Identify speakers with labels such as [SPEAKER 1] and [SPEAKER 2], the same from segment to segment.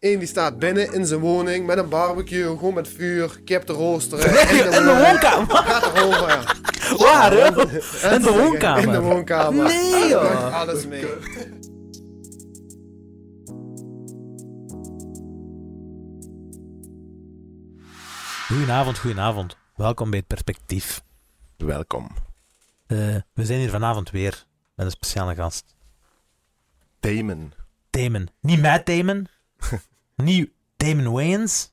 [SPEAKER 1] Eén die staat binnen in zijn woning met een barbecue, gewoon met vuur, kip te roosteren. eh,
[SPEAKER 2] Nee, in de woonkamer.
[SPEAKER 1] Gaat erover.
[SPEAKER 2] Waar, hè? In de
[SPEAKER 1] In de
[SPEAKER 2] woonkamer.
[SPEAKER 1] woonkamer.
[SPEAKER 2] Nee, joh.
[SPEAKER 1] Maakt Alles mee.
[SPEAKER 2] Goedenavond, goedenavond. Welkom bij het Perspectief.
[SPEAKER 3] Welkom.
[SPEAKER 2] Eh, we zijn hier vanavond weer met een speciale gast.
[SPEAKER 3] Damon.
[SPEAKER 2] Damon. Niet Matt Damon. niet Damon Wayans.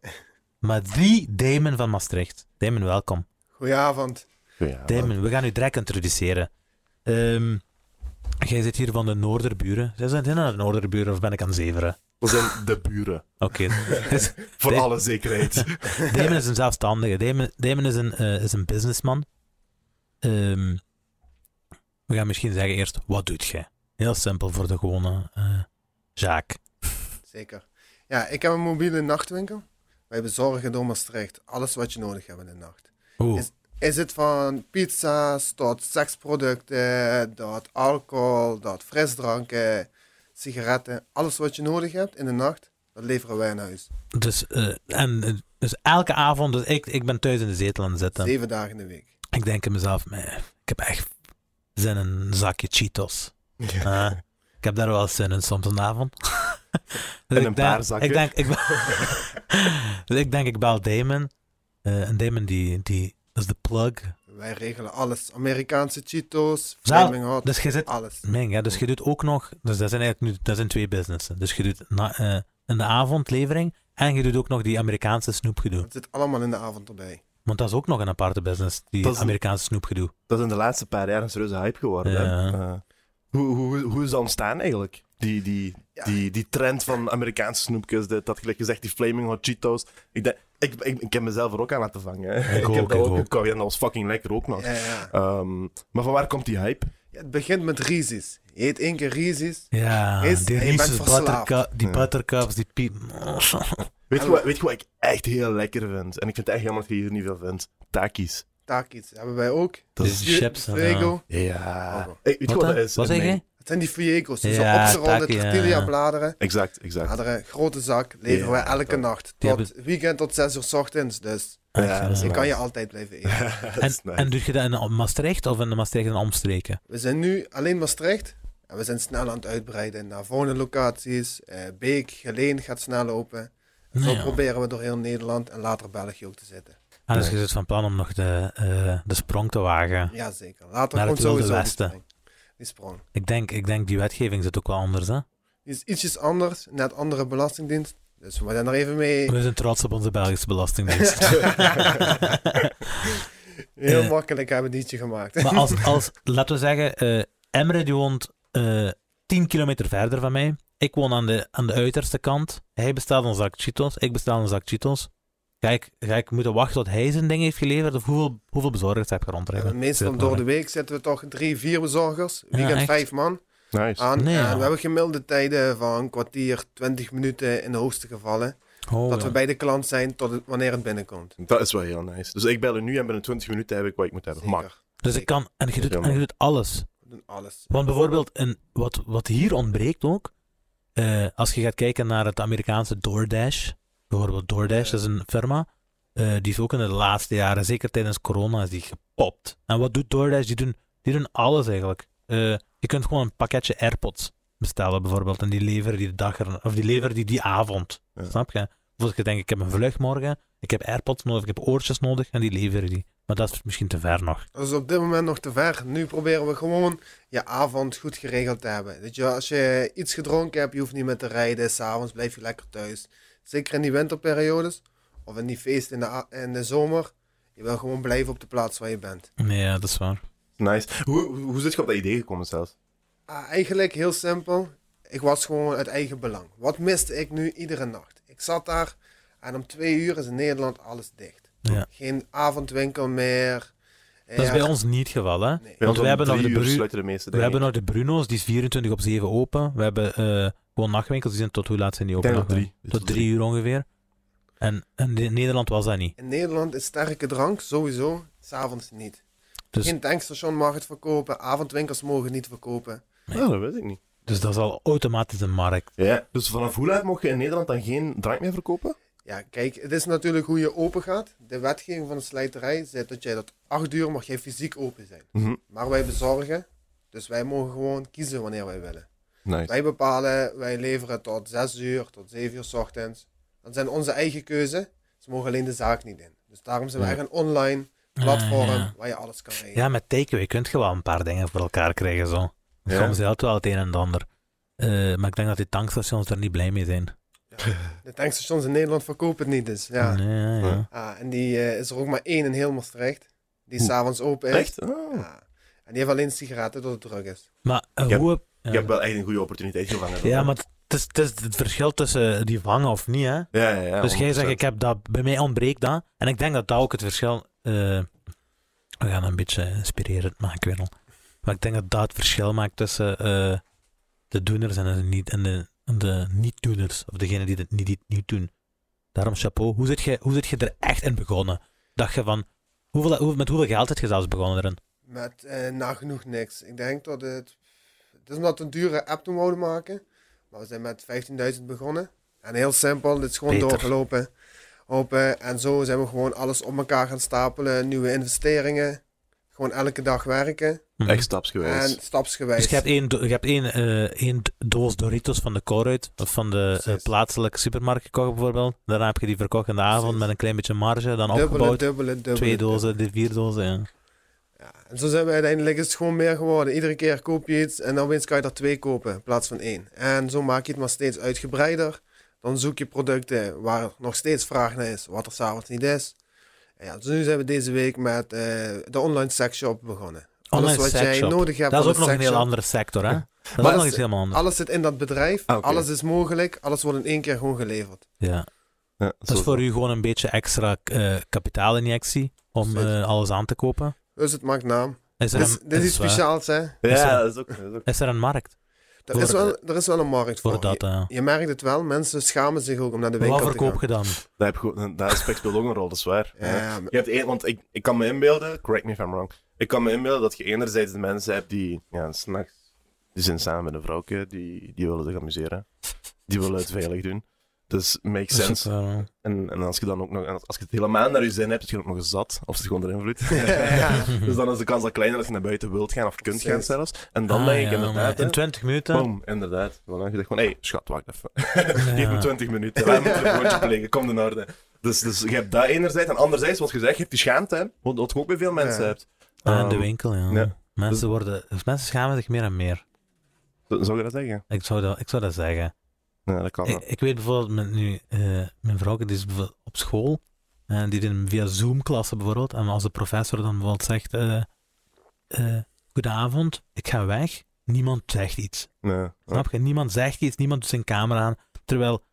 [SPEAKER 2] Maar die Damon van Maastricht. Damon, welkom.
[SPEAKER 1] Goedenavond.
[SPEAKER 3] Ja,
[SPEAKER 2] Damon, we gaan u direct introduceren. Ehm, jij zit hier van de Noorderburen. Zij zijn in de Noorderburen of ben ik aan Zeveren?
[SPEAKER 3] We zijn de buren.
[SPEAKER 2] Oké. Dus
[SPEAKER 3] Voor
[SPEAKER 2] Dam-
[SPEAKER 3] alle zekerheid.
[SPEAKER 2] Damon is een zelfstandige. Damon, Damon is, een, eh, is een businessman. Ehm, we gaan misschien zeggen eerst, wat doet jij? Heel simpel voor de gewone eh zaak.
[SPEAKER 1] Zeker. Ja, ik heb een mobiele nachtwinkel. Wij bezorgen door Maastricht alles wat je nodig hebt in de nacht.
[SPEAKER 2] Oeh,
[SPEAKER 1] Is- Is het van pizza's tot seksproducten, tot alcohol, tot frisdranken, sigaretten. Alles wat je nodig hebt in de nacht, dat leveren wij naar huis.
[SPEAKER 2] dus, eh, en, eh, dus elke avond, dus ik, ik ben thuis in de zetel aan het zitten.
[SPEAKER 1] Zeven dagen in de week.
[SPEAKER 2] Ik denk in mezelf, "Man, ik heb echt zin in een zakje Cheetos.
[SPEAKER 3] Ja.
[SPEAKER 2] Eh, ik heb daar wel zin in soms een avond. Dus ik
[SPEAKER 3] En een
[SPEAKER 2] denk-
[SPEAKER 3] paar zakken.
[SPEAKER 2] Ik denk, ik, be- dus ik denk, ik bel Damon. Eh, en Damon, die, die dat is de plug.
[SPEAKER 1] Wij regelen alles. Amerikaanse Cheetos,
[SPEAKER 2] Zelf-
[SPEAKER 1] Flaming Hot,
[SPEAKER 2] Dus je zit...
[SPEAKER 1] alles.
[SPEAKER 2] Meng, hè, dus je doet ook nog... Dus dat zijn eigenlijk nu, dat zijn twee businessen. Dus je doet na, eh, in de avond levering en je doet ook nog die Amerikaanse snoepgedoe.
[SPEAKER 1] Dat zit allemaal in de avond erbij.
[SPEAKER 2] Want dat is ook nog een aparte business, die
[SPEAKER 3] Dat is-
[SPEAKER 2] Amerikaanse snoepgedoe.
[SPEAKER 3] Dat is in de laatste paar jaar een serieuze hype geworden.
[SPEAKER 2] Ja.
[SPEAKER 3] Hè? Eh, hoe, hoe, hoe is dat ontstaan eigenlijk? Die, die,
[SPEAKER 1] Ja.
[SPEAKER 3] die, die trend van Amerikaanse snoepjes, dat, dat gelijk gezegd, die Flaming Hot Cheetos. Ik, denk, ik, ik, ik heb mezelf er ook aan laten vangen. hè.
[SPEAKER 2] Ik ook,
[SPEAKER 3] heb dat
[SPEAKER 2] ik ook.
[SPEAKER 3] ook gekocht en dat was fucking lekker ook nog.
[SPEAKER 1] Ja, ja.
[SPEAKER 2] Oh.
[SPEAKER 3] Ehm, maar van waar komt die hype?
[SPEAKER 1] Ja, het begint met Rizis. Je eet één keer Rizis.
[SPEAKER 2] Ja,
[SPEAKER 1] Is-
[SPEAKER 2] die
[SPEAKER 1] je bent
[SPEAKER 2] Reese's
[SPEAKER 1] verslaafd.
[SPEAKER 2] buttercup, die
[SPEAKER 3] Ja.
[SPEAKER 2] buttercups, die piep...
[SPEAKER 3] Weet je, wat, weet je wat ik echt heel lekker vind? En ik vind het echt jammer dat je hier niet veel vindt. Takis.
[SPEAKER 1] Takis hebben wij ook.
[SPEAKER 2] Dat is
[SPEAKER 1] Ju-
[SPEAKER 2] chips, hè,
[SPEAKER 1] Fuego.
[SPEAKER 3] Ja.
[SPEAKER 1] Oh.
[SPEAKER 3] Ik, Eh, weet je
[SPEAKER 2] Wat,
[SPEAKER 3] wat
[SPEAKER 2] hè?
[SPEAKER 3] dat is?
[SPEAKER 2] Wat zeg
[SPEAKER 3] Nee.
[SPEAKER 2] je?
[SPEAKER 1] Het zijn die fuegos, die
[SPEAKER 2] Ja,
[SPEAKER 1] zo opgerolde
[SPEAKER 2] takkie, ja,
[SPEAKER 1] tortilla
[SPEAKER 2] ja.
[SPEAKER 1] bladeren.
[SPEAKER 3] Exact, exact.
[SPEAKER 1] Bladeren, grote zak, leveren
[SPEAKER 3] Ja,
[SPEAKER 1] wij elke
[SPEAKER 3] dat-
[SPEAKER 1] nacht.
[SPEAKER 2] Die
[SPEAKER 1] Tot weekend tot 6 uur 's ochtends. Dus
[SPEAKER 3] Ja, dat is
[SPEAKER 1] je
[SPEAKER 3] nice.
[SPEAKER 1] kan je altijd blijven eten.
[SPEAKER 3] Dat
[SPEAKER 2] En,
[SPEAKER 3] is nice.
[SPEAKER 2] en doe je dat in Maastricht of in de Maastricht en omstreken?
[SPEAKER 1] We zijn nu alleen Maastricht. En we zijn snel aan het uitbreiden naar volgende locaties. Eh, Beek, Geleen gaat snel open. En zo
[SPEAKER 2] Nou ja.
[SPEAKER 1] proberen we door heel Nederland en later België ook te zitten.
[SPEAKER 2] Ah, dus
[SPEAKER 3] Nee.
[SPEAKER 2] je zit van plan om nog de, eh, de sprong te wagen.
[SPEAKER 1] Jazeker. Later
[SPEAKER 2] Naar het
[SPEAKER 1] komt sowieso
[SPEAKER 2] Wilde
[SPEAKER 1] die
[SPEAKER 2] Westen.
[SPEAKER 1] sprong. Die sprong.
[SPEAKER 2] Ik denk, ik denk die wetgeving zit ook wel anders, hè?
[SPEAKER 1] Die is ietsjes anders, net andere belastingdienst. Dus we zijn er even mee.
[SPEAKER 2] We zijn trots op onze Belgische Belastingdienst.
[SPEAKER 1] Heel
[SPEAKER 2] Eh.
[SPEAKER 1] makkelijk hebben we dietje gemaakt.
[SPEAKER 2] maar als, als, laten we zeggen, eh, Emre die woont eh 10 kilometer verder van mij. Ik woon aan de, aan de uiterste kant. Hij bestelt een zak Cheetos, ik bestel een zak Cheetos. Ga ik, ga ik moeten wachten tot hij zijn ding heeft geleverd? Of hoeveel, hoeveel bezorgers heb je
[SPEAKER 1] Ja,
[SPEAKER 2] rondrijden?
[SPEAKER 1] meestal door de week zitten we toch drie, vier bezorgers. Weekend
[SPEAKER 2] echt? Dus-
[SPEAKER 1] vijf man
[SPEAKER 3] Nice.
[SPEAKER 1] aan.
[SPEAKER 2] Nee,
[SPEAKER 1] en
[SPEAKER 2] ja.
[SPEAKER 1] we hebben gemiddelde tijden van een kwartier, twintig minuten in de hoogste gevallen.
[SPEAKER 2] Oh,
[SPEAKER 1] dat
[SPEAKER 2] ja.
[SPEAKER 1] we bij de klant zijn tot het, wanneer het binnenkomt.
[SPEAKER 3] Dat is wel heel nice. Dus ik bel u nu en binnen 20 minuten heb ik wat ik moet hebben.
[SPEAKER 1] Zeker.
[SPEAKER 3] Mak.
[SPEAKER 2] Dus ik kan, en je doet, en je doet alles.
[SPEAKER 1] We doen alles.
[SPEAKER 2] Want bijvoorbeeld, een, wat, wat hier ontbreekt ook, eh, als je gaat kijken naar het Amerikaanse DoorDash, bijvoorbeeld DoorDash, dat is een firma, eh, die is ook in de laatste jaren, zeker tijdens corona, is die gepopt. En wat doet DoorDash? Die doen, die doen alles eigenlijk. Eh, je kunt gewoon een pakketje AirPods bestellen bijvoorbeeld, en die leveren die de dag erna- of die leveren die die avond.
[SPEAKER 3] Ja.
[SPEAKER 2] Snap je? Bijvoorbeeld, je denkt, ik heb een vlucht morgen, ik heb AirPods nodig, ik heb oortjes nodig, en die leveren die. Maar dat is misschien te ver nog.
[SPEAKER 1] Dat is op dit moment nog te ver. Nu proberen we gewoon je avond goed geregeld te hebben. Dat je, als je iets gedronken hebt, je hoeft niet meer te rijden. S'avonds blijf je lekker thuis. Zeker in die winterperiodes of in die feesten in de, a- in de zomer. Je wil gewoon blijven op de plaats waar je bent.
[SPEAKER 2] Nee, ja, dat is waar.
[SPEAKER 3] Nice. Hoe, hoe hoe zit je op dat idee gekomen zelfs?
[SPEAKER 1] Ah, eigenlijk heel simpel. Ik was gewoon uit eigen belang. Wat miste ik nu iedere nacht? Ik zat daar en om twee uur is in Nederland alles dicht.
[SPEAKER 2] Ja.
[SPEAKER 1] Geen avondwinkel meer.
[SPEAKER 2] Dat is bij ons niet het geval, hè?
[SPEAKER 1] Nee.
[SPEAKER 2] Want we hebben nog de, Bru-
[SPEAKER 3] sluiten de meeste
[SPEAKER 2] we hebben nog de Bruno's, die is 24 op 7 open. We hebben eh, gewoon nachtwinkels, die zijn tot hoe laat zijn die
[SPEAKER 3] Ik
[SPEAKER 2] open?
[SPEAKER 3] denk tot
[SPEAKER 2] Nachtwinkel?
[SPEAKER 3] drie.
[SPEAKER 2] Tot drie uur ongeveer. En, en in Nederland was dat niet.
[SPEAKER 1] In Nederland is sterke drank sowieso, s'avonds niet.
[SPEAKER 2] Dus-
[SPEAKER 1] Geen tankstation mag het verkopen, avondwinkels mogen het niet verkopen.
[SPEAKER 3] Ja, Ah, dat weet ik niet.
[SPEAKER 2] Dus dat is al automatisch een markt.
[SPEAKER 3] Ja. Dus vanaf hoe laat mocht je in Nederland dan geen drank meer verkopen?
[SPEAKER 1] Ja, kijk, het is natuurlijk hoe je open gaat. De wetgeving van de slijterij zegt dat jij dat acht uur mag jij fysiek open zijn.
[SPEAKER 3] Mhm.
[SPEAKER 1] Maar wij bezorgen, dus wij mogen gewoon kiezen wanneer wij willen.
[SPEAKER 3] Nice.
[SPEAKER 1] Wij bepalen, wij leveren tot 6 uur, tot 7 uur 's ochtends. Dat zijn onze eigen keuze. Ze mogen alleen de zaak niet in. Dus daarom zijn we
[SPEAKER 3] Ja.
[SPEAKER 1] echt een online platform
[SPEAKER 2] Ah, ja.
[SPEAKER 1] waar je alles kan regelen.
[SPEAKER 2] Ja, met takeaway kun je wel een paar dingen voor elkaar krijgen. Zo.
[SPEAKER 3] Ja.
[SPEAKER 2] Soms helpt wel het een en het ander. Eh, maar ik denk dat die tankstations er niet blij mee zijn.
[SPEAKER 1] De tankstations in Nederland verkopen het niet, dus ja.
[SPEAKER 2] Nee, ja, ja.
[SPEAKER 3] Ja.
[SPEAKER 1] Ah, en die eh, is er ook maar één in heel Maastricht, die
[SPEAKER 3] Oeh.
[SPEAKER 1] s'avonds open is.
[SPEAKER 3] Echt? Ah.
[SPEAKER 1] Ja. En die heeft alleen sigaretten door het druk is.
[SPEAKER 2] Maar eh,
[SPEAKER 3] Ik heb-
[SPEAKER 2] hoe...
[SPEAKER 3] Je
[SPEAKER 2] ja.
[SPEAKER 3] hebt wel echt een goede opportuniteit gevangen.
[SPEAKER 2] Ja, maar het is, het is het verschil tussen eh, die vangen of niet, hè.
[SPEAKER 3] Ja, ja, ja,
[SPEAKER 2] dus jij zegt,
[SPEAKER 3] 100%.
[SPEAKER 2] ik heb dat, bij mij ontbreekt dat. En ik denk dat dat ook het verschil... eh, we gaan een beetje inspirerend maken, Winnel. Maar ik denk dat dat het verschil maakt tussen eh, de doeners en de, niet, en de, en de niet-doeners. Of degene die het niet, niet, niet doen. Daarom chapeau. Hoe zit, je, hoe zit je er echt in begonnen? Dacht je van... Hoeveel, hoe, met hoeveel geld zit je zelfs begonnen erin?
[SPEAKER 1] Met eh, nagenoeg niks. Ik denk dat het... Het is omdat we een dure app toen wouden maken. Maar we zijn met 15.000 begonnen. En heel simpel, dit is gewoon
[SPEAKER 2] Beter.
[SPEAKER 1] doorgelopen. Open. En zo zijn we gewoon alles op elkaar gaan stapelen. Nieuwe investeringen. Gewoon elke dag werken.
[SPEAKER 2] Mhm.
[SPEAKER 3] Echt stapsgewijs.
[SPEAKER 1] En stapsgewijs.
[SPEAKER 2] Dus je hebt één, do- je hebt één, eh, één d- doos Doritos van de Colruyt, of van de eh,
[SPEAKER 1] Precies.
[SPEAKER 2] plaatselijke supermarkt gekocht bijvoorbeeld. Daarna heb je die verkocht in de avond
[SPEAKER 1] Precies.
[SPEAKER 2] met een klein beetje marge, dan
[SPEAKER 1] dubbele,
[SPEAKER 2] opgebouwd.
[SPEAKER 1] dubbele, dubbele.
[SPEAKER 2] Twee
[SPEAKER 1] dubbele.
[SPEAKER 2] dozen, de vier dozen, ja. Oh,
[SPEAKER 1] Ja. En zo zijn we uiteindelijk is het gewoon meer geworden. Iedere keer koop je iets en dan opeens kan je er twee kopen in plaats van één. En zo maak je het maar steeds uitgebreider. Dan zoek je producten waar nog steeds vraag naar is, wat er s'avonds niet is. En ja, dus nu zijn we deze week met eh, de online sexshop begonnen. alles
[SPEAKER 2] Online
[SPEAKER 1] wat jij
[SPEAKER 2] sexshop.
[SPEAKER 1] nodig hebt
[SPEAKER 2] Dat is
[SPEAKER 1] van
[SPEAKER 2] ook nog een heel
[SPEAKER 1] sexshop,
[SPEAKER 2] andere sector, hè? Dat is
[SPEAKER 1] Maar Ah,
[SPEAKER 2] ook nog
[SPEAKER 1] is-
[SPEAKER 2] iets helemaal anders.
[SPEAKER 1] Alles zit in dat bedrijf,
[SPEAKER 3] Ah, oké.
[SPEAKER 1] alles is mogelijk, alles wordt in één keer gewoon geleverd.
[SPEAKER 2] Ja.
[SPEAKER 3] Ja,
[SPEAKER 2] Dat
[SPEAKER 3] zo-
[SPEAKER 2] is voor u gewoon een beetje extra eh, kapitaalinjectie om
[SPEAKER 1] Precies.
[SPEAKER 2] eh, alles aan te kopen.
[SPEAKER 1] Dus het maakt naam.
[SPEAKER 2] Is er,
[SPEAKER 1] Dit is,
[SPEAKER 2] een,
[SPEAKER 1] dit is iets
[SPEAKER 2] waar.
[SPEAKER 1] speciaals, hè?
[SPEAKER 2] Is
[SPEAKER 3] Ja,
[SPEAKER 2] er-
[SPEAKER 3] dat is ook. dat is ook-
[SPEAKER 2] Is er een markt
[SPEAKER 1] Er
[SPEAKER 2] Voor-
[SPEAKER 1] is, wel, er is wel een markt voor.
[SPEAKER 2] voor dat? eh?
[SPEAKER 1] Je, je merkt het wel, mensen schamen zich ook om naar de winkel
[SPEAKER 2] Wat
[SPEAKER 1] te gaan.
[SPEAKER 2] verkoop je dan?
[SPEAKER 3] Dat, heb gewoon, dat aspect speelt ook een rol, dat is waar. Ja.
[SPEAKER 1] Ja, maar-
[SPEAKER 3] Je hebt één, want ik, ik kan me inbeelden, correct me if I'm wrong. Ik kan me inbeelden dat je enerzijds de mensen hebt die ja, s'nachts, die zijn samen met een vrouwke, die, die willen zich amuseren. Die willen het veilig doen. Dus
[SPEAKER 2] Dat
[SPEAKER 3] makes
[SPEAKER 2] is
[SPEAKER 3] sense.
[SPEAKER 2] ook, eh,
[SPEAKER 3] En, en als je dan ook nog, en als je het helemaal naar je zin hebt, is je ook nog eens zat. Of zit gewoon onder invloed. dus dan is de kans al kleiner dat je naar buiten wilt gaan of kunt gaan
[SPEAKER 1] Precies.
[SPEAKER 3] zelfs. En dan
[SPEAKER 2] ah,
[SPEAKER 3] denk ik
[SPEAKER 2] ja,
[SPEAKER 3] inderdaad.
[SPEAKER 2] maar
[SPEAKER 3] hè,
[SPEAKER 2] In 20 minuten.
[SPEAKER 3] Boom, inderdaad. Dan heb je gewoon, hé, hey, schat, wacht even. Geef me
[SPEAKER 2] Ja.
[SPEAKER 3] 20 minuten. Laat me een telefoontje plegen. Kom in orde. Dus, dus je hebt dat enerzijds. En anderzijds, wat gezegd, je hebt die schaamte, hè. Wat, wat je ook bij veel mensen
[SPEAKER 1] Ja.
[SPEAKER 3] hebt.
[SPEAKER 2] Ah, in
[SPEAKER 3] Ehm,
[SPEAKER 2] de winkel, ja.
[SPEAKER 3] ja.
[SPEAKER 2] Mensen, worden, dus mensen schamen zich meer en meer.
[SPEAKER 3] z- Zou je dat zeggen?
[SPEAKER 2] Ik zou dat, ik zou dat zeggen.
[SPEAKER 3] Ja, dat kan
[SPEAKER 2] Ik, ik weet bijvoorbeeld met nu, eh, mijn vrouw die is bijvoorbeeld op school. en die doen via Zoom-klassen bijvoorbeeld. En als de professor dan bijvoorbeeld zegt: eh eh, Goedenavond, ik ga weg. Niemand zegt iets.
[SPEAKER 3] wel. Nee.
[SPEAKER 2] Snap je? Niemand zegt iets, niemand doet zijn camera aan. Terwijl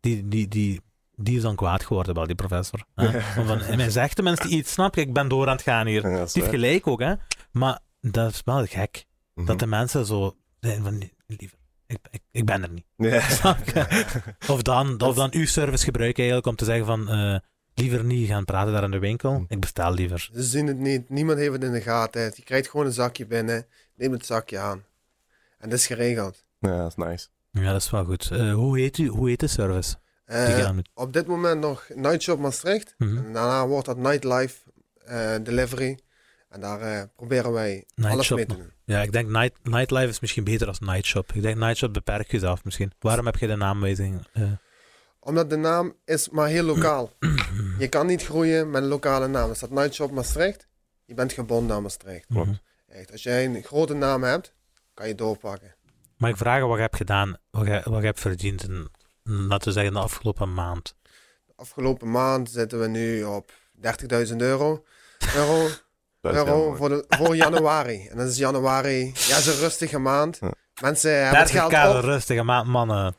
[SPEAKER 2] die, die, die, die is dan kwaad geworden bij die professor. hè. Van, van, men zegt de mensen iets, snap je? Ik ben door aan het gaan hier.
[SPEAKER 3] Ja, dat is
[SPEAKER 2] Stief
[SPEAKER 3] waar.
[SPEAKER 2] gelijk ook, hè? Maar dat is wel gek.
[SPEAKER 3] Mhm.
[SPEAKER 2] Dat de mensen zo zijn van, "Nee, liever, ik, ik, ik ben er niet.
[SPEAKER 3] Mhm. Ja.
[SPEAKER 2] Snap je? Of dan, of dan uw service gebruiken eigenlijk om te zeggen van, eh, liever niet gaan praten daar in de winkel. Ik bestel liever.
[SPEAKER 1] Ze zien het niet. Niemand heeft het in de gaten. Je krijgt gewoon een zakje binnen. Neem het zakje aan. En dat is geregeld.
[SPEAKER 3] ja, dat is nice.
[SPEAKER 2] Ja, dat is wel goed. Eh, hoe, heet u, hoe heet de service?
[SPEAKER 1] Eh,
[SPEAKER 2] Die gaan met...
[SPEAKER 1] op dit moment nog Nightshop Maastricht.
[SPEAKER 2] Mhm.
[SPEAKER 1] En daarna wordt dat Nightlife eh, Delivery. En daar eh, proberen wij alles
[SPEAKER 2] Nightshop
[SPEAKER 1] mee te doen.
[SPEAKER 2] Ja, ik denk night, Nightlife is misschien beter als Nightshop. Ik denk Nightshop beperk jezelf misschien. Waarom heb je de naamwijzing? eh
[SPEAKER 1] Omdat de naam is maar heel lokaal. je kan niet groeien met een lokale naam. Dus dat Nightshop Maastricht, je bent gebonden aan Maastricht.
[SPEAKER 3] Klopt.
[SPEAKER 2] mhm.
[SPEAKER 1] Echt, als jij een grote naam hebt, kan je doorpakken.
[SPEAKER 2] Mag ik vragen wat je hebt gedaan, wat je, wat je hebt verdiend, in, laten we zeggen, de afgelopen maand?
[SPEAKER 1] Afgelopen maand zitten we nu op 30.000 euro. euro.
[SPEAKER 3] Dat is heel
[SPEAKER 1] euro
[SPEAKER 3] mooi.
[SPEAKER 1] voor, de, voor januari. En dat is januari. Ja, is een rustige maand.
[SPEAKER 3] Ja.
[SPEAKER 1] Mensen hebben het
[SPEAKER 2] 30k
[SPEAKER 1] geld
[SPEAKER 2] is een
[SPEAKER 1] op.
[SPEAKER 2] rustige maand, mannen.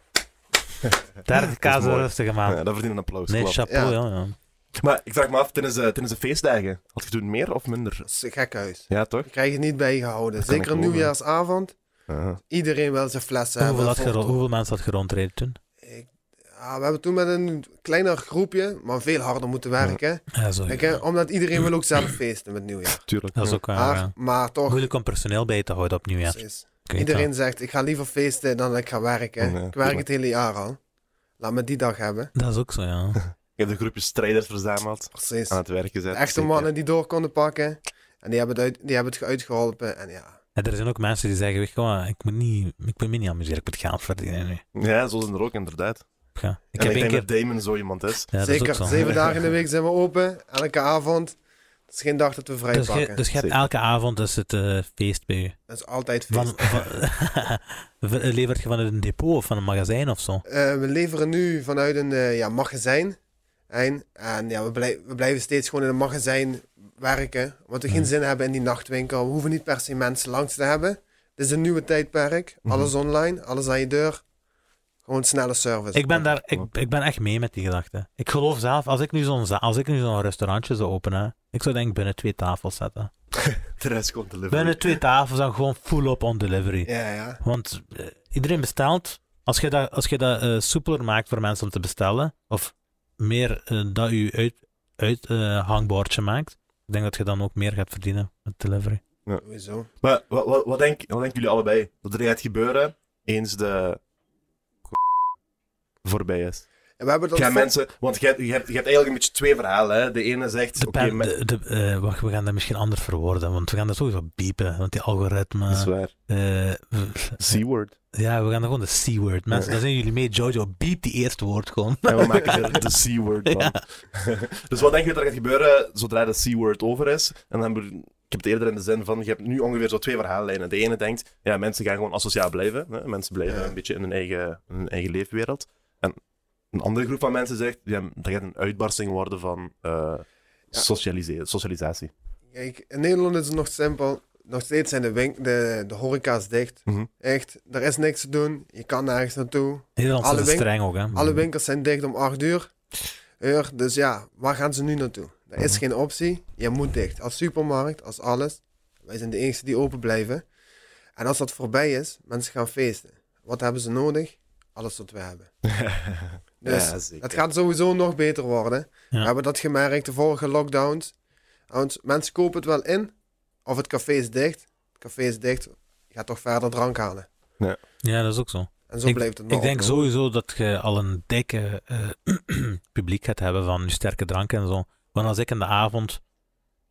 [SPEAKER 2] 30k
[SPEAKER 3] Dat
[SPEAKER 2] is
[SPEAKER 3] is
[SPEAKER 2] een
[SPEAKER 3] mooi.
[SPEAKER 2] rustige maand.
[SPEAKER 3] Ja, dat verdient een applaus.
[SPEAKER 2] Ah. Nee,
[SPEAKER 3] klopt.
[SPEAKER 2] chapeau, ja. ja.
[SPEAKER 3] Maar ik vraag me af, tijdens, eh, tijdens de feestdagen, had je toen meer of minder?
[SPEAKER 1] Dat is een gek huis.
[SPEAKER 3] Ja, toch?
[SPEAKER 1] Je krijgt het niet bijgehouden.
[SPEAKER 3] Dat kan ik
[SPEAKER 1] Zeker
[SPEAKER 3] geloven.
[SPEAKER 1] nieuwjaarsavond.
[SPEAKER 3] Ja.
[SPEAKER 1] Iedereen wil zijn flessen
[SPEAKER 2] Hoeveel, had
[SPEAKER 1] hebben.
[SPEAKER 2] gero-
[SPEAKER 1] vol-
[SPEAKER 2] hoeveel mensen had gerondreden toen?
[SPEAKER 1] Ik- ja, we hebben toen met een kleiner groepje, maar veel harder moeten werken.
[SPEAKER 2] Ja, zo.
[SPEAKER 1] Ik, eh, omdat iedereen wil ook zelf feesten met nieuwjaar.
[SPEAKER 3] Tuurlijk.
[SPEAKER 2] Dat is ook eh, waar.
[SPEAKER 1] Maar,
[SPEAKER 2] ja.
[SPEAKER 1] maar toch,
[SPEAKER 2] Moeilijk om personeel bij te houden opnieuw, ja.
[SPEAKER 1] precies.
[SPEAKER 2] ik weet
[SPEAKER 1] Iedereen
[SPEAKER 2] dat.
[SPEAKER 1] zegt, ik ga liever feesten dan dat ik ga werken.
[SPEAKER 3] Ja,
[SPEAKER 1] ik werk
[SPEAKER 3] tuurlijk.
[SPEAKER 1] het hele jaar al. Laat me die dag hebben.
[SPEAKER 2] Dat is ook zo, ja.
[SPEAKER 3] Je hebt een groepje strijders verzameld,
[SPEAKER 1] Precies.
[SPEAKER 2] Ah,
[SPEAKER 3] aan
[SPEAKER 1] De
[SPEAKER 3] het werk gezet.
[SPEAKER 1] echte
[SPEAKER 3] Zeker.
[SPEAKER 1] mannen die door konden pakken. En die hebben het, uit, die hebben het uitgeholpen. En ja,
[SPEAKER 2] En er zijn ook mensen die zeggen, weet je wat, ik moet niet, ik ben me niet amuseren, ik moet geld verdienen nu.
[SPEAKER 3] Ja, zo zijn er ook inderdaad.
[SPEAKER 2] Ik, ga- ik
[SPEAKER 3] en
[SPEAKER 2] heb
[SPEAKER 3] ik
[SPEAKER 2] één
[SPEAKER 3] denk
[SPEAKER 2] keer...
[SPEAKER 3] dat Damon zo iemand is.
[SPEAKER 2] Ja, dat is
[SPEAKER 1] zeker
[SPEAKER 2] ook zo.
[SPEAKER 1] zeven dagen in de week zijn we open. Elke avond. Het is geen dag dat we vrij
[SPEAKER 2] Dus je,
[SPEAKER 1] pakken.
[SPEAKER 2] dus je hebt
[SPEAKER 3] Zeker.
[SPEAKER 2] elke avond is het eh, feest bij u.
[SPEAKER 1] Dat is altijd feest.
[SPEAKER 2] Van, van- levert je van een depot of van een magazijn of zo?
[SPEAKER 1] Eh, we leveren nu vanuit een eh, ja, magazijn. En, en ja, we, blij- we blijven steeds gewoon in een magazijn werken. Omdat we geen
[SPEAKER 2] Mhm.
[SPEAKER 1] zin hebben in die nachtwinkel. We hoeven niet per se mensen langs te hebben. Het is een nieuwe tijdperk.
[SPEAKER 3] Mhm.
[SPEAKER 1] Alles online, alles aan je deur. Gewoon snelle service.
[SPEAKER 2] Ik ben, daar, ik, ik ben echt mee met die gedachte. Ik geloof zelf, als ik nu zo'n za- als ik nu zo'n restaurantje zou openen, ik zou denk ik binnen twee tafels zetten.
[SPEAKER 3] De rest komt te
[SPEAKER 2] Binnen twee tafels dan gewoon full-up on delivery.
[SPEAKER 1] Ja, ja.
[SPEAKER 2] Want eh, iedereen bestelt. Als je dat, als je dat eh, soepeler maakt voor mensen om te bestellen, of meer eh, dat je uit, uit eh, hangboordje maakt, ik denk dat je dan ook meer gaat verdienen met delivery.
[SPEAKER 1] Sowieso.
[SPEAKER 3] Maar wat, wat, wat, denk, wat denken jullie allebei? Dat er gaat gebeuren eens de voorbij is.
[SPEAKER 1] En we hebben dat
[SPEAKER 3] Gaan
[SPEAKER 1] voor-
[SPEAKER 3] mensen, want je hebt, je, hebt, je hebt eigenlijk een beetje twee verhalen. Hè. De ene zegt,
[SPEAKER 2] De
[SPEAKER 3] oké,
[SPEAKER 2] pen- de,
[SPEAKER 3] me-
[SPEAKER 2] de- eh, wacht, we gaan dat misschien anders verwoorden, want we gaan dat sowieso biepen, want die algoritme...
[SPEAKER 3] dat is waar.
[SPEAKER 2] eh,
[SPEAKER 3] C-word.
[SPEAKER 2] ja, we gaan dan gewoon de C-word. Mensen, dan zijn jullie mee, Jojo, biep die eerste woord gewoon.
[SPEAKER 3] En we maken er de C-word van.
[SPEAKER 2] Ja.
[SPEAKER 3] dus wat denk je dat er gaat gebeuren zodra de C-word over is? En dan hebben we- ik heb het eerder in de zin van, je hebt nu ongeveer zo twee verhaallijnen. De ene denkt, ja, mensen gaan gewoon asociaal blijven. Hè? Mensen blijven
[SPEAKER 1] Ja.
[SPEAKER 3] een beetje in hun eigen, in hun eigen leefwereld. En een andere groep van mensen zegt, ja, dat gaat een uitbarsting worden van eh socialiseren, socialisatie.
[SPEAKER 1] Kijk, in Nederland is het nog simpel. Nog steeds zijn de, wink, de, de horeca's dicht.
[SPEAKER 3] Mhm.
[SPEAKER 1] Echt, er is niks te doen. Je kan nergens naartoe.
[SPEAKER 2] Nederland
[SPEAKER 1] Alle
[SPEAKER 2] is
[SPEAKER 1] win-
[SPEAKER 2] streng ook, hè.
[SPEAKER 1] Alle winkels zijn dicht om 8 uur. uur. Dus ja, waar gaan ze nu naartoe? Er is geen optie. Je moet dicht. Als supermarkt, als alles. Wij zijn de enigste die open blijven. En als dat voorbij is, mensen gaan feesten. Wat hebben ze nodig? Alles wat we hebben. Dus
[SPEAKER 3] ja, zeker.
[SPEAKER 1] het gaat sowieso nog beter worden.
[SPEAKER 2] Ja.
[SPEAKER 1] We hebben dat gemerkt de vorige lockdowns. Want mensen kopen het wel in. Of het café is dicht. Het café is dicht. Je gaat toch verder drank halen.
[SPEAKER 2] Ja, dat is ook zo.
[SPEAKER 1] En zo blijft het nog.
[SPEAKER 2] Ik denk sowieso dat je al een dikke eh, publiek gaat hebben van sterke drank en zo. Want als ik in de avond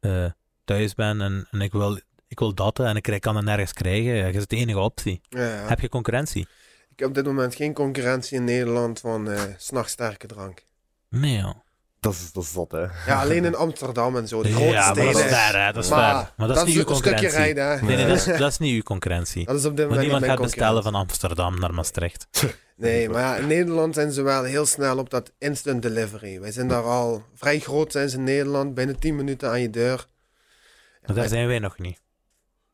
[SPEAKER 2] eh, thuis ben en, en ik, wil, ik wil dat en ik krijg- kan het nergens krijgen, ja, dat is de enige optie.
[SPEAKER 1] Ja, ja.
[SPEAKER 2] Heb je concurrentie?
[SPEAKER 1] Ik heb op dit moment geen concurrentie in Nederland van eh, 's nachts sterke drank.
[SPEAKER 2] Nee, joh.
[SPEAKER 3] Dat is, dat is zot, hè.
[SPEAKER 1] Ja, alleen in Amsterdam en zo. De grote
[SPEAKER 2] Ja, maar dat
[SPEAKER 1] steden.
[SPEAKER 2] is ver, hè. Dat is
[SPEAKER 1] Maar
[SPEAKER 2] ver. Maar dat is niet uw
[SPEAKER 1] een stukje
[SPEAKER 2] concurrentie.
[SPEAKER 1] rijden. hè.
[SPEAKER 2] Nee, nee, dat is, dat is niet uw concurrentie.
[SPEAKER 1] Dat is op dit
[SPEAKER 2] Want
[SPEAKER 1] moment niet
[SPEAKER 2] niemand
[SPEAKER 1] mijn
[SPEAKER 2] gaat bestellen
[SPEAKER 1] concurrentie.
[SPEAKER 2] van Amsterdam naar Maastricht.
[SPEAKER 1] Nee, maar ja, in Nederland zijn ze wel heel snel op dat instant delivery. Wij zijn daar al vrij groot zijn ze in Nederland. Binnen 10 minuten aan je deur.
[SPEAKER 2] Maar daar zijn wij nog niet.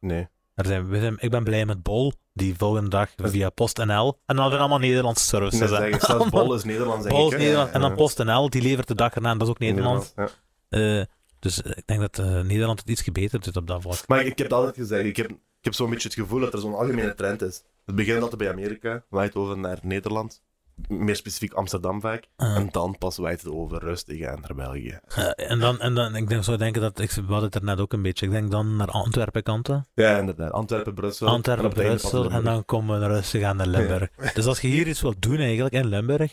[SPEAKER 3] Nee.
[SPEAKER 2] Daar zijn, we zijn- ik ben blij met Bol, die volgende dag via PostNL. En dan zijn allemaal Nederlandse services.
[SPEAKER 3] Dus Ze
[SPEAKER 2] hè.
[SPEAKER 3] zeggen, zelfs Bol is Nederlands, denk
[SPEAKER 2] Bol
[SPEAKER 3] ik,
[SPEAKER 2] is
[SPEAKER 3] hè.
[SPEAKER 2] Nederland. En dan
[SPEAKER 3] Ja.
[SPEAKER 2] PostNL, die levert de dag erna. en Dat is ook Nederland.
[SPEAKER 3] Ja.
[SPEAKER 2] Eh, dus eh, ik denk dat eh, Nederland het iets gebeterd doet op dat vlak.
[SPEAKER 3] Maar ik, ik heb het altijd gezegd, ik heb, ik heb zo'n beetje het gevoel dat er zo'n algemene trend is. Het begint altijd bij Amerika, waait over naar Nederland, meer specifiek Amsterdam vaak,
[SPEAKER 2] Eh,
[SPEAKER 3] en dan pas waait het over rustig aan naar België.
[SPEAKER 2] eh, en dan, en dan ik denk, zou denken dat, ik we hadden het er net ook een beetje, ik denk dan naar Antwerpen kanten.
[SPEAKER 3] Ja, inderdaad. Antwerpen, Brussel.
[SPEAKER 2] Antwerpen,
[SPEAKER 3] en op het einde pas
[SPEAKER 2] Brussel en
[SPEAKER 3] Limburg.
[SPEAKER 2] dan komen we rustig aan naar Limburg. Dus als je hier iets wilt doen eigenlijk in Limburg,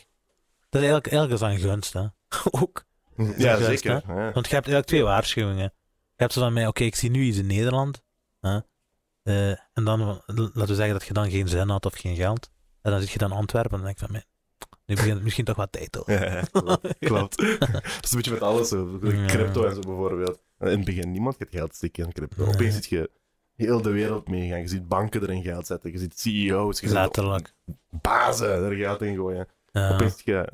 [SPEAKER 2] dat is eigenlijk ergens aan gunst hè. ook.
[SPEAKER 3] Ja,
[SPEAKER 2] Juist,
[SPEAKER 3] zeker. Ja.
[SPEAKER 2] Want je hebt eigenlijk twee waarschuwingen. Je hebt zo van mij, oké, ik zie nu iets in Nederland. Hè? Eh, en dan, eh, laten we zeggen dat je dan geen zin had of geen geld. En dan zit je dan in Antwerpen en dan denk je van, "Man, nu begint het misschien toch wat tijd hoor.
[SPEAKER 3] Ja, klopt. klopt. dat is een beetje met alles zo.
[SPEAKER 2] Ja.
[SPEAKER 3] Crypto en zo bijvoorbeeld. In het begin, niemand gaat geld steken in crypto.
[SPEAKER 2] Nee.
[SPEAKER 3] Opeens ziet je heel de wereld meegaan. Je ziet banken erin geld zetten. Je ziet CEO's. Je ziet
[SPEAKER 2] Letterlijk. Eh,
[SPEAKER 3] bazen er geld in gooien.
[SPEAKER 2] Ja.
[SPEAKER 3] Opeens ja,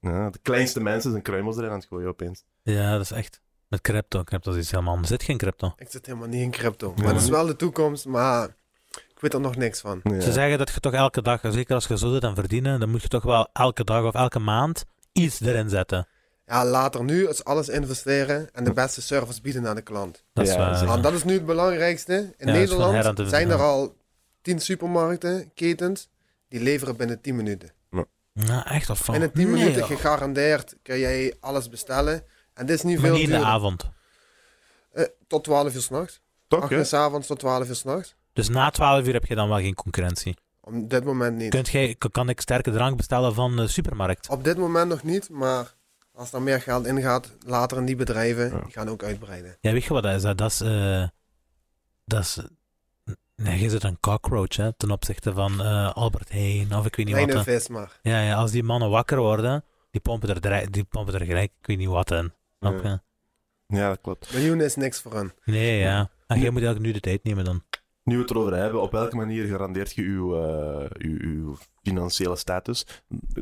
[SPEAKER 3] ja, de kleinste mensen zijn kruimels erin aan het gooien opeens.
[SPEAKER 2] Ja, dat is echt. Met crypto. Crypto is iets helemaal anders. Er zit geen crypto.
[SPEAKER 1] Ik zit helemaal niet in crypto.
[SPEAKER 3] Ja.
[SPEAKER 1] Maar dat is wel de toekomst. Maar ik weet er nog niks van.
[SPEAKER 3] Ja.
[SPEAKER 2] Ze zeggen dat je toch elke dag, zeker als je zo zit aan verdienen, dan moet je toch wel elke dag of elke maand iets erin zetten.
[SPEAKER 1] Ja, later nu is alles investeren en de beste service bieden aan de klant.
[SPEAKER 2] Dat is
[SPEAKER 3] Ja,
[SPEAKER 2] waar.
[SPEAKER 3] zeker.
[SPEAKER 2] ja.
[SPEAKER 1] Want dat is nu het belangrijkste. In
[SPEAKER 2] Ja, dat is van her aan
[SPEAKER 1] Nederland
[SPEAKER 2] te-
[SPEAKER 1] zijn er
[SPEAKER 2] ja.
[SPEAKER 1] al 10 supermarkten, ketens, die leveren binnen 10 minuten.
[SPEAKER 2] Ja, echt of van.
[SPEAKER 1] Binnen 10
[SPEAKER 2] Oh. Nee,
[SPEAKER 1] minuten
[SPEAKER 2] joh.
[SPEAKER 1] gegarandeerd kun jij alles bestellen. En dit is niet
[SPEAKER 2] Maar
[SPEAKER 1] veel
[SPEAKER 2] niet in de
[SPEAKER 1] duurder.
[SPEAKER 2] avond.
[SPEAKER 1] Eh, tot 12 uur s'nachts.
[SPEAKER 3] Toch,
[SPEAKER 1] 8
[SPEAKER 3] hè?
[SPEAKER 1] uur s'avonds tot 12 uur s'nachts.
[SPEAKER 2] Dus na 12 uur heb je dan wel geen concurrentie.
[SPEAKER 1] Op dit moment niet.
[SPEAKER 2] Kunt jij, k- kan ik sterke drank bestellen van de supermarkt?
[SPEAKER 1] Op dit moment nog niet, maar als er meer geld ingaat, later in die bedrijven,
[SPEAKER 3] Ja.
[SPEAKER 1] die gaan ook uitbreiden.
[SPEAKER 2] Ja, weet je wat dat is? Dat dat is... eh, dat is nee, je zit een cockroach hè, ten opzichte van eh, Albert Heijn of ik weet niet wat.
[SPEAKER 1] Kleine
[SPEAKER 2] hè.
[SPEAKER 1] vis maar.
[SPEAKER 2] Ja, ja, als die mannen wakker worden, die pompen er, dre- die pompen er gelijk ik weet niet wat in. Snap je?
[SPEAKER 3] Ja, dat klopt.
[SPEAKER 1] Miljoenen is niks voor hen.
[SPEAKER 2] Nee, ja. En jij
[SPEAKER 3] Ja.
[SPEAKER 2] moet eigenlijk nu de tijd nemen dan.
[SPEAKER 3] Nu we het erover hebben, op welke manier garandeert je uw, eh, uw, uw financiële status?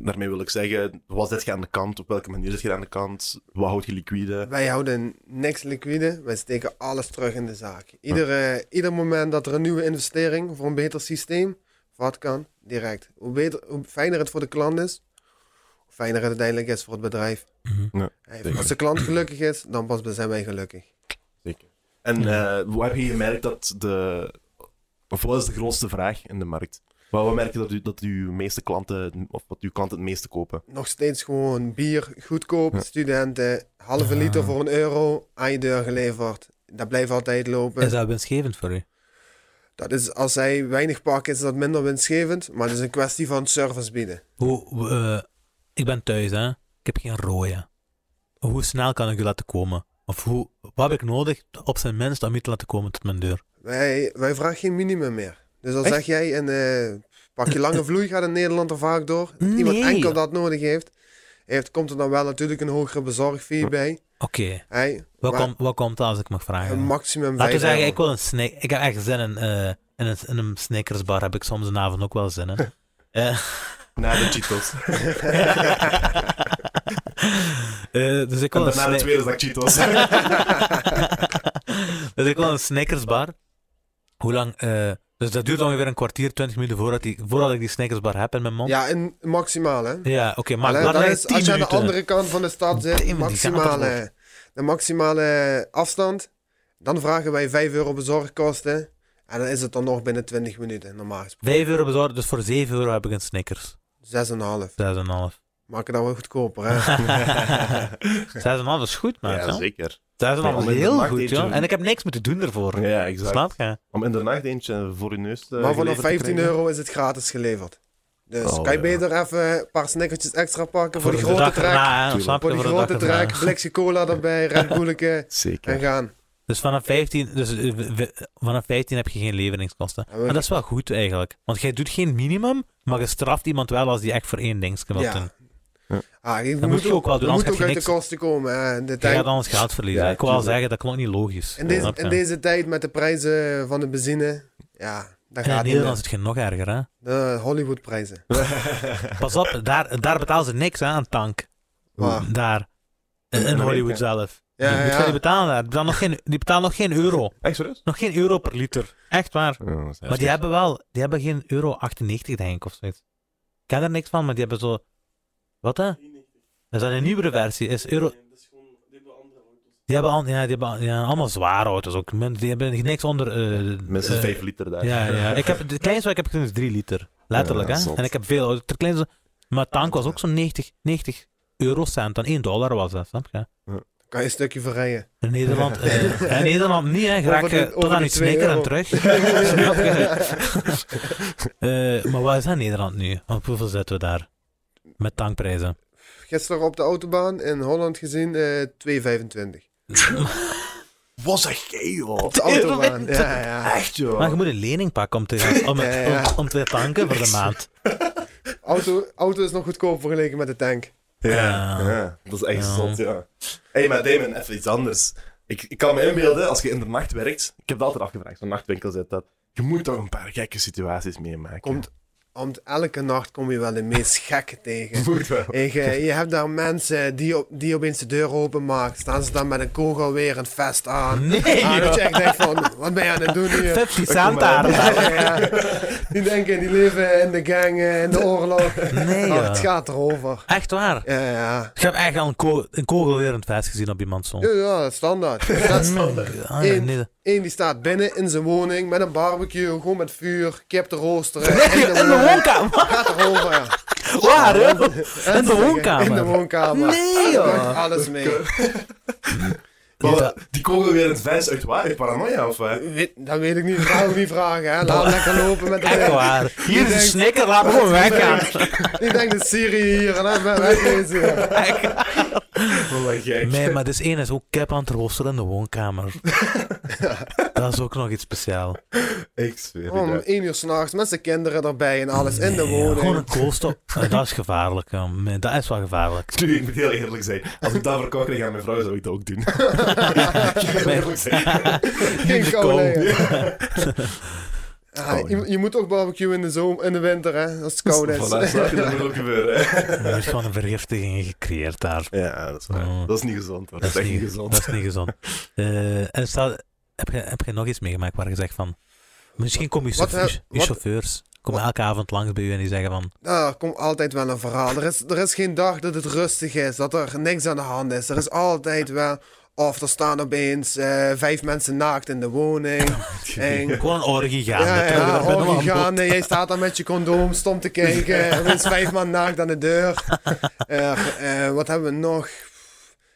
[SPEAKER 3] Daarmee wil ik zeggen, wat zet je aan de kant? Op welke manier zit je aan de kant? Wat houd je liquide?
[SPEAKER 1] Wij houden niks liquide, wij steken alles terug in de zaak. Iedere, ieder moment dat er een nieuwe investering voor een beter systeem, wat kan, direct. Hoe, beter, hoe fijner het voor de klant is, hoe fijner het uiteindelijk is voor het bedrijf.
[SPEAKER 2] Mhm.
[SPEAKER 1] Hey,
[SPEAKER 3] Zeker.
[SPEAKER 1] Als de klant gelukkig is, dan pas zijn wij gelukkig.
[SPEAKER 3] En
[SPEAKER 2] Ja.
[SPEAKER 3] eh, hoe heb je gemerkt dat de... Of wat is de grootste vraag in de markt? Wat, wat merk je dat, u, dat uw meeste klanten, of wat uw klanten het meeste kopen?
[SPEAKER 1] Nog steeds gewoon bier, goedkoop,
[SPEAKER 3] Ja.
[SPEAKER 1] studenten, halve
[SPEAKER 2] Ah.
[SPEAKER 1] liter voor een euro, aan je deur geleverd. Dat blijft altijd lopen.
[SPEAKER 2] Is dat winstgevend voor u?
[SPEAKER 1] Dat is, als zij weinig pakken, is dat minder winstgevend. Maar het is een kwestie van service bieden.
[SPEAKER 2] Hoe, hoe, eh, ik ben thuis, hè. Ik heb geen rode. Hoe snel kan ik u laten komen? Of hoe, wat heb ik nodig op zijn minst om u te laten komen tot mijn deur?
[SPEAKER 1] Wij, wij vragen geen minimum meer. Dus dan
[SPEAKER 2] Echt?
[SPEAKER 1] zeg jij, een eh, pakje lange vloei gaat in Nederland er vaak door. Dat iemand
[SPEAKER 2] Nee.
[SPEAKER 1] enkel dat nodig heeft, heeft, komt er dan wel natuurlijk een hogere bezorgfee bij.
[SPEAKER 2] Oké,
[SPEAKER 1] Hey,
[SPEAKER 2] wat,
[SPEAKER 1] maar
[SPEAKER 2] kom, wat komt dat als ik mag
[SPEAKER 1] Een
[SPEAKER 2] vragen?
[SPEAKER 1] maximum
[SPEAKER 2] Laten
[SPEAKER 1] 5
[SPEAKER 2] we zeggen,
[SPEAKER 1] euro.
[SPEAKER 2] ik wil een snack. Ik heb echt zin in, eh, in, een, in een snickersbar. Heb ik soms een avond ook wel zin in. Eh,
[SPEAKER 3] Na de Cheetos.
[SPEAKER 2] eh, dus ik
[SPEAKER 3] en
[SPEAKER 2] wil een
[SPEAKER 3] daarna de
[SPEAKER 2] snack.
[SPEAKER 3] tweede zak Cheetos.
[SPEAKER 2] dus ik wil een Snickersbar. Hoe lang? eh, dus dat duurt ongeveer een kwartier, twintig minuten voordat, die, voordat ik die Snickersbar heb in mijn mond. Ja,
[SPEAKER 1] Ja, een maximale. hè.
[SPEAKER 2] oké, maar
[SPEAKER 1] Alleen,
[SPEAKER 2] laat
[SPEAKER 1] dat
[SPEAKER 2] mij
[SPEAKER 1] is,
[SPEAKER 2] 10
[SPEAKER 1] als je aan de
[SPEAKER 2] minuten.
[SPEAKER 1] andere kant van de stad
[SPEAKER 2] Damn,
[SPEAKER 1] zit,
[SPEAKER 2] die gaat
[SPEAKER 1] maximale, de maximale afstand, dan vragen wij 5 euro bezorgkosten. En dan is het dan nog binnen 20 minuten, normaal gesproken.
[SPEAKER 2] 5 euro bezorgd, dus voor 7 euro heb ik een Snickers.
[SPEAKER 1] 6,5.
[SPEAKER 2] 6,5. 6,5
[SPEAKER 1] Maak het dan wel goedkoper, hè?
[SPEAKER 2] is goed, man.
[SPEAKER 3] ja,
[SPEAKER 2] Ja, 6,5
[SPEAKER 3] zeker.
[SPEAKER 2] is
[SPEAKER 3] Om in de
[SPEAKER 2] heel
[SPEAKER 3] markt
[SPEAKER 2] goed,
[SPEAKER 3] eentje-
[SPEAKER 2] joh. En ik heb niks moeten doen ervoor.
[SPEAKER 3] Ja, exact.
[SPEAKER 2] Snap je?
[SPEAKER 3] Om in de nacht eentje voor je neus te
[SPEAKER 1] maar vanaf
[SPEAKER 3] geleverd te
[SPEAKER 1] 15
[SPEAKER 3] krijgen.
[SPEAKER 1] euro is het gratis geleverd. Dus
[SPEAKER 3] Oh,
[SPEAKER 1] kan je
[SPEAKER 3] ja.
[SPEAKER 1] beter even een paar snickertjes extra pakken voor,
[SPEAKER 2] Voor de
[SPEAKER 1] die grote
[SPEAKER 2] dag
[SPEAKER 1] trek.
[SPEAKER 2] erna, hè.
[SPEAKER 3] Tuurlijk.
[SPEAKER 2] Snap
[SPEAKER 1] Voor
[SPEAKER 2] je?
[SPEAKER 1] die
[SPEAKER 2] Voor de
[SPEAKER 1] grote
[SPEAKER 2] dag erna.
[SPEAKER 1] trek, blikje cola erbij, Red Bulletje
[SPEAKER 3] Zeker.
[SPEAKER 1] en gaan.
[SPEAKER 2] Dus vanaf 15, dus, eh, w- w- vanaf 15 heb je geen leveringskosten.
[SPEAKER 1] Ja, we-
[SPEAKER 2] Maar dat is wel goed eigenlijk. Want jij doet geen minimum, maar je straft iemand wel als die echt voor één ding wil doen.
[SPEAKER 1] Ja. Ah, je
[SPEAKER 2] Dat moet je ook wel doen,
[SPEAKER 1] je
[SPEAKER 2] anders
[SPEAKER 1] moet
[SPEAKER 2] heb
[SPEAKER 1] ook
[SPEAKER 2] je
[SPEAKER 1] uit de
[SPEAKER 2] niks.
[SPEAKER 1] kosten komen. hè. En de
[SPEAKER 2] Je
[SPEAKER 1] tijd-
[SPEAKER 2] gaat anders geld verliezen.
[SPEAKER 3] Ja,
[SPEAKER 2] ik wil wel
[SPEAKER 3] tuurlijk.
[SPEAKER 2] zeggen, dat klopt niet logisch.
[SPEAKER 1] In deze,
[SPEAKER 2] Snap je?
[SPEAKER 1] in deze tijd met de prijzen van de benzine, ja, dat
[SPEAKER 2] En in
[SPEAKER 1] gaat niet
[SPEAKER 2] Nederland is
[SPEAKER 1] meer.
[SPEAKER 2] het geen nog erger, hè?
[SPEAKER 1] De Hollywoodprijzen.
[SPEAKER 2] Pas op, daar, daar betalen ze niks hè, aan tank.
[SPEAKER 1] Maar
[SPEAKER 2] Daar. In, in Hollywood zelf.
[SPEAKER 1] Ja,
[SPEAKER 2] die,
[SPEAKER 1] ja.
[SPEAKER 2] die betalen daar. Die betalen, nog geen, die betalen nog geen euro.
[SPEAKER 3] Echt serieus?
[SPEAKER 2] Nog geen euro per liter. Echt waar. Maar die hebben wel, die hebben geen euro 98 denk ik of zoiets. Ik ken daar niks van, maar die hebben zo... Wat hè? Is dat een nieuwere versie? Is euro... Die hebben, al, ja, die hebben al- ja, allemaal zware auto's ook. Men- Die hebben niks onder... eh,
[SPEAKER 3] Minstens
[SPEAKER 2] eh,
[SPEAKER 3] 5 liter daar.
[SPEAKER 2] Ja, ja. Ik heb, het kleinste wat ik heb gezien is 3 liter. Letterlijk,
[SPEAKER 3] Ja,
[SPEAKER 2] hè.
[SPEAKER 3] zot.
[SPEAKER 2] En ik heb veel auto's. Het kleinste... Maar tank was ook zo'n 90, 90 eurocent. Dan 1 dollar was dat, snap je?
[SPEAKER 1] kan je een stukje verrijden.
[SPEAKER 2] In Nederland, eh, in Nederland niet, hè. Graag
[SPEAKER 1] Over de-
[SPEAKER 2] eh, tot
[SPEAKER 1] over
[SPEAKER 2] aan
[SPEAKER 1] de
[SPEAKER 2] die
[SPEAKER 1] twee
[SPEAKER 2] snikker en
[SPEAKER 1] euro.
[SPEAKER 2] terug. Snap je? Eh, maar wat is dat Nederland nu? Op hoeveel zitten we daar? Met tankprijzen.
[SPEAKER 1] Oh. Gisteren op de autobaan in Holland gezien, eh 2,25.
[SPEAKER 3] Wat zeg jij, joh?
[SPEAKER 1] Op de autobaan,
[SPEAKER 2] 2,25.
[SPEAKER 1] ja, ja.
[SPEAKER 3] Echt, joh.
[SPEAKER 2] Maar je moet een lening pakken om te, om,
[SPEAKER 1] Ja, ja.
[SPEAKER 2] om- om te tanken voor de maand.
[SPEAKER 1] Auto, auto is nog goedkoop vergeleken met de tank.
[SPEAKER 3] Ja,
[SPEAKER 2] Ja.
[SPEAKER 3] ja, dat is echt
[SPEAKER 2] Ja.
[SPEAKER 3] zot, ja. Hé, hey, maar Damon, even iets anders. Ik, ik kan me inbeelden, als je in de nacht werkt... Ik heb dat altijd afgevraagd, zo'n nachtwinkel zit dat. Je moet toch een paar gekke situaties meemaken.
[SPEAKER 1] Komt, want elke nacht kom je wel de meest gekke tegen.
[SPEAKER 3] Moet wel.
[SPEAKER 1] Ik, eh, je hebt daar mensen die, op, die opeens de deur openmaken. Staan ze dan met een kogel weer een vest aan.
[SPEAKER 2] Nee,
[SPEAKER 1] Ah, dat
[SPEAKER 2] joh.
[SPEAKER 1] je echt denkt van, wat ben je aan het doen hier?
[SPEAKER 2] 50 cent daar.
[SPEAKER 1] Ja, Die denken, die leven in de gang, eh, in de oorlog.
[SPEAKER 2] Nee,
[SPEAKER 1] Oh,
[SPEAKER 2] joh.
[SPEAKER 1] het gaat erover.
[SPEAKER 2] Echt waar.
[SPEAKER 1] Ja, ja.
[SPEAKER 2] Ik heb echt al een, ko een kogelwerend vest gezien op iemand zo.
[SPEAKER 1] Ja, ja, standaard. Dat is-
[SPEAKER 2] Ah, ja,
[SPEAKER 1] Eén.
[SPEAKER 2] nee.
[SPEAKER 1] Eén die staat binnen in zijn woning met een barbecue, gewoon met vuur, kip te roosteren.
[SPEAKER 2] Nee, in de
[SPEAKER 1] woning.
[SPEAKER 2] woonkamer.
[SPEAKER 1] Gaat erover, ja.
[SPEAKER 2] Waar, hè? In
[SPEAKER 1] Mensen
[SPEAKER 2] de
[SPEAKER 1] zeggen, In de
[SPEAKER 2] woonkamer.
[SPEAKER 1] woonkamer.
[SPEAKER 2] Nee, joh.
[SPEAKER 1] Alles mee.
[SPEAKER 3] Maar
[SPEAKER 2] Ja.
[SPEAKER 3] Die komen weer in het vijs uit waar? Paranoia of waar?
[SPEAKER 1] Weet- dat weet ik niet. Ik ga ook niet vragen, hè. Laat hem lekker lopen met de
[SPEAKER 2] Echt
[SPEAKER 1] ding.
[SPEAKER 2] waar. Hier is een
[SPEAKER 1] denkt-
[SPEAKER 2] snikker, laat me
[SPEAKER 1] Oh,
[SPEAKER 2] gewoon weggaan.
[SPEAKER 1] Ik denk dat Siri hier en dat ben wegwezen. ja.
[SPEAKER 3] Oh, wat gek.
[SPEAKER 2] Nee, maar dit ene is ook cap aan het roosteren in de woonkamer. dat is ook nog iets speciaals.
[SPEAKER 3] Ik zweer het.
[SPEAKER 1] Om
[SPEAKER 3] ja.
[SPEAKER 1] één uur s'nachts met zijn kinderen erbij en alles in de
[SPEAKER 2] Nee, ja, Gewoon
[SPEAKER 1] woning.
[SPEAKER 2] een koolstof. Eh, dat is gevaarlijk. ja. Nee, Dat is wel gevaarlijk.
[SPEAKER 3] Nu, ik moet heel eerlijk zijn. Als ik dat verkocht kreeg aan mijn vrouw, zou ik dat ook doen. ik moet eerlijk zijn.
[SPEAKER 1] Geen
[SPEAKER 2] de
[SPEAKER 1] koude
[SPEAKER 2] kou.
[SPEAKER 1] eieren.
[SPEAKER 3] Ja.
[SPEAKER 1] Ah, je, je moet ook barbecue in de, zomer, in de winter, hè, als het koud is.
[SPEAKER 3] Voilà, snap je? Dat moet ook gebeuren. hè.
[SPEAKER 2] Er is gewoon een vergiftiging gecreëerd daar.
[SPEAKER 3] Ja, dat is waar.
[SPEAKER 2] Oh.
[SPEAKER 3] Dat is niet gezond hoor.
[SPEAKER 2] Dat is niet,
[SPEAKER 3] gezond.
[SPEAKER 2] dat is niet gezond. Eh, en staat, heb, je, heb je nog iets meegemaakt waar je zegt van... Misschien komen je,
[SPEAKER 1] Wat
[SPEAKER 2] chauffeurs-
[SPEAKER 1] heb-
[SPEAKER 2] je
[SPEAKER 1] wat-
[SPEAKER 2] chauffeurs komen
[SPEAKER 1] wat-
[SPEAKER 2] elke avond langs bij u en die zeggen van...
[SPEAKER 1] Daar Ah, komt altijd wel een verhaal. Er is, er is geen dag dat het rustig is, dat er niks aan de hand is. Er is altijd wel... Of er staan opeens eh, vijf mensen naakt in de woning. En-
[SPEAKER 2] Gewoon een orgie gaan.
[SPEAKER 1] Ja,
[SPEAKER 2] natuurlijk,
[SPEAKER 1] ja,
[SPEAKER 2] dat ben ik wel
[SPEAKER 1] orgie
[SPEAKER 2] aan bod.
[SPEAKER 1] gaan. Nee, jij staat daar met je condoom stom te kijken. Er is vijf man naakt aan de deur. Eh, eh, wat hebben we nog?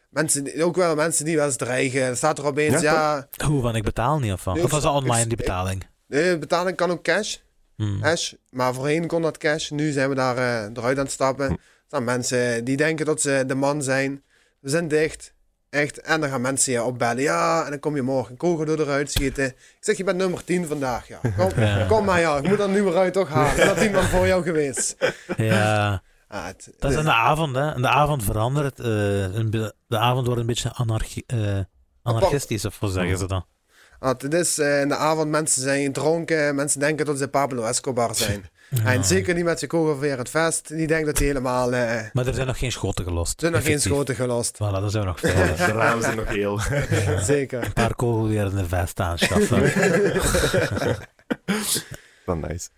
[SPEAKER 1] Mensen, die- ook wel mensen die wel eens dreigen. Er staat er opeens,
[SPEAKER 3] Ja,
[SPEAKER 1] ja,
[SPEAKER 2] Hoe, want ik betaal niet of van?
[SPEAKER 1] Nee,
[SPEAKER 2] Of was dat
[SPEAKER 1] ik-
[SPEAKER 2] online, die
[SPEAKER 1] ik-
[SPEAKER 2] betaling?
[SPEAKER 1] de betaling kan ook cash.
[SPEAKER 2] Hmm.
[SPEAKER 1] cash. Maar voorheen kon dat cash. Nu zijn we daar eh, eruit aan het
[SPEAKER 2] Hmm.
[SPEAKER 1] stappen. Er staan mensen die denken dat ze de man zijn. We zijn dicht. Echt. En dan gaan mensen je opbellen. Ja, en dan kom je morgen een kogel door eruit schieten. Ik zeg, je bent nummer 10 vandaag. Ja. Kom,
[SPEAKER 2] Ja.
[SPEAKER 1] kom maar ja, ik moet dat nummer uit toch halen. Dat is iemand voor jou geweest.
[SPEAKER 2] Ja,
[SPEAKER 1] Ah, het-
[SPEAKER 2] dat is in de avond, hè. In de avond verandert het. eh, een be- de avond wordt een beetje anarchi- eh, anarchistisch, of hoe zeggen ze dan?
[SPEAKER 1] Want het is eh, in de avond, mensen zijn dronken, mensen denken dat ze Pablo Escobar zijn. En zeker niet met zijn kogel weer het vest, die denkt dat hij helemaal... eh, er
[SPEAKER 2] Maar er zijn nog geen schoten gelost.
[SPEAKER 1] zijn nog geen
[SPEAKER 2] effectief.
[SPEAKER 1] schoten gelost.
[SPEAKER 2] Voilà, dan zijn we nog verder.
[SPEAKER 3] De ramen zijn nog heel.
[SPEAKER 1] Zeker.
[SPEAKER 2] Een paar kogels weer in de vest aanschaffen.
[SPEAKER 3] Dan nice.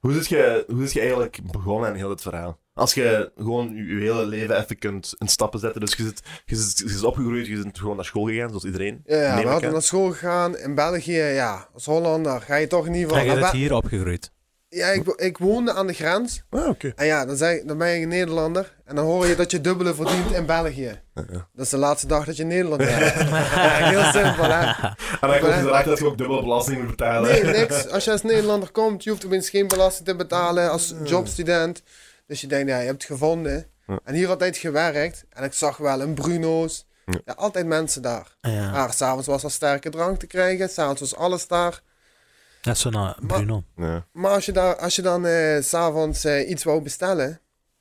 [SPEAKER 3] Hoe is, je, hoe is je eigenlijk begonnen aan heel dit verhaal? Als je gewoon je, je hele leven even kunt in stappen zetten. Dus je zit, je zit, je is opgegroeid, je bent gewoon naar school gegaan, zoals iedereen.
[SPEAKER 1] Ja,
[SPEAKER 3] Neem
[SPEAKER 1] ja,
[SPEAKER 3] ik
[SPEAKER 1] we hadden
[SPEAKER 3] aan.
[SPEAKER 1] naar school gegaan. In België, ja, als Hollander ga je toch in ieder
[SPEAKER 2] Ja, je
[SPEAKER 1] geval...
[SPEAKER 2] bent
[SPEAKER 1] naar Be-
[SPEAKER 2] hier opgegroeid.
[SPEAKER 1] Ja, ik, wo- ik woonde aan de grens.
[SPEAKER 3] Ah, oké.
[SPEAKER 1] En ja, dan, zeg, dan ben je een Nederlander. En dan hoor je dat je dubbele verdient in België. Dat is de laatste dag dat je Nederlander bent. Ja, heel simpel, hè.
[SPEAKER 3] En dan komt je erachter dat je ook dubbele belasting moet betalen.
[SPEAKER 1] Nee, niks. Als je als Nederlander komt, je hoeft opeens geen belasting te betalen als jobstudent. Dus je denkt, ja, je hebt het gevonden. En hier altijd gewerkt. En ik zag wel een Bruno's. Ja, altijd mensen daar.
[SPEAKER 2] Ja,
[SPEAKER 1] Maar s'avonds was er sterke drank te krijgen. S'avonds was alles daar.
[SPEAKER 2] dat is zo'n eh, Bruno.
[SPEAKER 3] Ja.
[SPEAKER 1] Maar als je, daar, als je dan eh, s'avonds eh, iets wou bestellen,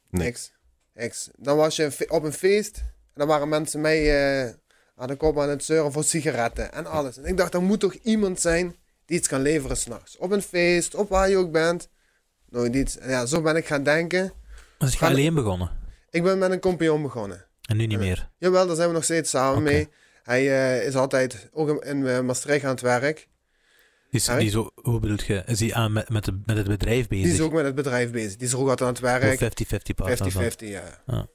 [SPEAKER 3] Nee.
[SPEAKER 1] niks. Niks. Dan was je een fe- op een feest. En dan waren mensen mee eh, aan de kop aan het zeuren voor sigaretten en alles. En ik dacht, er moet toch iemand zijn die iets kan leveren s'nachts. Op een feest, op waar je ook bent. Nooit iets. En ja, zo ben ik gaan denken.
[SPEAKER 2] Dus je
[SPEAKER 1] Gaan- Eh,
[SPEAKER 2] alleen begonnen.
[SPEAKER 1] Ik ben met een compagnon begonnen.
[SPEAKER 2] En nu niet meer.
[SPEAKER 1] Jawel, daar zijn we nog steeds samen
[SPEAKER 2] Oké.
[SPEAKER 1] mee. Hij eh, is altijd ook in, in, eh, Maastricht aan het werk.
[SPEAKER 2] Die is,
[SPEAKER 1] Ja,
[SPEAKER 2] die is ook- hoe bedoel je, is die aan met, met, de- met het bedrijf
[SPEAKER 1] Die is
[SPEAKER 2] bezig?
[SPEAKER 1] ook met het bedrijf bezig. Die is er ook altijd aan het
[SPEAKER 2] Of 50-50
[SPEAKER 1] werk. 50-50,
[SPEAKER 2] partners dan?
[SPEAKER 1] ja.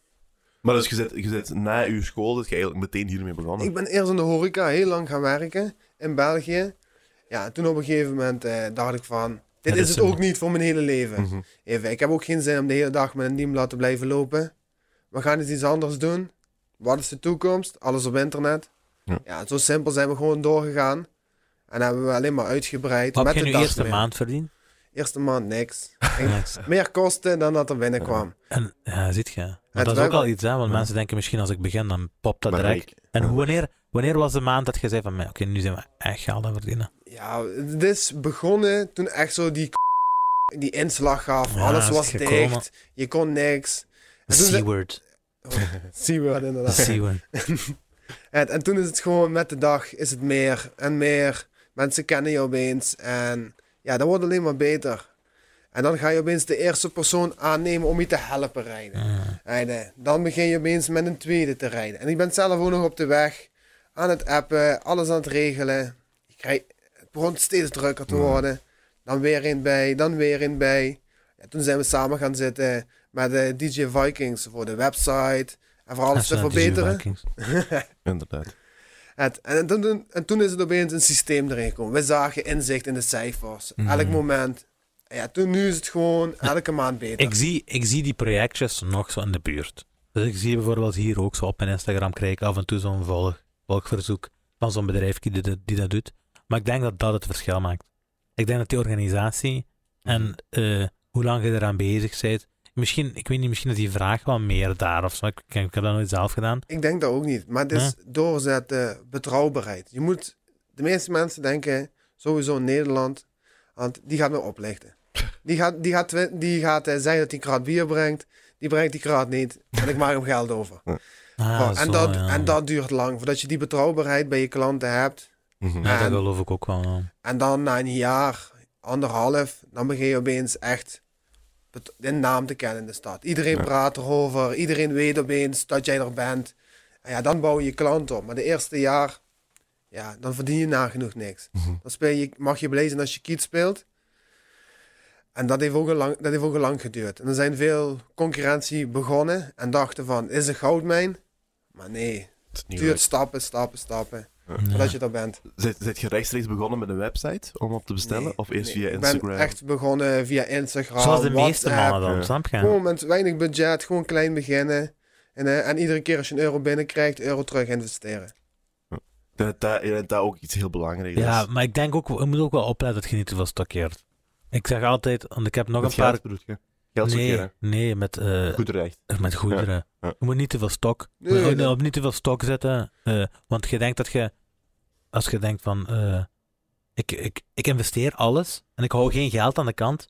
[SPEAKER 3] Maar dus je zit, je zit na je school, dat je eigenlijk meteen hiermee begonnen.
[SPEAKER 1] Ik ben eerst in de horeca heel lang gaan werken in België. Ja, toen op een gegeven moment eh, dacht ik van, dit
[SPEAKER 2] Ja, dit
[SPEAKER 1] is het
[SPEAKER 2] is hem.
[SPEAKER 1] ook niet voor mijn hele leven.
[SPEAKER 3] Mhm.
[SPEAKER 1] Even, ik heb ook geen zin om de hele dag met een niemblad te blijven lopen. We gaan eens iets anders doen. Wat is de toekomst? Alles op internet.
[SPEAKER 3] Ja.
[SPEAKER 1] Ja, zo simpel zijn we gewoon doorgegaan. En hebben we alleen maar uitgebreid.
[SPEAKER 2] Wat
[SPEAKER 1] met
[SPEAKER 2] heb je
[SPEAKER 1] de
[SPEAKER 2] nu
[SPEAKER 1] dag
[SPEAKER 2] eerste
[SPEAKER 1] mee.
[SPEAKER 2] maand verdiend?
[SPEAKER 1] Eerste maand niks. Ik-
[SPEAKER 2] Niks.
[SPEAKER 1] meer kosten dan dat er binnenkwam.
[SPEAKER 2] En ja, ziet je. Want
[SPEAKER 1] Het
[SPEAKER 2] dat is
[SPEAKER 1] wij-
[SPEAKER 2] ook al iets, hè? Want
[SPEAKER 3] Ja.
[SPEAKER 2] mensen denken misschien als ik begin, dan popt dat
[SPEAKER 3] Maar
[SPEAKER 2] direct. En
[SPEAKER 3] Ja.
[SPEAKER 2] hoe- wanneer, wanneer was de maand dat je zei van, oké, nu zijn we echt geld aan het verdienen?
[SPEAKER 1] Ja, het is begonnen toen echt zo die k- die inslag gaf.
[SPEAKER 2] Ja,
[SPEAKER 1] Alles
[SPEAKER 2] is
[SPEAKER 1] was
[SPEAKER 2] gekomen.
[SPEAKER 1] dicht. Je kon niks. En toen ze-
[SPEAKER 2] C-word.
[SPEAKER 1] Zien we wat inderdaad.
[SPEAKER 2] C-word.
[SPEAKER 1] En, en toen is het gewoon met de dag is het meer en meer. Mensen kennen je opeens. En ja, dat wordt alleen maar beter. En dan ga je opeens de eerste persoon aannemen om je te helpen rijden. rijden. Dan begin je opeens met een tweede te rijden. En ik ben zelf ook nog op de weg. Aan het appen, alles aan het regelen. Ik krijg, het begon steeds drukker te worden. Dan weer een bij, dan weer een bij. Ja, toen zijn we samen gaan zitten met de DJ Vikings voor de website. En voor alles te verbeteren.
[SPEAKER 3] Inderdaad.
[SPEAKER 1] Het, en, toen- toen, en toen is het opeens een systeem erin gekomen. We zagen inzicht in de cijfers.
[SPEAKER 2] Mhm.
[SPEAKER 1] Elk moment. En ja, toen nu is het gewoon elke maand beter.
[SPEAKER 2] Ik zie, ik zie die projectjes nog zo in de buurt. Dus ik zie bijvoorbeeld hier ook zo op mijn Instagram krijg ik af en toe zo'n volg, volgverzoek van zo'n bedrijf die, dat- die dat doet. Maar ik denk dat dat het verschil maakt. Ik denk dat die organisatie en
[SPEAKER 1] Mhm.
[SPEAKER 2] eh, hoe lang je eraan bezig bent. Misschien, ik weet niet, misschien is die vraag wel meer daar of zo. Ik, ik, ik heb dat nooit zelf gedaan.
[SPEAKER 1] Ik denk dat ook niet. Maar het is doorzetten, betrouwbaarheid. Je moet, de meeste mensen denken sowieso in Nederland, want die gaat me oplichten. Die gaat, die gaat, twi- die gaat eh, zeggen dat hij een krat bier brengt. Die brengt die krat niet. En ik maak hem geld over.
[SPEAKER 2] Ah,
[SPEAKER 1] Oh, en,
[SPEAKER 2] zo,
[SPEAKER 1] dat,
[SPEAKER 2] ja.
[SPEAKER 1] en dat duurt lang voordat je die betrouwbaarheid bij je klanten hebt.
[SPEAKER 3] Mhm.
[SPEAKER 2] Ja, dat
[SPEAKER 1] en-
[SPEAKER 2] geloof ik ook wel. ja.
[SPEAKER 1] En dan na een jaar, anderhalf, dan begin je opeens echt bet- de naam te kennen in de stad. Iedereen
[SPEAKER 3] Ja.
[SPEAKER 1] praat erover, iedereen weet opeens dat jij er bent. En ja, dan bouw je je klant op. Maar de eerste jaar, ja, dan verdien je nagenoeg niks.
[SPEAKER 3] Mhm.
[SPEAKER 1] Dan speel je, mag je blij zijn als je kiet speelt. En dat heeft, ook al lang, dat heeft ook al lang geduurd. En er zijn veel concurrentie begonnen en dachten van, is een goudmijn? Maar nee,
[SPEAKER 3] Het is
[SPEAKER 1] het
[SPEAKER 3] niet
[SPEAKER 1] duurt stappen, stappen, stappen, voordat je er bent.
[SPEAKER 3] leuk. Zit, zit je rechtstreeks begonnen met een website om op te bestellen?
[SPEAKER 1] Nee,
[SPEAKER 3] of eerst
[SPEAKER 1] nee.
[SPEAKER 3] via
[SPEAKER 1] Ik
[SPEAKER 3] Instagram?
[SPEAKER 1] ben echt begonnen via Instagram.
[SPEAKER 2] Zoals de meeste
[SPEAKER 1] WhatsApp.
[SPEAKER 2] mannen dan,
[SPEAKER 3] ja.
[SPEAKER 2] snap je?
[SPEAKER 1] Gewoon met weinig budget, gewoon klein beginnen. En, eh, en iedere keer als je een euro binnenkrijgt, euro terug investeren.
[SPEAKER 3] Dat, dat, dat, dat ook iets heel belangrijks is.
[SPEAKER 2] Ja, maar ik denk ook, je moet ook wel opletten dat je niet te veel stokkeert. Ik zeg altijd, want ik heb nog
[SPEAKER 3] Met
[SPEAKER 2] een paar...
[SPEAKER 3] geld bedoel je? Geld
[SPEAKER 2] nee,
[SPEAKER 3] sorteren.
[SPEAKER 2] nee, met, eh,
[SPEAKER 3] Goed recht.
[SPEAKER 2] met goederen.
[SPEAKER 3] ja.
[SPEAKER 2] Je moet niet te veel stok. je
[SPEAKER 1] Nee,
[SPEAKER 2] moet ook
[SPEAKER 1] dat-
[SPEAKER 2] op niet te veel stok zetten. eh, want je denkt dat je, als je denkt van, eh, ik, ik, ik investeer alles en ik hou geen geld aan de kant.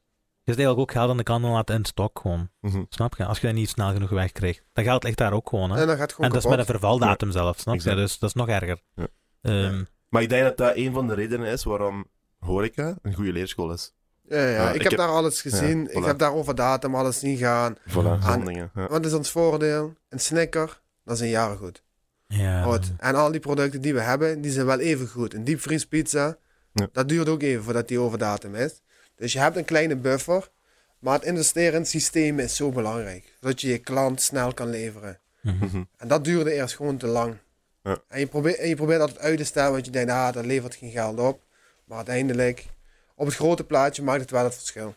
[SPEAKER 2] Je zit eigenlijk ook geld aan de kant en laat in stok gewoon.
[SPEAKER 3] Mhm.
[SPEAKER 2] Snap je? Als je dat niet snel genoeg wegkrijgt. Dat geld ligt daar ook gewoon. Hè?
[SPEAKER 1] En dan gaat het gewoon
[SPEAKER 2] En dat is met
[SPEAKER 1] kapot.
[SPEAKER 2] een vervaldatum zelf, snap je?
[SPEAKER 3] Exact.
[SPEAKER 2] Dus dat is nog erger.
[SPEAKER 3] Ja.
[SPEAKER 2] Ehm,
[SPEAKER 3] Maar ik denk dat dat een van de redenen is waarom horeca een goede leerschool is.
[SPEAKER 1] Ja, ja.
[SPEAKER 3] Ja,
[SPEAKER 1] ik,
[SPEAKER 3] ik
[SPEAKER 1] heb
[SPEAKER 3] heb-
[SPEAKER 1] daar alles gezien.
[SPEAKER 3] Ja,
[SPEAKER 1] Ik
[SPEAKER 3] voilà.
[SPEAKER 1] heb daar over datum alles zien gaan.
[SPEAKER 3] Voilà,
[SPEAKER 2] Ah,
[SPEAKER 3] zo'n dingen. Ja.
[SPEAKER 1] Wat is ons voordeel? Een snicker, dat is een jaar goed.
[SPEAKER 2] ja.
[SPEAKER 1] Goed. En al die producten die we hebben, die zijn wel even goed. Een diepvriespizza,
[SPEAKER 3] Ja.
[SPEAKER 1] dat duurt ook even voordat die over datum is. Dus je hebt een kleine buffer. Maar het investeren in het systeem is zo belangrijk. Zodat je je klant snel kan leveren.
[SPEAKER 2] Mhm.
[SPEAKER 3] Mhm.
[SPEAKER 1] En dat duurde eerst gewoon te lang.
[SPEAKER 3] Ja.
[SPEAKER 1] En, je probeert, en je probeert altijd uit te stellen, want je denkt, ah, dat levert geen geld op. Maar uiteindelijk, op het grote plaatje maakt het wel het verschil.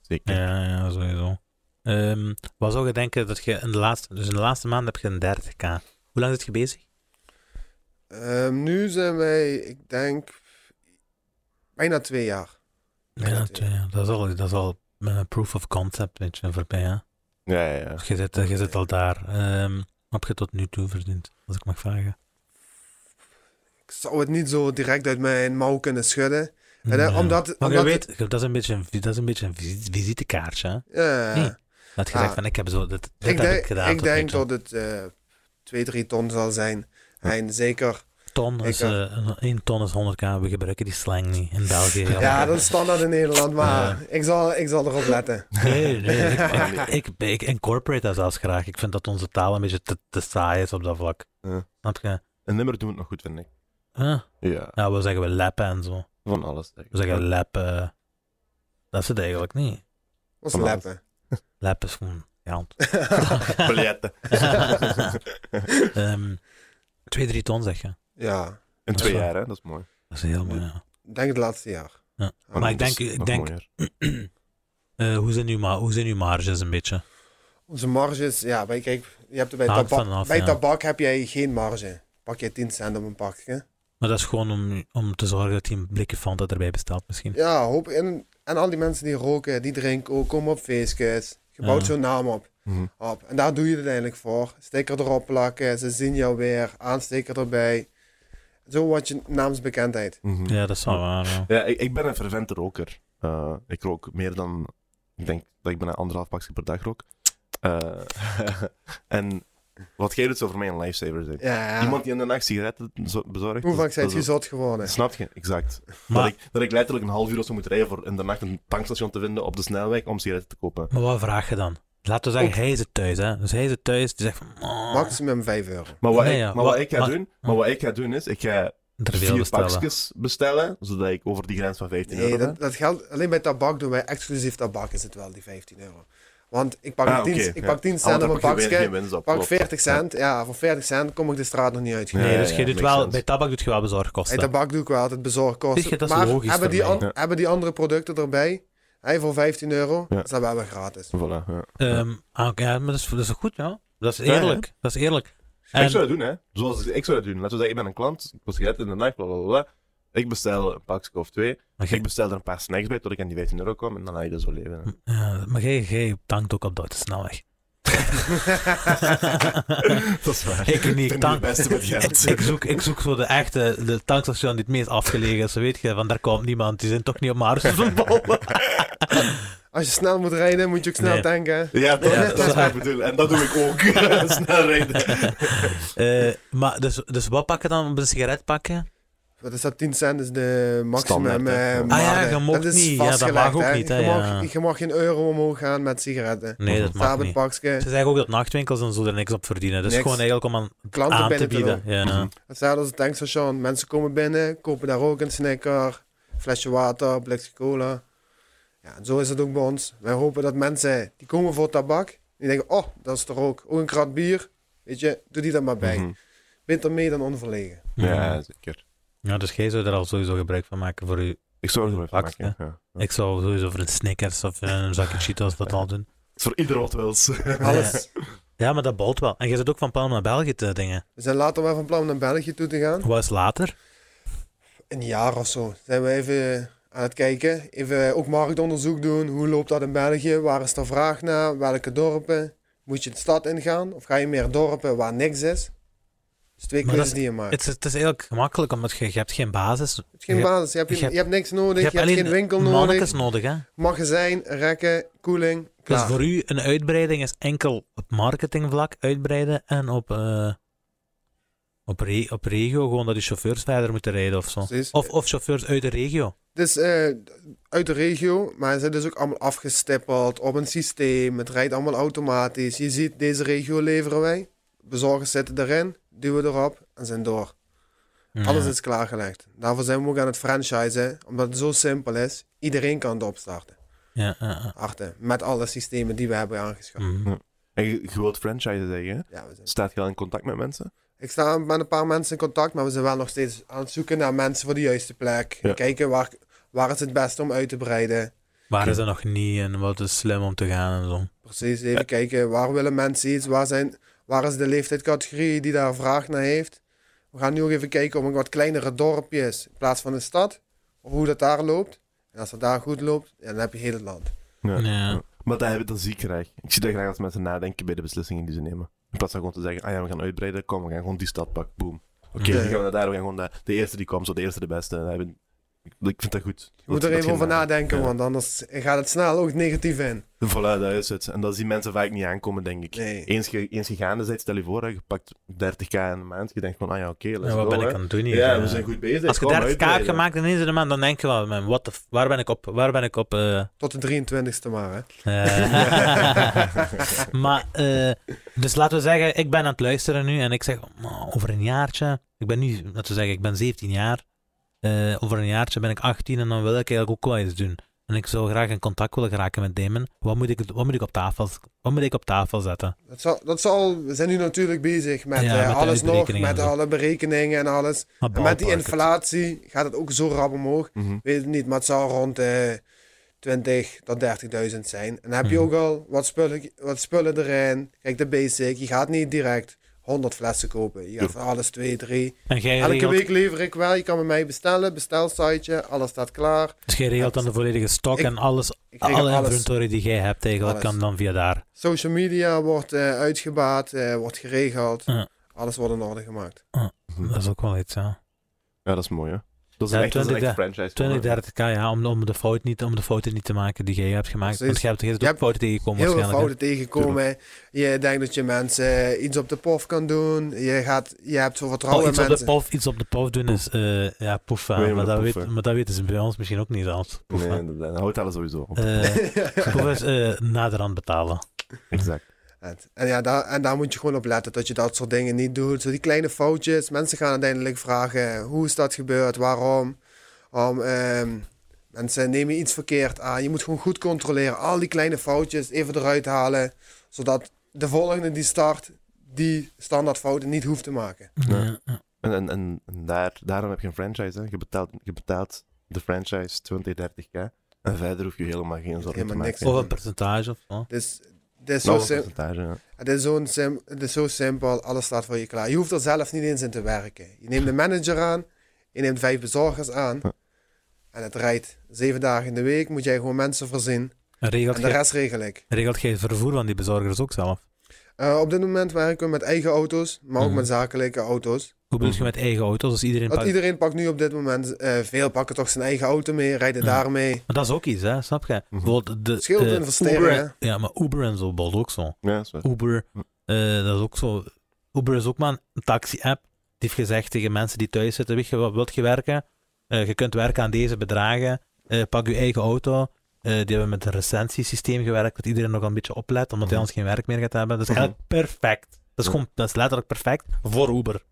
[SPEAKER 3] Zeker.
[SPEAKER 2] Ja, ja, sowieso. Ehm wat zou je denken dat je in de laatste, dus in de laatste maand heb je een 30k. Hoe lang zit je bezig?
[SPEAKER 1] Ehm, nu zijn wij, ik denk, bijna twee jaar.
[SPEAKER 2] Ja,
[SPEAKER 1] dat-
[SPEAKER 2] twee, ja. dat is al, dat is al een proof of concept, weet je, voorbij. Hè?
[SPEAKER 3] Ja, ja, ja.
[SPEAKER 2] Je, zit, je zit al daar. Ehm, wat heb je tot nu toe verdiend, als ik mag vragen?
[SPEAKER 1] Ik zou het niet zo direct uit mijn mouw kunnen schudden. En, eh,
[SPEAKER 2] Ja.
[SPEAKER 1] omdat,
[SPEAKER 2] Maar
[SPEAKER 1] omdat
[SPEAKER 2] je weet, dat is een beetje een, vi- dat is een, beetje een visi- visitekaartje. Hè?
[SPEAKER 1] Ja.
[SPEAKER 2] Nee, Hm, Dat je
[SPEAKER 1] Ah.
[SPEAKER 2] zegt van, ik heb zo, dit, dit
[SPEAKER 1] ik
[SPEAKER 2] heb
[SPEAKER 1] denk,
[SPEAKER 2] ik gedaan.
[SPEAKER 1] ik
[SPEAKER 2] tot
[SPEAKER 1] denk
[SPEAKER 2] nu toe.
[SPEAKER 1] dat het eh 2, 3 ton zal zijn. En zeker,
[SPEAKER 2] Ton is,
[SPEAKER 1] ik, eh,
[SPEAKER 2] eh, een- één ton is 100k, we gebruiken die slang niet in België.
[SPEAKER 1] ja, dat is standaard in Nederland, maar ik, zal, ik zal erop letten.
[SPEAKER 2] Nee, nee. Ik, ik, ik incorporate dat zelfs graag. Ik vind dat onze taal een beetje te, te saai is op dat vlak.
[SPEAKER 3] Ja.
[SPEAKER 2] Snap je?
[SPEAKER 3] Een nummer doen we het nog goed, vind ik.
[SPEAKER 2] Huh?
[SPEAKER 3] Ja,
[SPEAKER 2] Ja, we zeggen we leppen en zo.
[SPEAKER 3] van alles. denk ik.
[SPEAKER 2] We zeggen leppen. Dat is het eigenlijk niet.
[SPEAKER 1] Ons
[SPEAKER 3] Van alles.
[SPEAKER 1] leppen.
[SPEAKER 2] Leppen is gewoon geld.
[SPEAKER 3] Biljetten.
[SPEAKER 2] Ehm, twee, drie ton zeg je.
[SPEAKER 1] ja,
[SPEAKER 3] In twee
[SPEAKER 2] Zo.
[SPEAKER 3] jaar, hè? dat is mooi.
[SPEAKER 2] Dat is heel mooi. ja.
[SPEAKER 1] ik denk het laatste jaar.
[SPEAKER 3] Maar
[SPEAKER 2] ik denk- ik denk- Eh, hoe, zijn uw ma- hoe zijn uw marges een beetje?
[SPEAKER 1] Onze marges, ja, bij, kijk, je hebt er bij,
[SPEAKER 2] Hangt
[SPEAKER 1] tabak,
[SPEAKER 2] vanaf,
[SPEAKER 1] bij
[SPEAKER 2] ja.
[SPEAKER 1] tabak heb jij geen marge. Pak je 10 cent op een pakje.
[SPEAKER 2] Maar dat is gewoon om, om te zorgen dat hij een blikje Fanta erbij bestelt misschien.
[SPEAKER 1] Ja, hoop, en, en al die mensen die roken, die drinken ook, komen op feestjes. Je bouwt
[SPEAKER 2] Ja.
[SPEAKER 1] zo'n naam op,
[SPEAKER 3] Mhm.
[SPEAKER 1] op. En daar doe je het uiteindelijk voor. Sticker erop plakken, ze zien jou weer, aansteker erbij. Zo wat je naamsbekendheid.
[SPEAKER 3] Mhm.
[SPEAKER 2] Ja, dat is wel waar. ja.
[SPEAKER 3] Ja, ik, ik ben een fervente roker. Eh, ik rook meer dan, ik denk dat ik bijna anderhalf pakje per dag rook. Eh, en wat jij doet, zou voor mij een lifesaver zijn.
[SPEAKER 1] Ja,
[SPEAKER 3] Iemand die in de nacht sigaretten zo- bezorgt.
[SPEAKER 1] hoe
[SPEAKER 3] dat-
[SPEAKER 1] vaak zijn
[SPEAKER 3] dat
[SPEAKER 1] je
[SPEAKER 3] is-
[SPEAKER 1] zot geworden?
[SPEAKER 3] Snap je? Exact.
[SPEAKER 2] Maar,
[SPEAKER 3] Dat, ik, dat ik letterlijk een half uur of zo moet rijden voor in de nacht een tankstation te vinden op de snelweg om sigaretten te kopen.
[SPEAKER 2] maar wat vraag je dan? Laten we zeggen, hij zit thuis. Hè? Dus hij zit thuis, die zegt van... oh,
[SPEAKER 1] Maximum 5 euro.
[SPEAKER 3] Maar wat,
[SPEAKER 2] Nee,
[SPEAKER 3] ik,
[SPEAKER 2] ja,
[SPEAKER 3] maar wat,
[SPEAKER 2] wat-
[SPEAKER 3] ik ga
[SPEAKER 2] maar-
[SPEAKER 3] doen, maar wat ik ga doen is, ik ga
[SPEAKER 2] er veel
[SPEAKER 3] vier
[SPEAKER 2] bestellen.
[SPEAKER 3] pakjes bestellen, zodat ik over die grens van 15
[SPEAKER 1] Nee,
[SPEAKER 3] euro ben.
[SPEAKER 1] dat, dat geldt alleen bij tabak doen wij exclusief tabak is het wel die 15 euro. Want ik pak,
[SPEAKER 3] Ah,
[SPEAKER 1] 10,
[SPEAKER 3] oké,
[SPEAKER 1] ik
[SPEAKER 3] ja.
[SPEAKER 1] pak 10
[SPEAKER 3] Ah,
[SPEAKER 1] cent
[SPEAKER 3] want
[SPEAKER 1] op
[SPEAKER 3] dan
[SPEAKER 1] een
[SPEAKER 3] pak je weer
[SPEAKER 1] pakje,
[SPEAKER 3] geen winst op,
[SPEAKER 1] pak
[SPEAKER 3] klopt.
[SPEAKER 1] 40 cent. Ja, voor 40 cent kom ik de straat nog niet uit.
[SPEAKER 3] Ja,
[SPEAKER 2] Nee,
[SPEAKER 3] ja,
[SPEAKER 2] dus
[SPEAKER 3] Eh, ja,
[SPEAKER 2] je doet
[SPEAKER 3] makes
[SPEAKER 2] wel,
[SPEAKER 3] sense.
[SPEAKER 2] bij tabak doet je wel bezorgkosten.
[SPEAKER 1] Bij tabak doe ik wel altijd bezorgkosten.
[SPEAKER 2] Zie je, dat is
[SPEAKER 1] maar
[SPEAKER 2] logisch
[SPEAKER 1] hebben,
[SPEAKER 2] voor
[SPEAKER 1] die
[SPEAKER 2] mij.
[SPEAKER 1] an- hebben die andere producten erbij, hij voor 15 euro,
[SPEAKER 3] Ja.
[SPEAKER 1] is dat wel weer gratis.
[SPEAKER 3] Voilà, ja.
[SPEAKER 2] Ehm, ah, oké, ja, maar dat is, dat is goed, ja. Dat is
[SPEAKER 3] Ja, ja.
[SPEAKER 2] eerlijk. Dat is eerlijk.
[SPEAKER 3] Ik zou dat doen, hè. Zoals ik zou dat doen. Laten we zeggen, ik ben een klant, ik was gegeten in de nacht, bla bla bla. Ik bestel een pakje of twee.
[SPEAKER 2] Maar
[SPEAKER 3] Ik
[SPEAKER 2] jij-
[SPEAKER 3] bestel er een paar snacks bij, tot ik aan die 15 euro kom. En dan laat je dat zo leven. hè.
[SPEAKER 2] ja, maar jij- jij tankt ook op de snelweg.
[SPEAKER 3] dat is waar.
[SPEAKER 2] Ik niet,
[SPEAKER 3] ben
[SPEAKER 2] tank.
[SPEAKER 3] de beste met geld.
[SPEAKER 2] ik, zoek, ik zoek zo de echte de tankstation die het meest afgelegen is. Weet je, want daar komt niemand. Die zijn toch niet op Mars te verbollen.
[SPEAKER 1] Als je snel moet rijden, moet je ook snel
[SPEAKER 2] Nee.
[SPEAKER 1] tanken. hè.
[SPEAKER 3] Ja, dat,
[SPEAKER 2] Ja,
[SPEAKER 3] dat is wat ik bedoel. En dat doe ik ook. Snel rijden.
[SPEAKER 2] Eh, maar dus, dus wat pak je dan? Een sigaret pakken?
[SPEAKER 1] Wat is dat? 10 cent is de maximum.
[SPEAKER 3] Standaard, hè.
[SPEAKER 1] eh,
[SPEAKER 3] Ah
[SPEAKER 1] waarde.
[SPEAKER 2] ja, je mag
[SPEAKER 1] dat is
[SPEAKER 2] niet. Ja, dat
[SPEAKER 1] vastgelegd,
[SPEAKER 2] mag ook niet, hè,
[SPEAKER 1] Je, mag,
[SPEAKER 2] ja.
[SPEAKER 1] je mag geen euro omhoog gaan met sigaretten.
[SPEAKER 2] Nee, dat mag niet.
[SPEAKER 1] Tabakpakje,
[SPEAKER 2] Ze zeggen ook dat nachtwinkels en zo er niks op verdienen. Dus
[SPEAKER 1] Niks.
[SPEAKER 2] gewoon eigenlijk om aan,
[SPEAKER 1] klanten
[SPEAKER 2] aan te
[SPEAKER 1] binnen te
[SPEAKER 2] bieden.
[SPEAKER 1] lopen.
[SPEAKER 2] Ja.
[SPEAKER 1] Hetzelfde als het tankstation. Mensen komen binnen, kopen daar ook een snacker, flesje water, blikje cola. Ja, en zo is het ook bij ons. Wij hopen dat mensen die komen voor tabak, die denken, oh, dat is toch ook, ook een krat bier. Weet je, doe die dat maar bij.
[SPEAKER 3] Mhm.
[SPEAKER 1] Beter mee dan onverlegen.
[SPEAKER 3] Ja, zeker.
[SPEAKER 2] Ja, dus jij zou daar al sowieso gebruik van maken voor u.
[SPEAKER 3] Ik zorg er wel van
[SPEAKER 2] Pakje.
[SPEAKER 3] maken. Ja.
[SPEAKER 2] Ik zou sowieso voor een Snickers of eh, een zakje Cheetos dat al doen.
[SPEAKER 3] Het is voor ieder wat wils.
[SPEAKER 1] Alles.
[SPEAKER 2] Ja, maar dat balt wel. En jij zit ook van plan om naar België te dingen.
[SPEAKER 1] We zijn later wel van plan om naar België toe te gaan.
[SPEAKER 2] Wat is later?
[SPEAKER 1] een jaar of zo zijn we even aan het kijken. Even ook marktonderzoek doen. Hoe loopt dat in België? Waar is de vraag naar? Welke dorpen? Moet je de stad ingaan? Of ga je meer dorpen waar niks is? Dus twee
[SPEAKER 2] Maar
[SPEAKER 1] keuzes
[SPEAKER 2] dat
[SPEAKER 1] die je maakt.
[SPEAKER 2] Het
[SPEAKER 1] Het
[SPEAKER 2] is, het is eigenlijk gemakkelijk, omdat je, je hebt geen basis.
[SPEAKER 1] is geen
[SPEAKER 2] je-
[SPEAKER 1] basis. Je hebt,
[SPEAKER 2] je
[SPEAKER 1] je,
[SPEAKER 2] hebt-
[SPEAKER 1] hebt niks nodig. Je hebt, geen winkel
[SPEAKER 2] mannetjes
[SPEAKER 1] nodig.
[SPEAKER 2] nodig. Hè?
[SPEAKER 1] Magazijn, rekken, koeling.
[SPEAKER 2] Dus
[SPEAKER 1] Klaar.
[SPEAKER 2] voor u, een uitbreiding is enkel op marketingvlak uitbreiden en op, eh, op, re- op regio gewoon dat die chauffeurs verder moeten rijden of zo.
[SPEAKER 1] Precies.
[SPEAKER 2] Of, of chauffeurs uit de regio.
[SPEAKER 1] Dus eh, uit de regio, maar ze zijn dus ook allemaal afgestippeld op een systeem. Het rijdt allemaal automatisch. Je ziet, deze regio leveren wij. Bezorgers zitten erin, duwen erop en zijn door.
[SPEAKER 2] Ja.
[SPEAKER 1] Alles is klaargelegd. Daarvoor zijn we ook aan het franchisen, omdat het zo simpel is. Iedereen kan het opstarten.
[SPEAKER 2] Ja, eh, ja, ja.
[SPEAKER 1] Achter, met alle systemen die we hebben aangeschaft.
[SPEAKER 2] Mhm.
[SPEAKER 3] En je, je wilt franchise zeggen, hè?
[SPEAKER 1] Ja, we zijn...
[SPEAKER 3] Staat je al in contact met mensen?
[SPEAKER 1] Ik sta met een paar mensen in contact, maar we zijn wel nog steeds aan het zoeken naar mensen voor de juiste plek.
[SPEAKER 3] Ja.
[SPEAKER 1] Kijken waar, waar is het beste om uit te breiden.
[SPEAKER 2] Waar is dat nog niet en wat is slim om te gaan en zo.
[SPEAKER 1] Precies, even kijken waar willen mensen iets, waar, zijn, waar is de leeftijdscategorie die daar vraag naar heeft. We gaan nu ook even kijken om een wat kleinere dorpjes in plaats van een stad, of hoe dat daar loopt. En als dat daar goed loopt, ja, dan heb je heel het land.
[SPEAKER 3] Ja.
[SPEAKER 2] Ja.
[SPEAKER 3] Maar dat, heb, ik- dat zie ik graag. Ik zie dat graag als mensen nadenken bij de beslissingen die ze nemen. In plaats van gewoon te zeggen, ah ja, we gaan uitbreiden, kom, we gaan gewoon die stad pakken, boom. Oké,
[SPEAKER 2] Ja.
[SPEAKER 3] dan gaan we naar daar, we gaan gewoon naar de eerste die komt, zo de eerste de beste. Dat heb ik, ik vind dat goed.
[SPEAKER 1] Je moet
[SPEAKER 3] Dat-
[SPEAKER 1] er
[SPEAKER 3] dat
[SPEAKER 1] even over
[SPEAKER 3] geen-
[SPEAKER 1] nadenken,
[SPEAKER 3] Ja.
[SPEAKER 1] want anders gaat het snel ook negatief in.
[SPEAKER 3] Voilà, dat is het. En dat zien mensen vaak niet aankomen, denk ik.
[SPEAKER 1] Nee.
[SPEAKER 3] Eens, ge, eens gegaande bent, stel je voor, hè, je pakt 30k in een maand, je denkt van, ah ja, oké, let's
[SPEAKER 2] En wat
[SPEAKER 3] go,
[SPEAKER 2] ben
[SPEAKER 3] hè.
[SPEAKER 2] ik aan het doen hier?
[SPEAKER 3] Ja,
[SPEAKER 2] Ja.
[SPEAKER 3] we zijn goed bezig.
[SPEAKER 2] Als je
[SPEAKER 3] Kom,
[SPEAKER 2] 30k hebt
[SPEAKER 3] uitbreiden.
[SPEAKER 2] gemaakt in eens in de maand, dan denk je wel, man, what the f- waar ben ik op? Waar ben ik op? eh,
[SPEAKER 1] Tot de 23ste maar, hè.
[SPEAKER 2] Eh, maar, eh, dus laten we zeggen, ik ben aan het luisteren nu en ik zeg, "Oh, over een jaartje, ik ben nu, laten we zeggen, ik ben 17 jaar, Eh, over een jaartje ben ik 18 en dan wil ik eigenlijk ook wel iets doen. En ik zou graag in contact willen geraken met Damon. Wat moet ik, wat moet ik, op, tafel, wat moet ik op tafel zetten?
[SPEAKER 1] Dat zal, dat zal, we zijn nu natuurlijk bezig met,
[SPEAKER 2] Ja,
[SPEAKER 1] eh,
[SPEAKER 2] met de
[SPEAKER 1] alles nog,
[SPEAKER 2] uitberekeningen
[SPEAKER 1] met
[SPEAKER 2] en zo.
[SPEAKER 1] alle berekeningen en alles.
[SPEAKER 2] Maar
[SPEAKER 1] En met die
[SPEAKER 2] ballpark het.
[SPEAKER 1] inflatie gaat het ook zo rap omhoog.
[SPEAKER 3] Mhm.
[SPEAKER 1] Weet het niet, maar het zal rond de 20 tot 30.000 zijn. En dan heb je
[SPEAKER 2] Mhm.
[SPEAKER 1] ook al wat spullen, wat spullen erin. Kijk, de basic. Je gaat niet direct 100 flessen kopen. Je gaat van alles 2, 3.
[SPEAKER 2] En jij
[SPEAKER 1] Elke
[SPEAKER 2] regelt,
[SPEAKER 1] week lever ik wel. Je kan bij mij bestellen. Bestelsiteje. Alles staat klaar.
[SPEAKER 2] dus jij regelt dan de volledige stok
[SPEAKER 1] Ik-
[SPEAKER 2] en alles,
[SPEAKER 1] Ik regel
[SPEAKER 2] alle
[SPEAKER 1] alles.
[SPEAKER 2] inventory die jij hebt eigenlijk,
[SPEAKER 1] Alles.
[SPEAKER 2] kan dan via daar.
[SPEAKER 1] Social media wordt eh, uitgebaat, eh, wordt geregeld.
[SPEAKER 2] Ja.
[SPEAKER 1] Alles wordt in orde gemaakt. Mhm.
[SPEAKER 2] Dat is ook wel iets, ja.
[SPEAKER 3] Ja, dat is mooi, hè. Dat is
[SPEAKER 2] Ja,
[SPEAKER 3] een echt, dat is een
[SPEAKER 2] 20,
[SPEAKER 3] echt franchise.
[SPEAKER 2] 20, 30k, ja, om, om, de fout niet, om de fouten niet te maken die jij hebt gemaakt.
[SPEAKER 1] Precies.
[SPEAKER 2] Want jij hebt, jij hebt
[SPEAKER 1] Je
[SPEAKER 2] ook
[SPEAKER 1] hebt
[SPEAKER 2] fouten tegengekomen
[SPEAKER 1] Heel veel
[SPEAKER 2] waarschijnlijk. hè?
[SPEAKER 1] fouten tegenkomen. Je denkt dat je mensen iets op de pof kan doen. Je, gaat, je hebt zo
[SPEAKER 2] Oh,
[SPEAKER 1] vertrouwen in
[SPEAKER 2] iets, op de
[SPEAKER 1] mensen.
[SPEAKER 2] pof, iets op de pof doen is, eh, ja, poef. ja,
[SPEAKER 3] Weet je
[SPEAKER 2] maar,
[SPEAKER 3] wat
[SPEAKER 2] dat
[SPEAKER 3] poef,
[SPEAKER 2] weet,
[SPEAKER 3] hè?
[SPEAKER 2] maar dat weten ze bij ons misschien ook niet zelfs. Poef,
[SPEAKER 3] Nee,
[SPEAKER 2] hè.
[SPEAKER 3] dat, dat houdt alles sowieso op.
[SPEAKER 2] Eh, poef is eh, naderhand betalen.
[SPEAKER 3] Exact.
[SPEAKER 1] En- En, ja, daar, en daar moet je gewoon op letten dat je dat soort dingen niet doet. Zo die kleine foutjes. Mensen gaan uiteindelijk vragen hoe is dat gebeurd, waarom. Om, ehm, mensen nemen iets verkeerd aan. Je moet gewoon goed controleren. Al die kleine foutjes even eruit halen. Zodat de volgende die start, die standaard fouten niet hoeft te maken.
[SPEAKER 2] Ja.
[SPEAKER 3] En, en, en, en daar, daarom heb je een franchise, hè. Je betaalt, je betaalt de franchise 20, 30k. En verder hoef je helemaal geen zorgen te
[SPEAKER 1] Helemaal
[SPEAKER 3] maken.
[SPEAKER 1] niks. Oh,
[SPEAKER 2] Of een percentage of zo.
[SPEAKER 1] Dus Dit is zo
[SPEAKER 3] Nog een
[SPEAKER 1] sim-
[SPEAKER 3] percentage. ja.
[SPEAKER 1] Het is, zo'n sim- het is zo simpel, alles staat voor je klaar. Je hoeft er zelf niet eens in te werken. Je neemt een manager aan, je neemt vijf bezorgers aan.
[SPEAKER 3] Ja.
[SPEAKER 1] En het rijdt zeven dagen in de week, moet jij gewoon mensen voorzien.
[SPEAKER 2] En regelt
[SPEAKER 1] En de
[SPEAKER 2] jij-
[SPEAKER 1] rest regel ik.
[SPEAKER 2] regelt jij het vervoer van die bezorgers ook zelf?
[SPEAKER 1] Eh, op dit moment werken we met eigen auto's, maar ook
[SPEAKER 2] Mhm.
[SPEAKER 1] met zakelijke auto's.
[SPEAKER 2] Hoe
[SPEAKER 3] Mhm.
[SPEAKER 2] bedoel je met eigen auto's? Dus iedereen
[SPEAKER 1] Want
[SPEAKER 2] pakt...
[SPEAKER 1] iedereen pakt nu op dit moment, eh, veel pakken toch zijn eigen auto mee, rijden
[SPEAKER 2] Ja.
[SPEAKER 1] daarmee.
[SPEAKER 2] Maar dat is ook iets, hè? Snap
[SPEAKER 3] Mhm.
[SPEAKER 2] je? Bijvoorbeeld de,
[SPEAKER 1] Het scheelt
[SPEAKER 2] eh,
[SPEAKER 1] in investeringen,
[SPEAKER 2] Uber, ja, maar Uber en zo bijvoorbeeld ook zo.
[SPEAKER 3] Ja, dat is waar.
[SPEAKER 2] Uber, eh, dat is ook zo. Uber is ook maar een taxi-app. Die heeft gezegd tegen mensen die thuis zitten, weet je, wat- wilt je werken? Eh, je kunt werken aan deze bedragen. Eh, pak je eigen auto. Eh, die hebben met een recensiesysteem gewerkt, dat iedereen nog een beetje oplet, omdat hij
[SPEAKER 3] Mhm.
[SPEAKER 2] anders geen werk meer gaat hebben. Dat is
[SPEAKER 3] Mhm.
[SPEAKER 2] eigenlijk perfect. Dat is, gewoon, dat is letterlijk perfect voor Uber.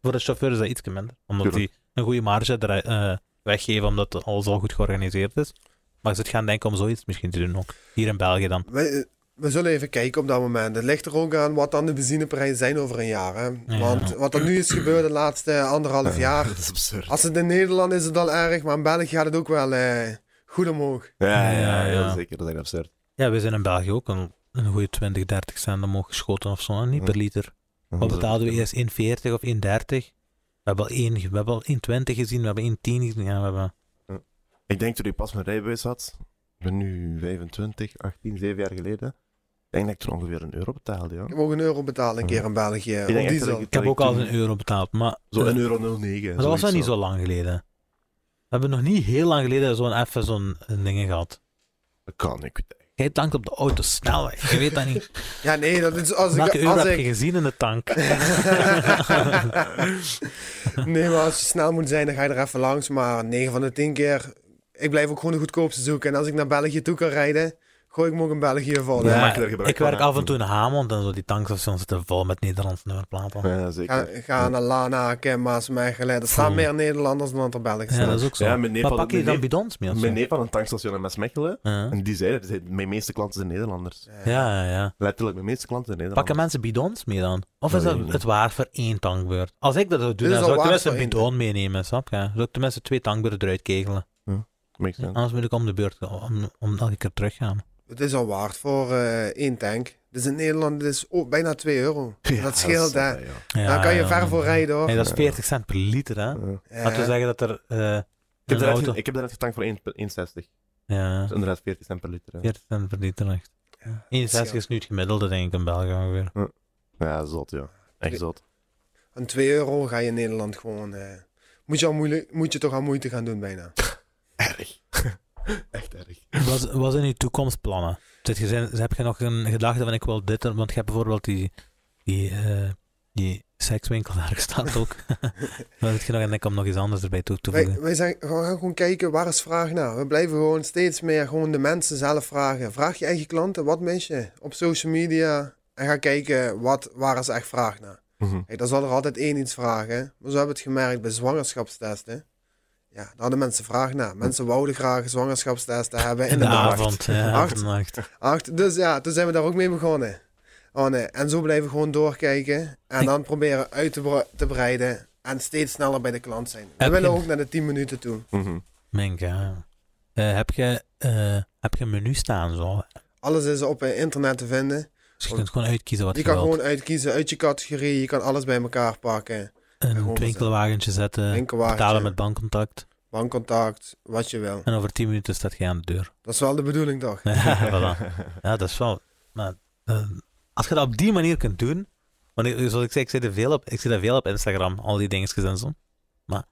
[SPEAKER 2] Voor de chauffeur is dat iets minder, omdat
[SPEAKER 3] Tuurlijk.
[SPEAKER 2] die een goede marge eruit, eh, weggeven, omdat alles al goed georganiseerd is. Maar ze het gaan denken om zoiets misschien te doen ook. Hier in België dan.
[SPEAKER 1] We, eh, we zullen even kijken op dat moment. Het ligt er ook aan wat dan de benzineprijzen zijn over een jaar. Hè?
[SPEAKER 2] Ja.
[SPEAKER 1] Want wat er nu is gebeurd de laatste anderhalf jaar,
[SPEAKER 3] Dat is absurd.
[SPEAKER 1] Als het in Nederland is het al erg, maar in België gaat het ook wel eh, goed omhoog.
[SPEAKER 3] Ja, ja,
[SPEAKER 2] Ja,
[SPEAKER 3] ja,
[SPEAKER 2] ja.
[SPEAKER 3] zeker. Dat is echt absurd.
[SPEAKER 2] Ja, we zijn in België ook een, een goede 20, 30 cent omhoog geschoten of zo, hè, niet
[SPEAKER 3] Ja.
[SPEAKER 2] per liter. Wat betaalden we eerst 1,40 of 1,30? We hebben al 1, we hebben al 1,20 gezien, we hebben 1,10 gezien. Ja, we hebben...
[SPEAKER 3] Ik denk toen ik pas mijn rijbewijs had, ik ben nu 25, 18, 7 jaar geleden. Ik denk dat ik toen ongeveer een euro betaalde, ja.
[SPEAKER 1] Ik heb ook een euro betalen een keer in België.
[SPEAKER 3] denk
[SPEAKER 1] op
[SPEAKER 3] echt dat
[SPEAKER 1] diesel.
[SPEAKER 3] ik-
[SPEAKER 2] Ik heb ook al
[SPEAKER 3] toen-
[SPEAKER 2] een euro betaald, maar,
[SPEAKER 3] Zo
[SPEAKER 2] eh,
[SPEAKER 3] een euro 09.
[SPEAKER 2] maar dat was wel
[SPEAKER 3] zoiets
[SPEAKER 2] niet zo lang geleden. We hebben nog niet heel lang geleden zo'n even zo'n eh, ding gehad.
[SPEAKER 3] Dat kan ik.
[SPEAKER 2] Jij tankt op de autosnelweg, je weet dat niet.
[SPEAKER 1] Ja, nee, dat is als
[SPEAKER 2] Welke
[SPEAKER 1] ik.
[SPEAKER 2] euro
[SPEAKER 1] Als
[SPEAKER 2] heb je
[SPEAKER 1] ik...
[SPEAKER 2] gezien in de tank?
[SPEAKER 1] nee, maar als je snel moet zijn, dan ga je er even langs. Maar 9 van de 10 keer, ik blijf ook gewoon de goedkoopste zoeken. En als ik naar België toe kan rijden, gooi ik me ook in België vol.
[SPEAKER 3] Ja,
[SPEAKER 1] hè.
[SPEAKER 3] maak je er gebruik
[SPEAKER 2] ik
[SPEAKER 3] van,
[SPEAKER 2] werk
[SPEAKER 3] hè?
[SPEAKER 2] af en toe in Hamond en zo, die tankstations zitten vol met Nederlandse nummerplaten.
[SPEAKER 3] Ja, zeker.
[SPEAKER 1] Ga, ga naar Lana, Kenmaas, Mechelen. Er staan
[SPEAKER 2] Oeh.
[SPEAKER 1] meer Nederlanders dan dat er Belgen
[SPEAKER 2] Hm. Ja,
[SPEAKER 1] staan.
[SPEAKER 2] dat is ook zo.
[SPEAKER 3] Ja, mijn neef
[SPEAKER 2] maar
[SPEAKER 3] had
[SPEAKER 2] pak
[SPEAKER 3] het-
[SPEAKER 2] je dan
[SPEAKER 3] mijn neef-
[SPEAKER 2] bidons mee of zo?
[SPEAKER 3] Mijn neef had een tankstation in Mechelen.
[SPEAKER 2] Ja.
[SPEAKER 3] En die zei dat. die zei, Mijn meeste klanten zijn Nederlanders.
[SPEAKER 2] Ja, ja, ja.
[SPEAKER 3] Letterlijk, mijn meeste klanten zijn
[SPEAKER 2] Pakken
[SPEAKER 3] Nederlanders.
[SPEAKER 2] mensen bidons mee dan? Of is
[SPEAKER 3] Dat weet ik
[SPEAKER 2] dat
[SPEAKER 3] niet.
[SPEAKER 2] het waar voor één tankbeurt? Als ik dat zou doen,
[SPEAKER 1] is
[SPEAKER 2] dan
[SPEAKER 1] al
[SPEAKER 2] zou ik
[SPEAKER 1] waar
[SPEAKER 2] tenminste
[SPEAKER 1] voor één.
[SPEAKER 2] een bidon meenemen, snap je? Zou ik tenminste twee tankbeurten eruit kegelen.
[SPEAKER 3] Makes sense.
[SPEAKER 2] Anders moet ik om de beurt, om, om elke keer teruggaan.
[SPEAKER 1] Het is al waard voor eh, één tank. Dus in Nederland is het ook bijna 2 euro.
[SPEAKER 3] Ja,
[SPEAKER 1] dat scheelt,
[SPEAKER 3] is-
[SPEAKER 1] hè.
[SPEAKER 3] ja, ja.
[SPEAKER 2] Ja,
[SPEAKER 1] Daar kan je
[SPEAKER 2] ja.
[SPEAKER 1] ver voor rijden, hoor.
[SPEAKER 2] Nee, dat is 40 cent per liter, hè?
[SPEAKER 3] Ja.
[SPEAKER 1] Ja.
[SPEAKER 2] Laten we zeggen dat er eh,
[SPEAKER 3] Ik heb
[SPEAKER 2] een
[SPEAKER 3] daarnet
[SPEAKER 2] auto...
[SPEAKER 3] ge- Ik heb daarnet getankt voor 1,60.
[SPEAKER 2] Ja,
[SPEAKER 3] Dat is inderdaad 40 cent per liter. hè.
[SPEAKER 2] 40 cent per liter echt.
[SPEAKER 1] Ja,
[SPEAKER 2] 61 is nu het gemiddelde, denk ik, in België ongeveer.
[SPEAKER 3] Ja, zot, ja. Echt zot.
[SPEAKER 1] Aan 2 euro ga je in Nederland gewoon. eh, moet, je al moeilijk, moet je toch al moeite gaan doen bijna.
[SPEAKER 3] Erg. Echt erg.
[SPEAKER 2] Wat, wat zijn je toekomstplannen? Zit je, zijn- heb je nog een gedachte van ik wil dit, doen? want je hebt bijvoorbeeld die, die, eh, die sekswinkel daar gestaan ook. Dan heb je nog en ik om nog iets anders erbij toe te
[SPEAKER 1] Wij,
[SPEAKER 2] voegen.
[SPEAKER 1] wij zijn, we gaan gewoon kijken waar is vraag naar. We blijven gewoon steeds meer gewoon de mensen zelf vragen. Vraag je eigen klanten, wat mis je? Op social media. En ga kijken wat, waar is echt vraag naar.
[SPEAKER 3] Mhm,
[SPEAKER 1] Kijk, dan zal er altijd één iets vragen. Maar zo hebben we het gemerkt bij zwangerschapstesten. Ja, daar hadden mensen vraag naar. Mensen wouden graag zwangerschapstesten hebben
[SPEAKER 2] In de
[SPEAKER 1] nacht.
[SPEAKER 2] avond, ja,
[SPEAKER 1] Acht.
[SPEAKER 2] in de nacht.
[SPEAKER 1] Acht, dus ja, toen zijn we daar ook mee begonnen. Oh nee. En zo blijven we gewoon doorkijken. En dan proberen uit te, bre- te breiden. En steeds sneller bij de klant zijn. We
[SPEAKER 2] Heb
[SPEAKER 1] willen
[SPEAKER 2] je-
[SPEAKER 1] ook naar de 10 minuten toe.
[SPEAKER 3] Mhm.
[SPEAKER 2] Mink, ja. Eh, heb, je, eh, heb je een menu staan zo?
[SPEAKER 1] Alles is op eh, internet te vinden.
[SPEAKER 2] Dus je kunt gewoon uitkiezen wat
[SPEAKER 1] Je
[SPEAKER 2] je,
[SPEAKER 1] kan
[SPEAKER 2] wilt.
[SPEAKER 1] gewoon uitkiezen uit je categorie. Je kan alles bij elkaar pakken.
[SPEAKER 2] een
[SPEAKER 1] gewoon
[SPEAKER 2] twinkelwagentje zetten,
[SPEAKER 1] Winkelwagentje.
[SPEAKER 2] betalen met bankcontact.
[SPEAKER 1] Bankcontact, wat je wil.
[SPEAKER 2] En over 10 minuten staat je aan de deur.
[SPEAKER 1] Dat is wel de bedoeling toch?
[SPEAKER 2] voilà. Ja, dat is wel. Maar, eh, als je dat op die manier kunt doen. Want ik- zoals ik zei, ik zit er veel op, ik zit er veel op Instagram, al die dingetjes en zo. Maar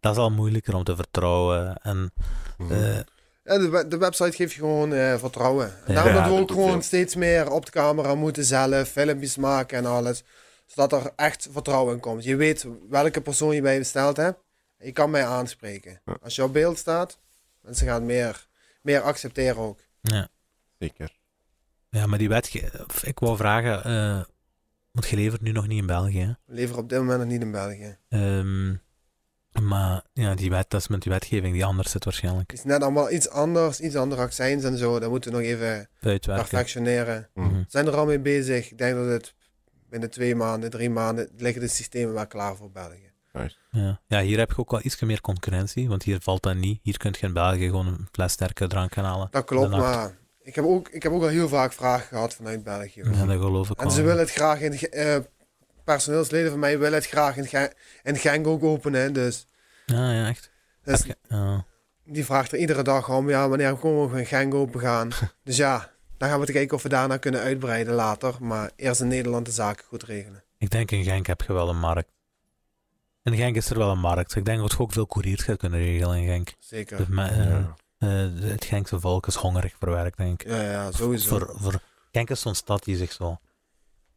[SPEAKER 2] dat is al moeilijker om te vertrouwen. En,
[SPEAKER 3] Mhm.
[SPEAKER 2] eh,
[SPEAKER 1] Ja, de, we- de website geeft je gewoon eh, vertrouwen. En
[SPEAKER 2] Ja.
[SPEAKER 1] daarom
[SPEAKER 3] Ja,
[SPEAKER 1] dat we
[SPEAKER 3] dat
[SPEAKER 1] ook
[SPEAKER 3] doet
[SPEAKER 1] gewoon
[SPEAKER 3] veel.
[SPEAKER 1] steeds meer op de camera moeten zelf, filmpjes maken en alles. Zodat er echt vertrouwen in komt. Je weet welke persoon je bij besteld hebt. En je kan mij aanspreken.
[SPEAKER 3] Ja.
[SPEAKER 1] Als je op beeld staat, mensen gaan meer, meer accepteren ook.
[SPEAKER 2] ja.
[SPEAKER 3] Zeker.
[SPEAKER 2] ja, maar die wetge... of Ik wou vragen, eh, want je levert nu nog niet in België. hè?
[SPEAKER 1] We leveren op dit moment nog niet in België.
[SPEAKER 2] Ehm, maar ja, die wet, dat is met die wetgeving die anders zit waarschijnlijk.
[SPEAKER 1] Het is net allemaal iets anders, iets andere accijns en zo. Dat moeten we nog even
[SPEAKER 2] Uitwerken.
[SPEAKER 1] perfectioneren.
[SPEAKER 3] Mhm.
[SPEAKER 1] We zijn er al mee bezig. Ik denk dat het binnen twee maanden, drie maanden, liggen de systemen wel klaar voor België.
[SPEAKER 2] Ja. ja, hier heb je ook wel iets meer concurrentie, want hier valt dat niet. Hier kun je in België gewoon een fles sterke drank gaan halen.
[SPEAKER 1] Dat klopt,
[SPEAKER 2] De nacht.
[SPEAKER 1] maar Ik heb, ook, ik heb ook al heel vaak vragen gehad vanuit België.
[SPEAKER 2] Ja, dat geloof ik
[SPEAKER 1] En
[SPEAKER 2] wel.
[SPEAKER 1] ze willen het graag in. Ge- eh, personeelsleden van mij willen het graag in, Gen- in Genk ook openen. Dus,
[SPEAKER 2] Ja, ja, echt.
[SPEAKER 1] dus
[SPEAKER 2] Heb je- eh, ja.
[SPEAKER 1] die vraagt er iedere dag om: ja, wanneer komen we in Genk open gaan? dus ja, dan gaan we te kijken of we daarna kunnen uitbreiden later. Maar eerst in Nederland de zaken goed regelen.
[SPEAKER 2] Ik denk in Genk heb je wel een markt. In Genk is er wel een markt. Ik denk dat je ook veel couriers gaat kunnen regelen in Genk.
[SPEAKER 1] Zeker.
[SPEAKER 2] De me- eh,
[SPEAKER 3] Ja.
[SPEAKER 2] eh, het Genkse volk is hongerig voor werk, denk ik.
[SPEAKER 1] Ja, ja, sowieso.
[SPEAKER 2] Voor, voor, Genk is zo'n stad die zich zo...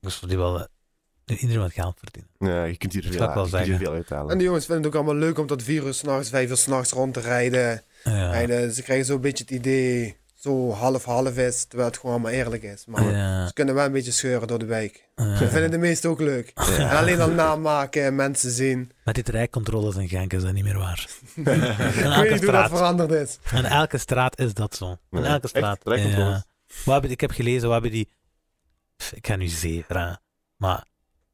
[SPEAKER 2] Dus die wel... eh, iedereen wat geld verdient.
[SPEAKER 3] Ja, je kunt hier
[SPEAKER 2] Dat
[SPEAKER 3] veel,
[SPEAKER 2] zou ik wel
[SPEAKER 3] je kunt hier
[SPEAKER 2] zeggen.
[SPEAKER 3] veel uithalen.
[SPEAKER 1] En de jongens vinden het ook allemaal leuk om tot vier uur s'nachts, vijf uur s'nachts rond te rijden.
[SPEAKER 2] Ja.
[SPEAKER 1] rijden. Ze krijgen zo'n beetje het idee, zo half-half is, terwijl het gewoon maar eerlijk is. Maar
[SPEAKER 2] Ja, eh,
[SPEAKER 1] ze kunnen wel een beetje scheuren door de wijk.
[SPEAKER 2] ja.
[SPEAKER 1] Ze vinden de meesten ook leuk. En alleen al namaken en mensen zien.
[SPEAKER 2] Met die treincontroles in Genk is dat niet meer waar. In
[SPEAKER 1] Ik weet
[SPEAKER 2] elke
[SPEAKER 1] niet hoe dat
[SPEAKER 2] straat.
[SPEAKER 1] veranderd is.
[SPEAKER 2] In elke straat is dat zo. In
[SPEAKER 3] Ja,
[SPEAKER 2] elke
[SPEAKER 3] echt?
[SPEAKER 2] straat.
[SPEAKER 3] Treincontroles?
[SPEAKER 2] Ja. Wat hebben- ik heb gelezen, we hebben die... Pff, Ik ga nu zeven, hè. maar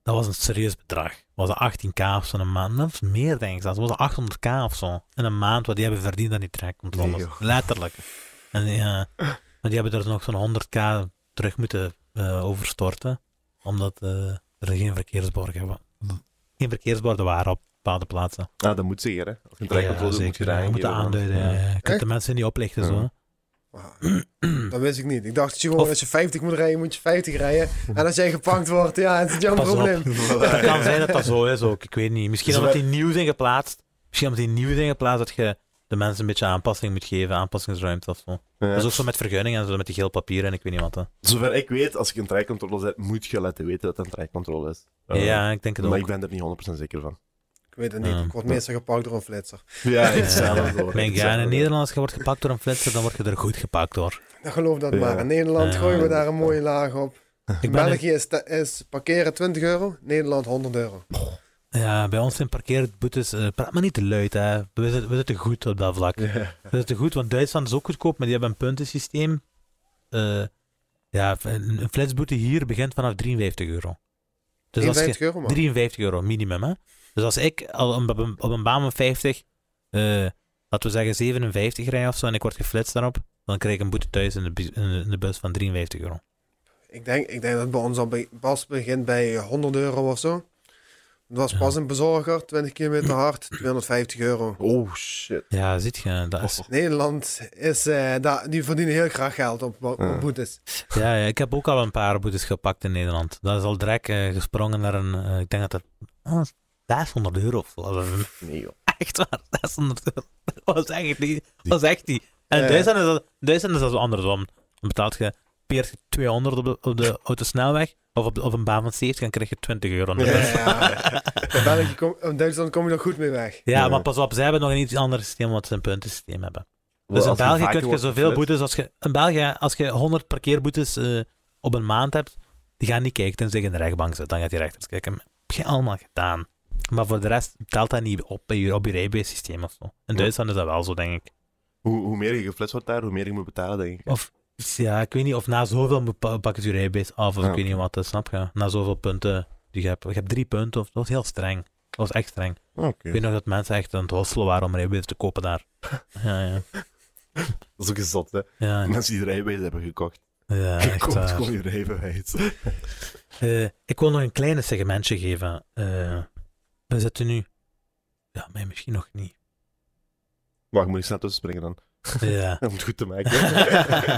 [SPEAKER 2] dat was een serieus bedrag. Was dat 18k of zo in een maand? Dat was meer, denk ik. zelfs. Dat was 800k of zo. In een maand, wat die hebben verdiend aan die treincontroles.
[SPEAKER 3] Nee, joh.
[SPEAKER 2] dus Letterlijk. En ja, maar die hebben er nog zo'n 100k terug moeten eh, overstorten, omdat eh, er geen verkeersborden, wa- geen verkeersborden waren op bepaalde plaatsen.
[SPEAKER 3] Ah, dat moet zeker, hè. Als je een treincontrole doet, moet je daar
[SPEAKER 2] Je moet
[SPEAKER 3] aangeven, want-
[SPEAKER 2] aanduiden.
[SPEAKER 3] Ja.
[SPEAKER 2] ja. Je kunt
[SPEAKER 1] Echt?
[SPEAKER 2] de mensen niet oplichten
[SPEAKER 3] Ja.
[SPEAKER 2] zo.
[SPEAKER 1] Wauw, Dat wist ik niet. Ik dacht, gewoon,
[SPEAKER 2] Of-
[SPEAKER 1] als je 50 moet rijden, moet je 50 rijden. En als jij gepakt wordt, ja, het is jouw
[SPEAKER 2] Pas op.
[SPEAKER 1] probleem.
[SPEAKER 2] Het kan zijn dat dat zo is ook, ik weet niet. Misschien
[SPEAKER 3] Dus
[SPEAKER 2] omdat
[SPEAKER 3] wij-
[SPEAKER 2] die nieuw zijn geplaatst. Misschien omdat die nieuw zijn geplaatst dat je de mensen een beetje aanpassing moet geven, aanpassingsruimte of zo. Dat is ook zo met vergunningen en zo met die geel papier en ik weet niet wat. Hè.
[SPEAKER 3] Zover ik weet, als ik een treincontrole zet, moet je laten weten dat het een treincontrole is. Eh,
[SPEAKER 2] ja, ik denk het
[SPEAKER 3] Maar
[SPEAKER 2] ook.
[SPEAKER 3] ik ben er niet 100% zeker van.
[SPEAKER 1] Ik weet het niet. Ik word meestal gepakt door een flitser.
[SPEAKER 3] Ja,
[SPEAKER 2] Ja. Mijn guy, in Nederland, als je wordt gepakt door een flitser, dan word je er goed gepakt hoor.
[SPEAKER 1] Dan geloof dat
[SPEAKER 3] Ja.
[SPEAKER 1] maar. In Nederland
[SPEAKER 2] Ja.
[SPEAKER 1] gooien we daar een mooie laag op.
[SPEAKER 2] Ik ben
[SPEAKER 1] België is, te- is parkeren 20 euro, Nederland 100 euro.
[SPEAKER 2] Dus ja, bij ons zijn parkeerboetes... eh, praat maar niet te luid, hè. We zitten, we zitten goed op dat vlak. Dat is te goed, want Duitsland is ook goedkoop, maar die hebben een puntensysteem. Eh, ja, een een flitsboete hier begint vanaf 53 euro. Dus als je-
[SPEAKER 1] 53 euro, man.
[SPEAKER 2] 53 euro minimum, hè? Dus als ik al op een, op een baan van 50, eh, laten we zeggen 57 rij of zo, en ik word geflitst daarop, dan krijg ik een boete thuis in de, bu- in de- in de bus van 53 euro.
[SPEAKER 1] Ik denk, ik denk dat het bij ons al bij, pas begint bij 100 euro of zo. Het was pas een bezorger, 20 kilometer hard, 250 euro.
[SPEAKER 3] Oh, shit.
[SPEAKER 2] Ja, ziet je, dat is...
[SPEAKER 1] Nederland is, eh, daar, die verdienen heel graag geld op, op
[SPEAKER 3] Ja.
[SPEAKER 1] boetes.
[SPEAKER 2] Ja, ja, ik heb ook al een paar boetes gepakt in Nederland. Dat is al direct eh, gesprongen naar een, eh, ik denk dat dat... Oh, 600 euro of zo. Dat is een
[SPEAKER 3] Oh, Nee, joh.
[SPEAKER 2] Echt waar, 600 euro. Dat was echt niet. Dat was echt niet. En in
[SPEAKER 1] Ja.
[SPEAKER 2] Duitsland is dat, in Duitsland is dat zo andersom. Dan betaalt je peert je 200 op de, op de autosnelweg of op, de- op een baan van 70 en krijg je 20 euro. in de
[SPEAKER 1] Ja,
[SPEAKER 2] bus.
[SPEAKER 1] ja. In Eh, België kom- in Duitsland kom je er goed mee weg.
[SPEAKER 2] Ja,
[SPEAKER 3] Ja.
[SPEAKER 2] maar pas op, zij hebben nog een iets ander systeem wat ze een puntensysteem hebben. Dus in
[SPEAKER 3] Als je
[SPEAKER 2] België
[SPEAKER 3] vaker
[SPEAKER 2] kun je
[SPEAKER 3] wordt
[SPEAKER 2] zoveel
[SPEAKER 3] geflitst-
[SPEAKER 2] boetes als je. In België, als je 100 parkeerboetes eh, op een maand hebt, die gaan niet kijken tenzij je in de rechtbank zit. Dan gaat die rechter eens kijken. Maar Heb je allemaal gedaan? Maar voor de rest telt dat niet op bij je, op je rijbewijssysteem of zo. In
[SPEAKER 3] Ja.
[SPEAKER 2] Duitsland is dat wel zo, denk ik.
[SPEAKER 3] Hoe, hoe meer je geflitst wordt daar, hoe meer je moet betalen, denk ik.
[SPEAKER 2] Of ja, ik weet niet, of na zoveel moet pa- pak je rijbewijs af, of
[SPEAKER 3] Ja,
[SPEAKER 2] ik weet niet wat, eh, snap je? Na zoveel punten die je hebt. Je hebt drie punten, of, dat was heel streng. Dat was echt streng.
[SPEAKER 3] Oké.
[SPEAKER 2] Ik weet nog dat mensen echt aan het hosselen waren om rijbewijs te kopen daar. Ja, ja.
[SPEAKER 3] Dat is ook gezot, hè.
[SPEAKER 2] Ja, ja,
[SPEAKER 3] Mensen die de rijbewijs hebben gekocht.
[SPEAKER 2] echt
[SPEAKER 3] Koopt
[SPEAKER 2] waar.
[SPEAKER 3] gewoon je rijbewijs.
[SPEAKER 2] Eh, ik wil nog een kleine segmentje geven. Eh, we zitten nu... Ja, mij misschien nog niet.
[SPEAKER 3] Wacht, moet ik snel tussen springen dan?
[SPEAKER 2] Ja.
[SPEAKER 3] Om het goed te maken.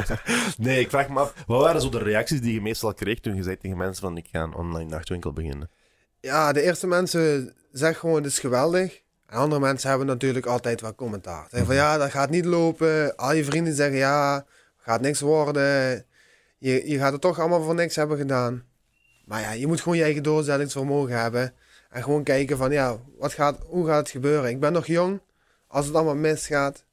[SPEAKER 3] nee, ik vraag me af, wat waren zo de reacties die je meestal kreeg toen je zei tegen mensen van ik ga een online nachtwinkel beginnen?
[SPEAKER 1] Ja, de eerste mensen zeggen gewoon, het is geweldig. En andere mensen hebben natuurlijk altijd wel commentaar. Zeggen van, ja, dat gaat niet lopen. Al je vrienden zeggen, ja, gaat niks worden. Je, je gaat het toch allemaal voor niks hebben gedaan. Maar ja, je moet gewoon je eigen doorzettingsvermogen hebben. En gewoon kijken van, ja, wat gaat, hoe gaat het gebeuren? Ik ben nog jong. Als het allemaal misgaat,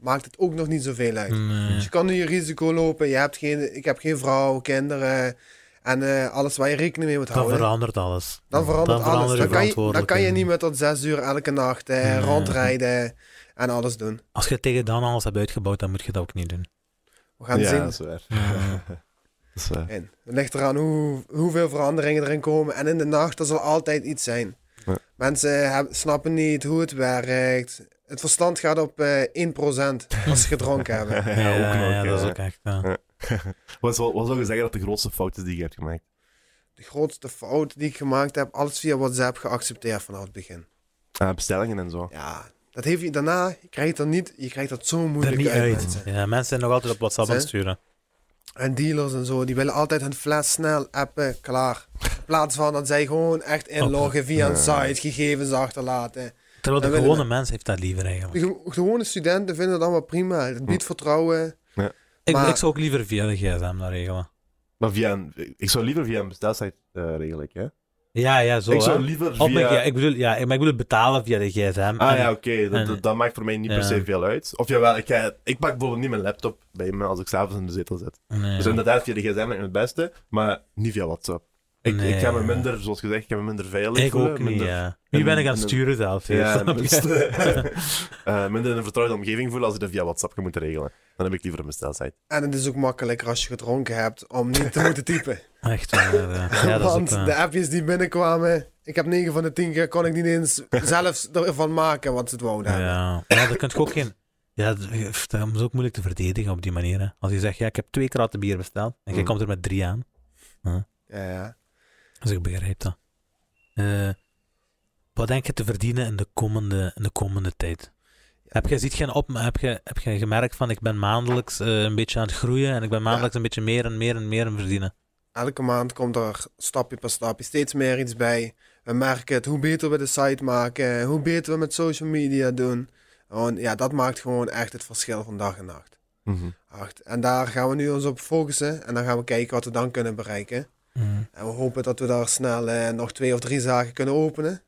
[SPEAKER 1] maakt het ook nog niet zoveel uit.
[SPEAKER 2] Nee.
[SPEAKER 1] Dus je kan nu je risico lopen. Je hebt geen, ik heb geen vrouw, kinderen en eh, alles waar je rekening mee moet
[SPEAKER 2] Dan
[SPEAKER 1] houden.
[SPEAKER 2] verandert alles.
[SPEAKER 1] Dan verandert alles.
[SPEAKER 2] je
[SPEAKER 1] Dan kan, je, dan kan je
[SPEAKER 2] verantwoordelijkheid.
[SPEAKER 1] niet meer tot zes uur elke nacht eh,
[SPEAKER 2] Nee.
[SPEAKER 1] rondrijden en alles doen.
[SPEAKER 2] Als je tegen dan alles hebt uitgebouwd, dan moet je dat ook niet doen.
[SPEAKER 1] We gaan
[SPEAKER 3] ja, dat
[SPEAKER 1] zien.
[SPEAKER 3] is waar.
[SPEAKER 2] Ja.
[SPEAKER 3] dat is waar.
[SPEAKER 1] In. Het ligt eraan hoe, hoeveel veranderingen erin komen. En in de nacht, er zal altijd iets zijn.
[SPEAKER 3] Ja.
[SPEAKER 1] Mensen heb- snappen niet hoe het werkt. Het verstand gaat op eh 1% als ze gedronken hebben.
[SPEAKER 2] Ja,
[SPEAKER 3] ook
[SPEAKER 2] ja,
[SPEAKER 3] nog,
[SPEAKER 2] ja, dat is
[SPEAKER 3] ja.
[SPEAKER 2] ook echt. ja.
[SPEAKER 3] Ja. Wat zou, wat zou je zeggen dat de grootste fout is die je hebt gemaakt?
[SPEAKER 1] De grootste fout die ik gemaakt heb, alles via WhatsApp geaccepteerd vanaf het begin.
[SPEAKER 3] Ah, bestellingen en zo.
[SPEAKER 1] Ja, dat heeft je daarna, je krijgt dat niet, je krijgt dat zo
[SPEAKER 2] Er
[SPEAKER 1] moeilijk
[SPEAKER 2] niet
[SPEAKER 1] uit,
[SPEAKER 2] uit.
[SPEAKER 1] mensen.
[SPEAKER 2] Ja, mensen zijn nog altijd op WhatsApp aan het
[SPEAKER 1] Hè?
[SPEAKER 2] sturen.
[SPEAKER 1] En dealers en zo, die willen altijd hun fles snel appen, klaar. In plaats van dat zij gewoon echt inloggen via een site, gegevens achterlaten.
[SPEAKER 2] Terwijl de
[SPEAKER 1] Dan willen
[SPEAKER 2] gewone mens heeft dat liever
[SPEAKER 1] De
[SPEAKER 2] eigenlijk.
[SPEAKER 1] ge- gewone studenten vinden het allemaal prima, het
[SPEAKER 2] Hm.
[SPEAKER 1] biedt vertrouwen.
[SPEAKER 2] Ik,
[SPEAKER 1] Maar-
[SPEAKER 2] ik zou ook liever via de gsm dat regelen.
[SPEAKER 3] Maar via een, ik zou liever via een bestelsite eh regelen, hè?
[SPEAKER 2] Ja, ja, zo.
[SPEAKER 3] ik
[SPEAKER 2] hè.
[SPEAKER 3] zou liever
[SPEAKER 2] Op mijn-
[SPEAKER 3] via...
[SPEAKER 2] ja, ik bedoel, ja, ik- maar ik bedoel betalen via de gsm.
[SPEAKER 3] Ah
[SPEAKER 2] En-
[SPEAKER 3] ja, oké. Dat,
[SPEAKER 2] en-
[SPEAKER 3] dat, dat maakt voor mij niet per
[SPEAKER 2] ja.
[SPEAKER 3] se veel uit. Of jawel, ik, ga- ik pak bijvoorbeeld niet mijn laptop bij me als ik s'avonds in de zetel zit.
[SPEAKER 2] Nee.
[SPEAKER 3] Dus inderdaad, via de gsm lijkt me het beste, maar niet via WhatsApp. Ik, ik ga me
[SPEAKER 2] Nee.
[SPEAKER 3] minder, zoals gezegd, ik ga me minder veilig
[SPEAKER 2] ik
[SPEAKER 3] voelen.
[SPEAKER 2] ook niet,
[SPEAKER 3] minder,
[SPEAKER 2] ja. Wie ben ik aan het
[SPEAKER 3] en-
[SPEAKER 2] sturen zelf?
[SPEAKER 3] Ja,
[SPEAKER 2] snap je?
[SPEAKER 3] minder, eh, minder in een vertrouwde omgeving voelen als ik dat via WhatsApp moet regelen. Dan heb ik liever een bestelsite.
[SPEAKER 1] En het is ook makkelijker als je gedronken hebt om niet te moeten typen.
[SPEAKER 2] Echt waar. Ja, ja dat
[SPEAKER 1] Want
[SPEAKER 2] is ook,
[SPEAKER 1] de
[SPEAKER 2] eh,
[SPEAKER 1] appjes die binnenkwamen, ik heb 9 van de 10 keer kon ik niet eens zelf ervan maken wat ze het wouden hebben.
[SPEAKER 2] ja. ja, daar kun je ook geen... Ja, dat dat is ook moeilijk te verdedigen op die manier. Hè. Als je zegt, ja, ik heb twee kratten bier besteld en jij
[SPEAKER 3] Mm.
[SPEAKER 2] komt er met drie aan.
[SPEAKER 1] Ja, ja.
[SPEAKER 2] Dus ik begrijp dat. Eh, wat denk je te verdienen in de komende, in de komende tijd? Heb je, ziet geen op, heb, je, heb je gemerkt van ik ben maandelijks eh, een beetje aan het groeien en ik ben maandelijks een beetje meer en meer en meer aan het verdienen?
[SPEAKER 1] Elke maand komt er stapje per stapje steeds meer iets bij. We merken het, hoe beter we de site maken, hoe beter we met social media doen. Want ja, dat maakt gewoon echt het verschil van dag en nacht.
[SPEAKER 3] Mhm.
[SPEAKER 1] Echt. En daar gaan we nu ons op focussen en dan gaan we kijken wat we dan kunnen bereiken.
[SPEAKER 3] Mm.
[SPEAKER 1] En we hopen dat we daar snel eh, nog twee of drie zaken kunnen openen.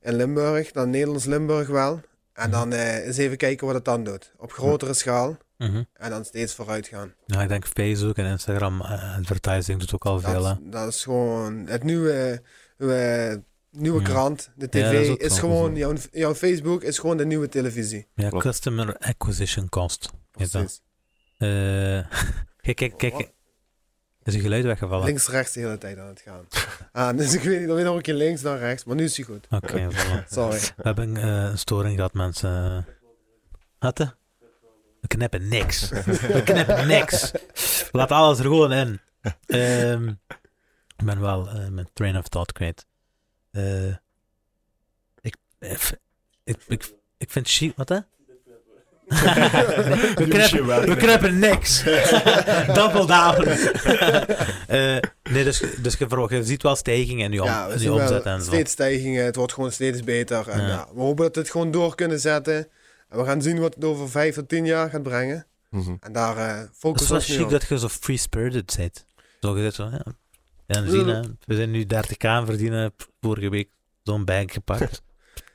[SPEAKER 1] In Limburg, dan Nederlands-Limburg wel. En dan eh, eens even kijken wat het dan doet. Op grotere schaal
[SPEAKER 2] Mhm.
[SPEAKER 1] en dan steeds vooruit gaan.
[SPEAKER 2] Ja, ik denk Facebook en Instagram eh, advertising doet ook al veel. hè.
[SPEAKER 1] Dat, dat is gewoon het nieuwe, nieuwe, nieuwe
[SPEAKER 2] Ja.
[SPEAKER 1] krant. De
[SPEAKER 2] Ja, dat
[SPEAKER 1] tv
[SPEAKER 2] is ook
[SPEAKER 1] is,
[SPEAKER 2] zo.
[SPEAKER 1] gewoon, jouw, jouw Facebook is gewoon de nieuwe televisie.
[SPEAKER 2] Ja,
[SPEAKER 3] Klopt.
[SPEAKER 2] customer acquisition cost. Is dat.
[SPEAKER 1] Precies.
[SPEAKER 2] Eh, kijk, kijk, kijk. Is je geluid weggevallen?
[SPEAKER 1] Links-rechts de hele tijd aan het gaan. Ah, dus ik weet niet, dan weer nog een keer links, dan rechts. Maar nu is hij goed.
[SPEAKER 2] Oké, voilà.
[SPEAKER 1] Sorry.
[SPEAKER 2] We hebben eh, een storing gehad, mensen. Hatte? We knippen niks. We knippen niks. We laten alles er gewoon in. Ehm, ik ben wel eh, mijn train of thought kwijt. Eh, ik, ik, ik, ik, ik vind chic... Wat, hè? we,
[SPEAKER 3] Doe je wel.
[SPEAKER 2] knippen, we knippen niks. Double down. Eh, nee, dus, dus je, ver- je ziet wel stijgingen in je, om,
[SPEAKER 1] Ja, we
[SPEAKER 2] in
[SPEAKER 1] zien
[SPEAKER 2] je omzet
[SPEAKER 1] wel
[SPEAKER 2] en zo.
[SPEAKER 1] steeds stijgingen. Het wordt gewoon steeds beter. En
[SPEAKER 2] Ja.
[SPEAKER 1] ja, we hopen dat we het gewoon door kunnen zetten. En we gaan zien wat het over vijf tot tien jaar gaat brengen. En daar eh
[SPEAKER 2] Het is
[SPEAKER 1] focussen
[SPEAKER 2] wel
[SPEAKER 1] we ons nu
[SPEAKER 2] chic
[SPEAKER 1] op.
[SPEAKER 2] dat je zo free-spirited bent. Zo gezegd zo, ja. En we zien, hè, we zijn nu 30k aan verdienen. P- Vorige week zo'n bank gepakt.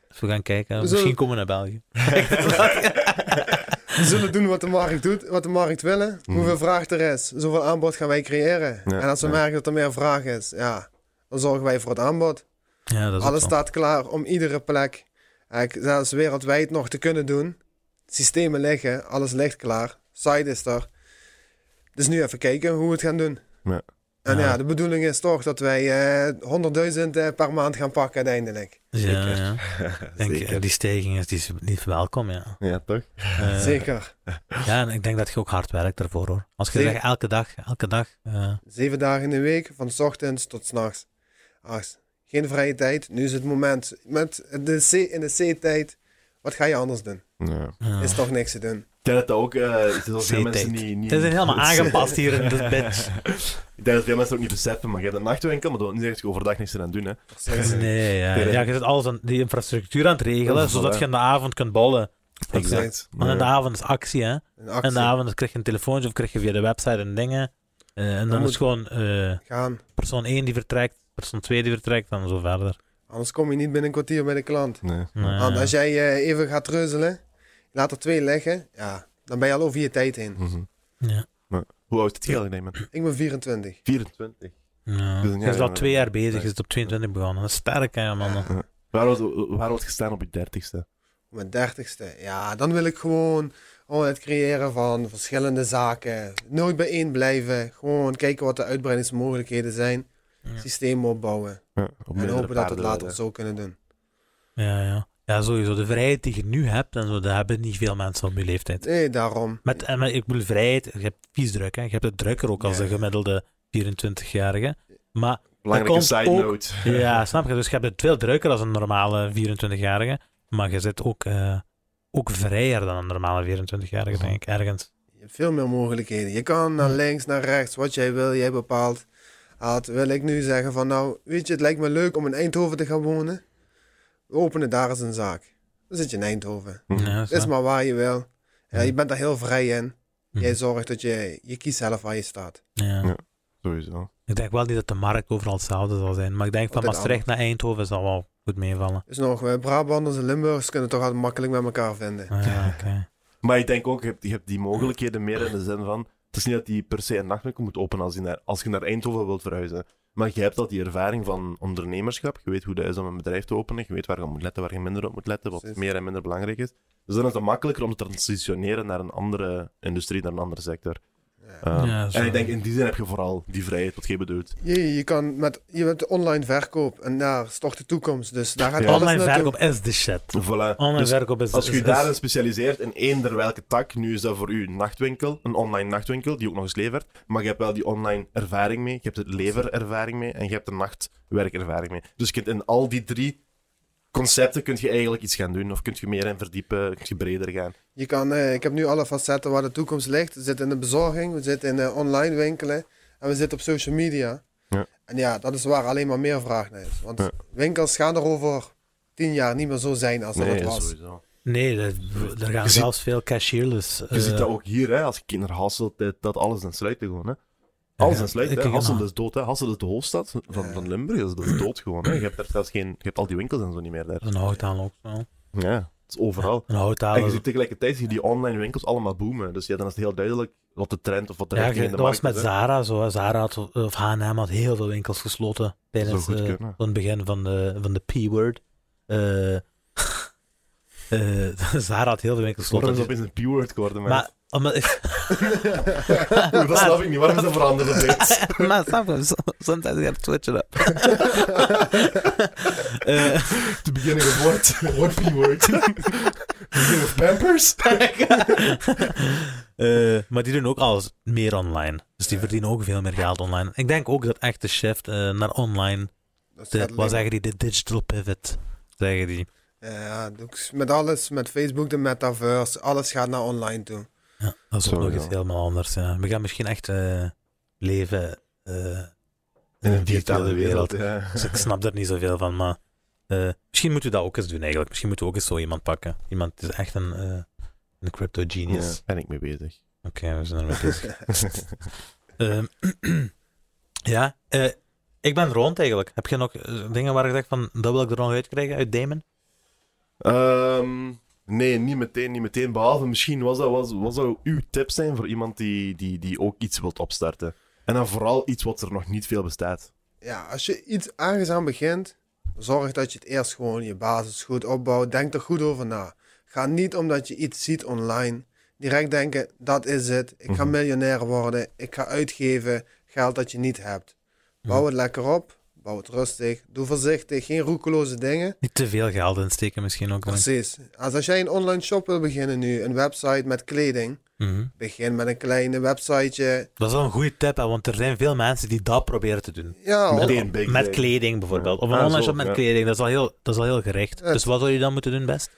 [SPEAKER 2] Dus we gaan kijken.
[SPEAKER 1] We zullen-
[SPEAKER 2] Misschien komen we naar België.
[SPEAKER 1] We zullen doen wat de markt doet, wat de markt willen.
[SPEAKER 3] Mhm.
[SPEAKER 1] Hoeveel vraag er is, zoveel aanbod gaan wij creëren.
[SPEAKER 3] Ja,
[SPEAKER 1] en als we
[SPEAKER 3] ja.
[SPEAKER 1] merken dat er meer vraag is, ja, dan zorgen wij voor het aanbod.
[SPEAKER 2] Ja, dat is
[SPEAKER 1] Alles
[SPEAKER 2] Alles
[SPEAKER 1] staat klaar om iedere plek, eigenlijk zelfs wereldwijd nog te kunnen doen. Systemen liggen, alles ligt klaar. Site is er. Dus nu even kijken hoe we het gaan doen.
[SPEAKER 3] Ja.
[SPEAKER 1] En ja.
[SPEAKER 2] Ja.
[SPEAKER 1] de bedoeling is toch dat wij eh, 100.000 eh, per maand gaan pakken uiteindelijk.
[SPEAKER 2] Ja,
[SPEAKER 3] Zeker.
[SPEAKER 2] ja. Ik denk, eh, die stijging is, die is niet welkom, ja.
[SPEAKER 3] Ja, toch?
[SPEAKER 2] Eh,
[SPEAKER 1] Zeker.
[SPEAKER 2] Ja, en ik denk dat je ook hard werkt daarvoor, hoor. Als je
[SPEAKER 1] Zeker.
[SPEAKER 2] zegt, elke dag, elke dag... eh,
[SPEAKER 1] Zeven dagen in de week, van 's ochtends tot 's nachts. Acht. Geen vrije tijd, nu is het moment. Met de C, in de C-tijd, wat ga je anders doen?
[SPEAKER 3] Ja.
[SPEAKER 2] ja.
[SPEAKER 1] Is toch niks te doen.
[SPEAKER 3] Ik denk dat dat ook... eh, is dat veel mensen
[SPEAKER 2] Zeetijd.
[SPEAKER 3] niet, niet...
[SPEAKER 2] Het is helemaal aangepast hier in dit bed.
[SPEAKER 3] Ik denk dat veel mensen ook niet beseffen, maar je hebt een nachtwinkel, maar dat wil niet zeggen dat je overdag niks eraan doen, hè.
[SPEAKER 1] Precies.
[SPEAKER 2] Nee, ja.
[SPEAKER 3] Nee, nee.
[SPEAKER 2] ja, je zit alles aan die infrastructuur aan het regelen,
[SPEAKER 3] Voilà.
[SPEAKER 2] zodat je in de avond kunt bollen.
[SPEAKER 1] Exact.
[SPEAKER 2] Want in de avond is actie, hè.
[SPEAKER 1] Een
[SPEAKER 2] En
[SPEAKER 1] actie
[SPEAKER 2] de avond krijg je een telefoontje of krijg je via de website en dingen. Eh, en dan,
[SPEAKER 1] Dan
[SPEAKER 2] is het gewoon eh,
[SPEAKER 1] gaan.
[SPEAKER 2] persoon 1 die vertrekt, persoon 2 die vertrekt en zo verder.
[SPEAKER 1] Anders kom je niet binnen een kwartier bij de klant.
[SPEAKER 3] Nee.
[SPEAKER 2] Eh,
[SPEAKER 1] Want als jij eh, even gaat treuzelen, laat er twee leggen, ja, dan ben je al over je tijd heen.
[SPEAKER 2] Hmm.
[SPEAKER 3] Mhm.
[SPEAKER 2] ja.
[SPEAKER 3] Maar Hoe oud is het geld, ik denk man?
[SPEAKER 1] Ik ben 24.
[SPEAKER 3] 24.
[SPEAKER 2] Ja.
[SPEAKER 3] Dus
[SPEAKER 2] Je
[SPEAKER 3] een
[SPEAKER 2] is
[SPEAKER 3] jaar
[SPEAKER 2] al
[SPEAKER 3] jonger.
[SPEAKER 2] twee jaar bezig, je
[SPEAKER 3] Ja.
[SPEAKER 2] zit op 22 begonnen. Dat is sterk, hè, man.
[SPEAKER 3] Waar wordt waar wordt gestaan op je dertigste?
[SPEAKER 1] Op mijn dertigste. Ja, dan wil ik gewoon oh, het creëren van verschillende zaken. Nooit bij één blijven. Gewoon kijken wat de uitbreidingsmogelijkheden zijn.
[SPEAKER 2] Ja.
[SPEAKER 1] Systeem opbouwen.
[SPEAKER 3] Ja, op
[SPEAKER 1] en
[SPEAKER 3] meerdere
[SPEAKER 1] hopen dat we het
[SPEAKER 3] paarden eh.
[SPEAKER 1] later
[SPEAKER 3] rijden.
[SPEAKER 1] zo kunnen doen.
[SPEAKER 2] Ja, ja. Ja, sowieso. De vrijheid die je nu hebt, en zo, dat hebben niet veel mensen op je leeftijd.
[SPEAKER 1] Nee, daarom.
[SPEAKER 2] Met, en met- ik bedoel, vrijheid, je hebt vies druk, hè. Je hebt het drukker ook als
[SPEAKER 1] Ja.
[SPEAKER 2] de gemiddelde 24-jarige. Maar
[SPEAKER 3] Belangrijke
[SPEAKER 2] komt
[SPEAKER 3] side
[SPEAKER 2] ook-
[SPEAKER 3] note.
[SPEAKER 2] ja, snap je? Dus je hebt het veel drukker als een normale 24-jarige. Maar je zit ook, eh, ook vrijer dan een normale 24-jarige, denk ik, ergens.
[SPEAKER 1] Je hebt veel meer mogelijkheden. Je kan naar links, naar rechts, wat jij wil, jij bepaalt. Had, wil ik nu zeggen van nou, weet je, het lijkt me leuk om in Eindhoven te gaan wonen. We openen daar eens een zaak. Dan zit je in Eindhoven.
[SPEAKER 3] Mhm.
[SPEAKER 2] Ja,
[SPEAKER 1] Het is
[SPEAKER 2] snap.
[SPEAKER 1] maar waar je wil. Ja,
[SPEAKER 2] Ja.
[SPEAKER 1] je bent daar heel vrij in. Jij
[SPEAKER 2] Mhm.
[SPEAKER 1] zorgt dat je, je kiest zelf waar je staat.
[SPEAKER 2] Ja.
[SPEAKER 3] Ja. Sowieso.
[SPEAKER 2] Ik denk wel niet dat de markt overal hetzelfde zal zijn. Maar ik denk van
[SPEAKER 1] Altijd
[SPEAKER 2] Maastricht naar Eindhoven zal wel goed meevallen.
[SPEAKER 1] Dus nog, eh, Brabanders en Limburgers kunnen toch altijd makkelijk met elkaar vinden.
[SPEAKER 2] Ah, Ja, oké.
[SPEAKER 3] Maar ik denk ook, je hebt, je hebt die mogelijkheden meer in de zin van... Het is niet dat die per se een nachtwinkel moet openen als je, naar, als je naar Eindhoven wilt verhuizen. Maar je hebt al die ervaring van ondernemerschap. Je weet hoe dat is om een bedrijf te openen. Je weet waar je op moet letten, waar je minder op moet letten. Wat
[SPEAKER 1] Precies.
[SPEAKER 3] meer en minder belangrijk is. Dus dan is het makkelijker om te transitioneren naar een andere industrie, naar een andere sector. Ehm,
[SPEAKER 2] Ja, zo.
[SPEAKER 3] en ik denk, in die zin heb je vooral die vrijheid wat je bedoelt.
[SPEAKER 1] Je, je kan met, je hebt online verkoop en daar is toch de toekomst. Dus daar gaat
[SPEAKER 3] Ja.
[SPEAKER 1] alles
[SPEAKER 2] Online
[SPEAKER 1] naartoe.
[SPEAKER 2] verkoop is de shit.
[SPEAKER 3] Voilà.
[SPEAKER 2] Online
[SPEAKER 3] Dus
[SPEAKER 2] verkoop is
[SPEAKER 3] Als je
[SPEAKER 2] is-
[SPEAKER 3] je
[SPEAKER 2] is-
[SPEAKER 3] daarin specialiseert in eender welke tak, nu is dat voor u een nachtwinkel, een online nachtwinkel die ook nog eens levert, maar je hebt wel die online ervaring mee, je hebt het leverervaring mee en je hebt de nachtwerkervaring mee. Dus je kunt in al die drie concepten kun je eigenlijk iets gaan doen of kun je meer in verdiepen, kun je breder gaan.
[SPEAKER 1] Je kan, eh, ik heb nu alle facetten waar de toekomst ligt. We zitten in de bezorging, we zitten in eh, online winkelen en we zitten op social media.
[SPEAKER 3] Ja.
[SPEAKER 1] En ja, dat is waar alleen maar meer vraag naar is. Want
[SPEAKER 3] Ja.
[SPEAKER 1] winkels gaan er over tien jaar niet meer zo zijn als dat het was.
[SPEAKER 3] sowieso.
[SPEAKER 2] Nee, dat- er gaan
[SPEAKER 3] Je ziet-
[SPEAKER 2] zelfs veel eh, cashierless.
[SPEAKER 3] Je ziet dat ook hier, hè, als je kinderen hasselt, dat, dat alles in sluiten gewoon. Hè. Alles in sluiten. hè.
[SPEAKER 2] kijk,
[SPEAKER 3] Hasselt
[SPEAKER 2] ja.
[SPEAKER 3] is dood. Hè. Hasselt is de hoofdstad van, van Limburg. Dat is- dat is dood gewoon. Hè. Je hebt daar zelfs geen, je hebt al die winkels en zo niet meer daar.
[SPEAKER 2] Een houthaal ook wel.
[SPEAKER 3] Ja, het is overal.
[SPEAKER 2] Een houthaal.
[SPEAKER 3] En je ziet tegelijkertijd zie je die online winkels allemaal boomen. Dus ja, dan is het heel duidelijk wat de trend of wat de
[SPEAKER 2] Ja,
[SPEAKER 3] richting
[SPEAKER 2] ge-
[SPEAKER 3] in de
[SPEAKER 2] dat was
[SPEAKER 3] markt
[SPEAKER 2] met
[SPEAKER 3] is, hè.
[SPEAKER 2] Zara zo. hè. Zara had, of H&M had heel veel winkels gesloten tijdens
[SPEAKER 3] goed
[SPEAKER 2] eh,
[SPEAKER 3] kunnen.
[SPEAKER 2] van het begin van de, van de P-word. Eh, eh, Zara had heel veel winkels
[SPEAKER 3] Waarom
[SPEAKER 2] gesloten.
[SPEAKER 3] is dat opeens een p-word geworden, man?
[SPEAKER 2] maar, omdat,
[SPEAKER 3] dat snap ik niet. Waarom is dat veranderd opeens?
[SPEAKER 2] maar snap je, so- sometimes you have to switch it up. Eh,
[SPEAKER 3] The beginning of what? What p-word? The beginning of Pampers?
[SPEAKER 2] eh, maar die doen ook alles meer online. Dus die verdienen ook veel meer geld online. Ik denk ook dat echt de shift eh, naar online
[SPEAKER 1] Dat
[SPEAKER 2] De,
[SPEAKER 1] gaat
[SPEAKER 2] wat
[SPEAKER 1] alleen-
[SPEAKER 2] zeggen die? De digital pivot, zeggen die.
[SPEAKER 1] Ja, dus met alles, met Facebook, de metaverse, alles gaat naar online toe.
[SPEAKER 2] Ja, dat is ook
[SPEAKER 3] Sowieso.
[SPEAKER 2] nog iets helemaal anders. Ja. We gaan misschien echt eh, leven eh, in een virtuele wereld.
[SPEAKER 3] ja.
[SPEAKER 2] Dus ik snap daar niet zoveel van, maar eh, misschien moeten we dat ook eens doen eigenlijk. Misschien moeten we ook eens zo iemand pakken. Iemand die is echt een, eh, een crypto genius.
[SPEAKER 3] Ja, ben ik mee bezig.
[SPEAKER 2] Oké, we zijn ermee bezig. Ehm, ja, eh, ik ben rond eigenlijk. Heb je nog eh, dingen waar ik dacht van, dat wil ik er nog uitkrijgen uit Damon?
[SPEAKER 3] Ehm, nee, niet meteen, niet meteen. Behalve misschien was dat, was, was dat uw tip zijn voor iemand die, die, die ook iets wilt opstarten. En dan vooral iets wat er nog niet veel bestaat.
[SPEAKER 1] Ja, als je iets ergens aan begint, zorg dat je het eerst gewoon je basis goed opbouwt. Denk er goed over na. Ga niet omdat je iets ziet online direct denken: dat is het. Ik ga
[SPEAKER 3] Mhm.
[SPEAKER 1] miljonair worden. Ik ga uitgeven geld dat je niet hebt. Bouw het lekker op. Bouw het rustig. Doe voorzichtig. Geen roekeloze dingen.
[SPEAKER 2] Niet te veel geld insteken misschien ook. want-
[SPEAKER 1] Precies. Als, als jij een online shop wil beginnen nu, een website met kleding,
[SPEAKER 2] Mhm.
[SPEAKER 1] begin met een kleine websiteje.
[SPEAKER 2] Dat is wel een goede tip, hè, want er zijn veel mensen die dat proberen te doen.
[SPEAKER 1] Ja,
[SPEAKER 3] Meteen
[SPEAKER 1] on-
[SPEAKER 3] big
[SPEAKER 2] Met
[SPEAKER 3] thing.
[SPEAKER 2] kleding bijvoorbeeld. Of een
[SPEAKER 3] Ah,
[SPEAKER 2] online
[SPEAKER 3] zo,
[SPEAKER 2] shop met
[SPEAKER 3] ja.
[SPEAKER 2] kleding, dat is, al heel, dat is al heel gericht.
[SPEAKER 1] Ja.
[SPEAKER 2] Dus wat zou je dan moeten doen best?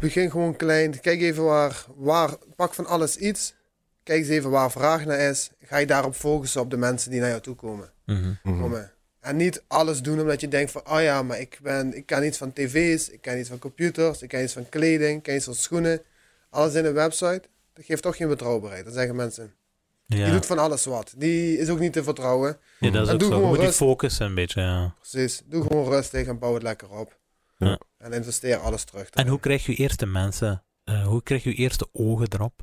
[SPEAKER 1] begin gewoon klein. Kijk even waar, waar. Pak van alles iets. Kijk eens even waar vraag naar is. Ga je daarop focussen op de mensen die naar jou toe komen.
[SPEAKER 2] Hmm.
[SPEAKER 3] Mhm.
[SPEAKER 1] komen. En niet alles doen omdat je denkt van, oh ja, maar ik, ben, ik kan iets van tv's, ik kan iets van computers, ik kan iets van kleding, ik kan iets van schoenen. Alles in een website, dat geeft toch geen betrouwbaarheid. Dan zeggen mensen,
[SPEAKER 2] Ja.
[SPEAKER 1] die doet van alles wat. Die is ook niet te vertrouwen.
[SPEAKER 2] Ja, dat is
[SPEAKER 1] En
[SPEAKER 2] ook
[SPEAKER 1] doe
[SPEAKER 2] zo. Je
[SPEAKER 1] gewoon
[SPEAKER 2] moet die
[SPEAKER 1] rust.
[SPEAKER 2] focussen een beetje. Ja.
[SPEAKER 1] Precies, doe gewoon rustig en bouw het lekker op.
[SPEAKER 3] Ja.
[SPEAKER 1] En investeer alles terug.
[SPEAKER 2] En hoe krijg je eerste mensen? eh, hoe krijg je eerste ogen erop?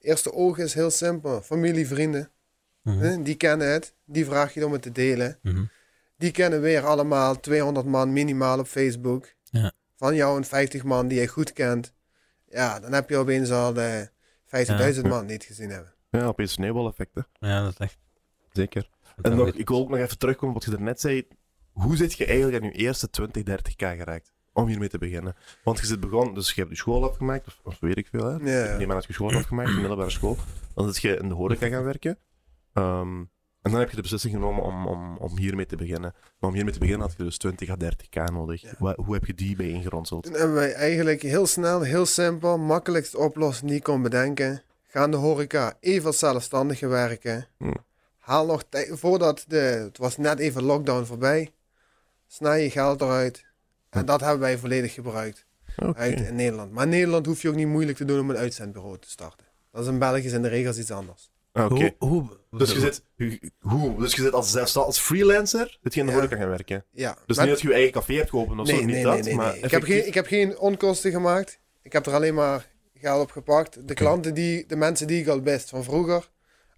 [SPEAKER 1] Eerste oog is heel simpel. Familie, vrienden,
[SPEAKER 2] Mhm.
[SPEAKER 1] hè, die kennen het. Die vraag je om het te delen.
[SPEAKER 2] Mhm.
[SPEAKER 1] Die kennen weer allemaal 200 man minimaal op Facebook.
[SPEAKER 2] Ja.
[SPEAKER 1] Van jou een 50 man die je goed kent. Ja, dan heb je opeens al de 50.000 man die het gezien hebben.
[SPEAKER 3] Ja, opeens sneeuwbaleffecten.
[SPEAKER 2] Ja, dat is echt.
[SPEAKER 3] Zeker.
[SPEAKER 2] dat
[SPEAKER 3] En
[SPEAKER 2] is
[SPEAKER 3] nog,
[SPEAKER 2] echt-
[SPEAKER 3] ik wil ook nog even terugkomen op wat je daarnet zei. Hoe zit je eigenlijk aan je eerste 20, 30k geraakt? om hiermee te beginnen. Want je zit begonnen, dus je hebt je school afgemaakt, of, of weet ik veel. Hè?
[SPEAKER 1] Ja, ja.
[SPEAKER 3] Die man had je school afgemaakt, de middelbare school. Dan zit je in de horeca gaan werken. Ehm, en dan heb je de beslissing genomen om, om, om hiermee te beginnen. Maar om hiermee te beginnen had je dus 20 à 30k nodig.
[SPEAKER 1] Ja.
[SPEAKER 3] Wa- hoe heb je die bijeengeronseld?
[SPEAKER 1] Toen hebben wij eigenlijk heel snel, heel simpel, makkelijkst oplossing die ik kon bedenken. Ga in de horeca even als zelfstandige werken.
[SPEAKER 3] Hm.
[SPEAKER 1] Haal nog tijd, voordat de, het was net even lockdown voorbij. Snij je geld eruit. En dat hebben wij volledig gebruikt
[SPEAKER 3] Hmm. Oké.
[SPEAKER 1] uit in Nederland. Maar in Nederland hoef je ook niet moeilijk te doen om een uitzendbureau te starten. Dat is in België zijn de regels iets anders.
[SPEAKER 3] Ah, Oké.
[SPEAKER 2] Hoe, hoe,
[SPEAKER 3] Dus, je zit, hoe, dus je zit als, zelfstandig- als freelancer, dat je in de
[SPEAKER 1] Ja.
[SPEAKER 3] horeca gaan werken.
[SPEAKER 1] Ja.
[SPEAKER 3] Dus
[SPEAKER 1] met-
[SPEAKER 3] niet dat je je eigen café hebt geopend of zo, niet dat, maar
[SPEAKER 1] Ik, heb
[SPEAKER 3] effectief-
[SPEAKER 1] geen, ik heb geen onkosten gemaakt. Ik heb er alleen maar geld op gepakt. De klanten die, de mensen die ik al best van vroeger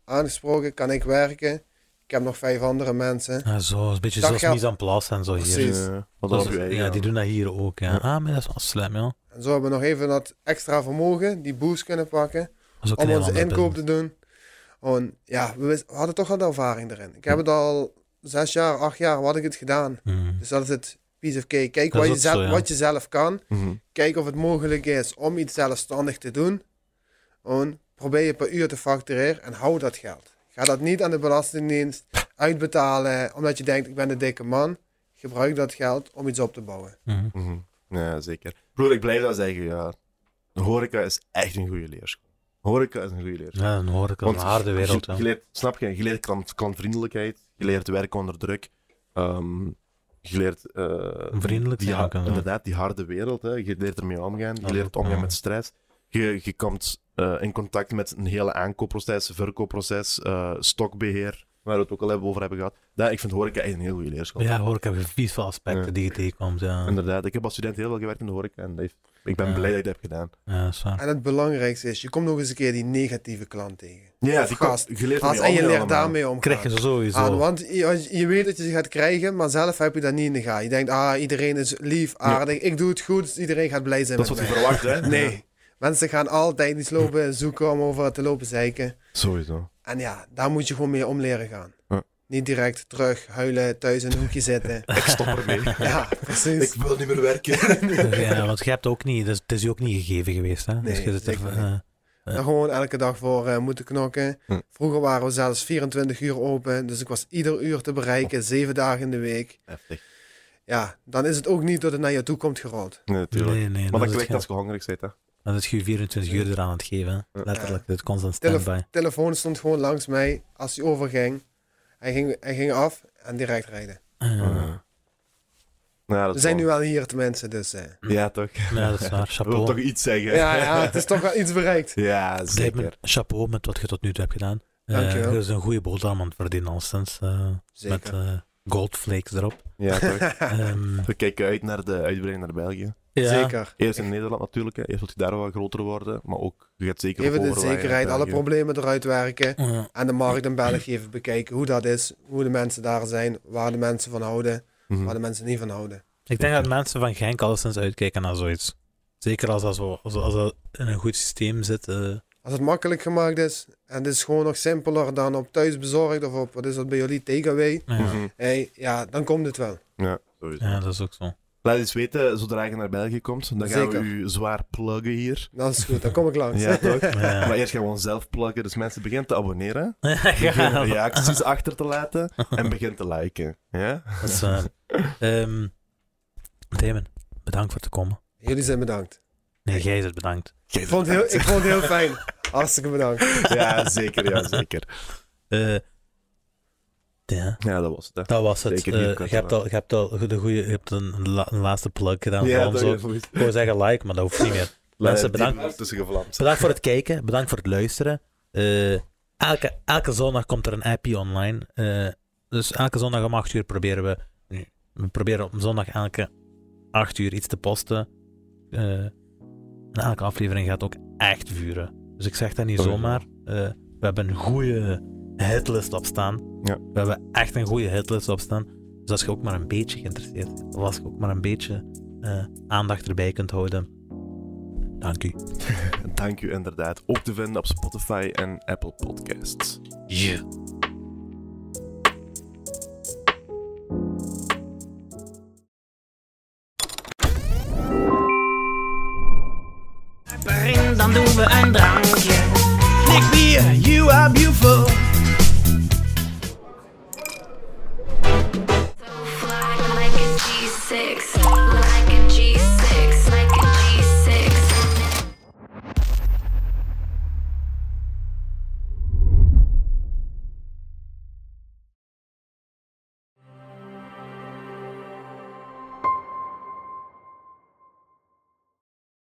[SPEAKER 1] aangesproken, kan ik werken. Ik heb nog vijf andere mensen.
[SPEAKER 2] Ah, zo, een beetje
[SPEAKER 1] Dat
[SPEAKER 2] zoals
[SPEAKER 1] geldt-
[SPEAKER 2] mise en place en zo hier.
[SPEAKER 1] Precies.
[SPEAKER 3] Eh, wat
[SPEAKER 2] Dat
[SPEAKER 3] dan op
[SPEAKER 2] is-
[SPEAKER 3] je eigen
[SPEAKER 2] ja,
[SPEAKER 3] aan.
[SPEAKER 2] die doen dat hier ook. Ja. Ah, maar dat is wel slim, ja.
[SPEAKER 1] En zo hebben we nog even dat extra vermogen, die boost kunnen pakken.
[SPEAKER 2] Dat is ook een
[SPEAKER 1] Om
[SPEAKER 2] heel
[SPEAKER 1] onze
[SPEAKER 2] ander
[SPEAKER 1] inkoop
[SPEAKER 2] business.
[SPEAKER 1] te doen. Gewoon, ja, we, wist- we hadden toch al de ervaring erin. Ik heb het al zes jaar, acht jaar, wat ik het gedaan.
[SPEAKER 2] Hmm.
[SPEAKER 1] Dus dat is het piece of cake. Kijk
[SPEAKER 2] Dat
[SPEAKER 1] wat
[SPEAKER 2] is
[SPEAKER 1] je,
[SPEAKER 2] ook
[SPEAKER 1] zelf,
[SPEAKER 2] zo, ja.
[SPEAKER 1] wat je zelf kan.
[SPEAKER 3] Mhm.
[SPEAKER 1] Kijk of het mogelijk is om iets zelfstandig te doen. En probeer je per uur te factureren en hou dat geld. Ga dat niet aan de Belastingdienst uitbetalen omdat je denkt ik ben een dikke man. Gebruik dat geld om iets op te bouwen.
[SPEAKER 2] Mhm.
[SPEAKER 3] Mhm. Ja, zeker. Broer, ik blijf dat zeggen, ja. De horeca is echt een goede leerschool. Horeca is een goede leerschool.
[SPEAKER 2] Ja, dan hoor ik al een harde wereld.
[SPEAKER 3] je,
[SPEAKER 2] ja.
[SPEAKER 3] je leert, snap je, je leert klant, klantvriendelijkheid, je leert werken onder druk, ehm, je leert... eh,
[SPEAKER 2] Vriendelijk
[SPEAKER 3] die,
[SPEAKER 2] zijn
[SPEAKER 3] ha-
[SPEAKER 2] ook, ja.
[SPEAKER 3] Inderdaad, die harde wereld, hè. je leert ermee omgaan, je
[SPEAKER 2] Dat
[SPEAKER 3] leert
[SPEAKER 2] ook,
[SPEAKER 3] omgaan
[SPEAKER 2] ja.
[SPEAKER 3] met stress, je, je komt eh, in contact met een hele aankoopproces, verkoopproces, eh, stokbeheer, waar we het ook al hebben over hebben gehad. Dat, ik vind horeca echt een heel goede leerschool.
[SPEAKER 2] Ja, hoor, ik heb vies veel aspecten
[SPEAKER 3] Ja.
[SPEAKER 2] die je tegenkomt.
[SPEAKER 1] Ah.
[SPEAKER 2] Ja,
[SPEAKER 3] Inderdaad, ik heb als student heel veel gewerkt in de horeca en dat heeft- ik ben
[SPEAKER 2] Ja.
[SPEAKER 3] blij dat ik dat heb gedaan.
[SPEAKER 2] ja dat is waar.
[SPEAKER 1] En het belangrijkste is, je komt nog eens een keer die negatieve klant tegen.
[SPEAKER 3] Ja,
[SPEAKER 1] Of
[SPEAKER 3] die
[SPEAKER 1] gast.
[SPEAKER 3] kop- je leert
[SPEAKER 1] Als,
[SPEAKER 3] ermee
[SPEAKER 1] en Ah, je
[SPEAKER 3] omgaan
[SPEAKER 1] leert
[SPEAKER 3] allemaal.
[SPEAKER 1] daarmee omgaan.
[SPEAKER 2] Krijg je ze
[SPEAKER 1] Aan,
[SPEAKER 2] sowieso.
[SPEAKER 1] want je, je weet dat je ze gaat krijgen, maar zelf heb je dat niet in de gaten. Je denkt, ah, iedereen is lief, aardig, ik doe het goed, dus iedereen gaat blij zijn
[SPEAKER 3] Dat is
[SPEAKER 1] met
[SPEAKER 3] wat je
[SPEAKER 1] mij.
[SPEAKER 3] verwacht, hè?
[SPEAKER 1] Nee, mensen gaan altijd iets lopen zoeken om over te lopen zeiken.
[SPEAKER 3] Sowieso.
[SPEAKER 1] En ja, daar moet je gewoon mee om leren gaan.
[SPEAKER 3] Ja.
[SPEAKER 1] Niet direct terug huilen, thuis in een hoekje zitten.
[SPEAKER 3] Ik stop ermee.
[SPEAKER 1] ja, precies.
[SPEAKER 3] wil niet meer werken.
[SPEAKER 2] Dus Ja, want je hebt ook niet, dus het is je ook niet gegeven geweest. Hè? dus
[SPEAKER 1] Nee,
[SPEAKER 2] je zit er,
[SPEAKER 1] zeker
[SPEAKER 2] eh,
[SPEAKER 1] Daar gewoon elke dag voor eh, moeten knokken.
[SPEAKER 3] Hm.
[SPEAKER 1] Vroeger waren we zelfs 24 uur open, dus ik was ieder uur te bereiken, zeven dagen in de week.
[SPEAKER 3] Heftig.
[SPEAKER 1] Ja, dan is het ook niet dat het naar je toe komt gerold.
[SPEAKER 3] Nee, natuurlijk.
[SPEAKER 2] nee, nee.
[SPEAKER 3] maar
[SPEAKER 2] is
[SPEAKER 3] dat klinkt
[SPEAKER 2] geen-
[SPEAKER 3] als je hongerig bent, hè?
[SPEAKER 2] Dan is je 24 uur eraan aan het geven. hè. Letterlijk, dit constant
[SPEAKER 1] Telef-
[SPEAKER 2] standby.
[SPEAKER 1] telefoon stond gewoon langs mij als hij overging. Hij ging, hij ging af en direct rijden.
[SPEAKER 2] Eh,
[SPEAKER 3] Ja, dat
[SPEAKER 1] We
[SPEAKER 3] is
[SPEAKER 1] zijn
[SPEAKER 3] wel-
[SPEAKER 1] nu wel hier tenminste, dus... eh.
[SPEAKER 3] Ja, toch?
[SPEAKER 2] ja, dat is waar.
[SPEAKER 3] wil toch
[SPEAKER 2] Chapeau.
[SPEAKER 3] iets zeggen.
[SPEAKER 1] Ja, ja, het is toch wel iets bereikt.
[SPEAKER 3] Ja,
[SPEAKER 2] Blijf me-
[SPEAKER 3] zeker.
[SPEAKER 2] chapeau met wat je tot nu toe hebt gedaan. Eh,
[SPEAKER 1] Dankjewel.
[SPEAKER 2] er is een goede boterham aan het verdienen, alstens. eh, met
[SPEAKER 1] Zeker.
[SPEAKER 2] eh, goldflakes erop.
[SPEAKER 3] Ja, toch?
[SPEAKER 2] Ehm,
[SPEAKER 3] We kijken uit naar de uitbreiding naar België.
[SPEAKER 2] ja,
[SPEAKER 1] Zeker.
[SPEAKER 3] Eerst in Nederland natuurlijk. hè. Eerst wilt hij daar wel groter worden. Maar ook, je gaat zeker
[SPEAKER 1] Even de
[SPEAKER 3] overwaaien naar
[SPEAKER 1] zekerheid, alle
[SPEAKER 3] België.
[SPEAKER 1] problemen eruit werken.
[SPEAKER 2] eh,
[SPEAKER 1] En de markt in België even bekijken hoe dat is. Hoe de mensen daar zijn. Waar de mensen van houden.
[SPEAKER 3] Mhm.
[SPEAKER 1] Waar de mensen niet van houden.
[SPEAKER 2] ik denk dat mensen van Genk alleszins uitkijken naar zoiets. Zeker als dat, zo, als, als dat in een goed systeem zit. eh,
[SPEAKER 1] Als het makkelijk gemaakt is. En het is gewoon nog simpeler dan op thuisbezorgd. Of op, wat is dat bij jullie, takeaway.
[SPEAKER 2] ja.
[SPEAKER 3] Mhm.
[SPEAKER 1] Hey, ja, dan komt het wel.
[SPEAKER 3] Ja, sowieso.
[SPEAKER 2] ja, dat is ook zo.
[SPEAKER 3] Laat eens weten, zodra je naar België komt, dan gaan
[SPEAKER 1] Zeker. Oh,
[SPEAKER 3] we u zwaar pluggen hier.
[SPEAKER 1] Dat is goed, dan kom ik langs.
[SPEAKER 3] Ja, toch?
[SPEAKER 2] Ja.
[SPEAKER 3] Maar eerst gaan we onszelf pluggen. Dus mensen, begin te abonneren.
[SPEAKER 2] ja,
[SPEAKER 3] Begin reacties achter te laten. En begin te liken. Ja?
[SPEAKER 2] dat is waar. Ehm, Damon, bedankt voor te komen.
[SPEAKER 1] Jullie zijn bedankt.
[SPEAKER 2] Nee, jij bent bedankt.
[SPEAKER 1] Ik vond, het heel, ik vond het heel fijn. Hartstikke bedankt.
[SPEAKER 3] Ja, zeker. Ja, zeker.
[SPEAKER 2] Eh, ja,
[SPEAKER 3] Ja, dat was het. hè.
[SPEAKER 2] dat was het.
[SPEAKER 3] Zeker niet
[SPEAKER 2] Eh,
[SPEAKER 3] kort,
[SPEAKER 2] je, hebt
[SPEAKER 3] maar.
[SPEAKER 2] al, je hebt al de goede, je hebt een, een la- een laatste plug gedaan.
[SPEAKER 3] Ja,
[SPEAKER 2] Ja,
[SPEAKER 3] dat
[SPEAKER 2] zo.
[SPEAKER 3] is goed.
[SPEAKER 2] Ik wou zeggen like, maar dat hoeft niet meer. Mensen,
[SPEAKER 3] Die
[SPEAKER 2] bedankt.
[SPEAKER 3] wordt Tussen gevlamd.
[SPEAKER 2] Bedankt voor het kijken, bedankt voor het luisteren. Eh, elke, elke zondag komt er een appie online. Eh, dus elke zondag om 8 uur proberen we. We proberen op zondag elke 8 uur iets te posten. Eh, en elke aflevering gaat ook echt vuren. Dus ik zeg dat niet
[SPEAKER 3] Sowieso.
[SPEAKER 2] zomaar. Eh, we hebben een goede hitlist op staan.
[SPEAKER 3] Ja.
[SPEAKER 2] We hebben echt een goede hitlist op staan. Dus als je ook maar een beetje geïnteresseerd bent, of als je ook maar een beetje eh, aandacht erbij kunt houden. Dank u.
[SPEAKER 3] Dank u inderdaad. Ook te vinden op Spotify en Apple Podcasts.
[SPEAKER 2] Yeah.
[SPEAKER 4] dan doen we een drankje. Nick Beer, you are beautiful.
[SPEAKER 5] So fly like a G6.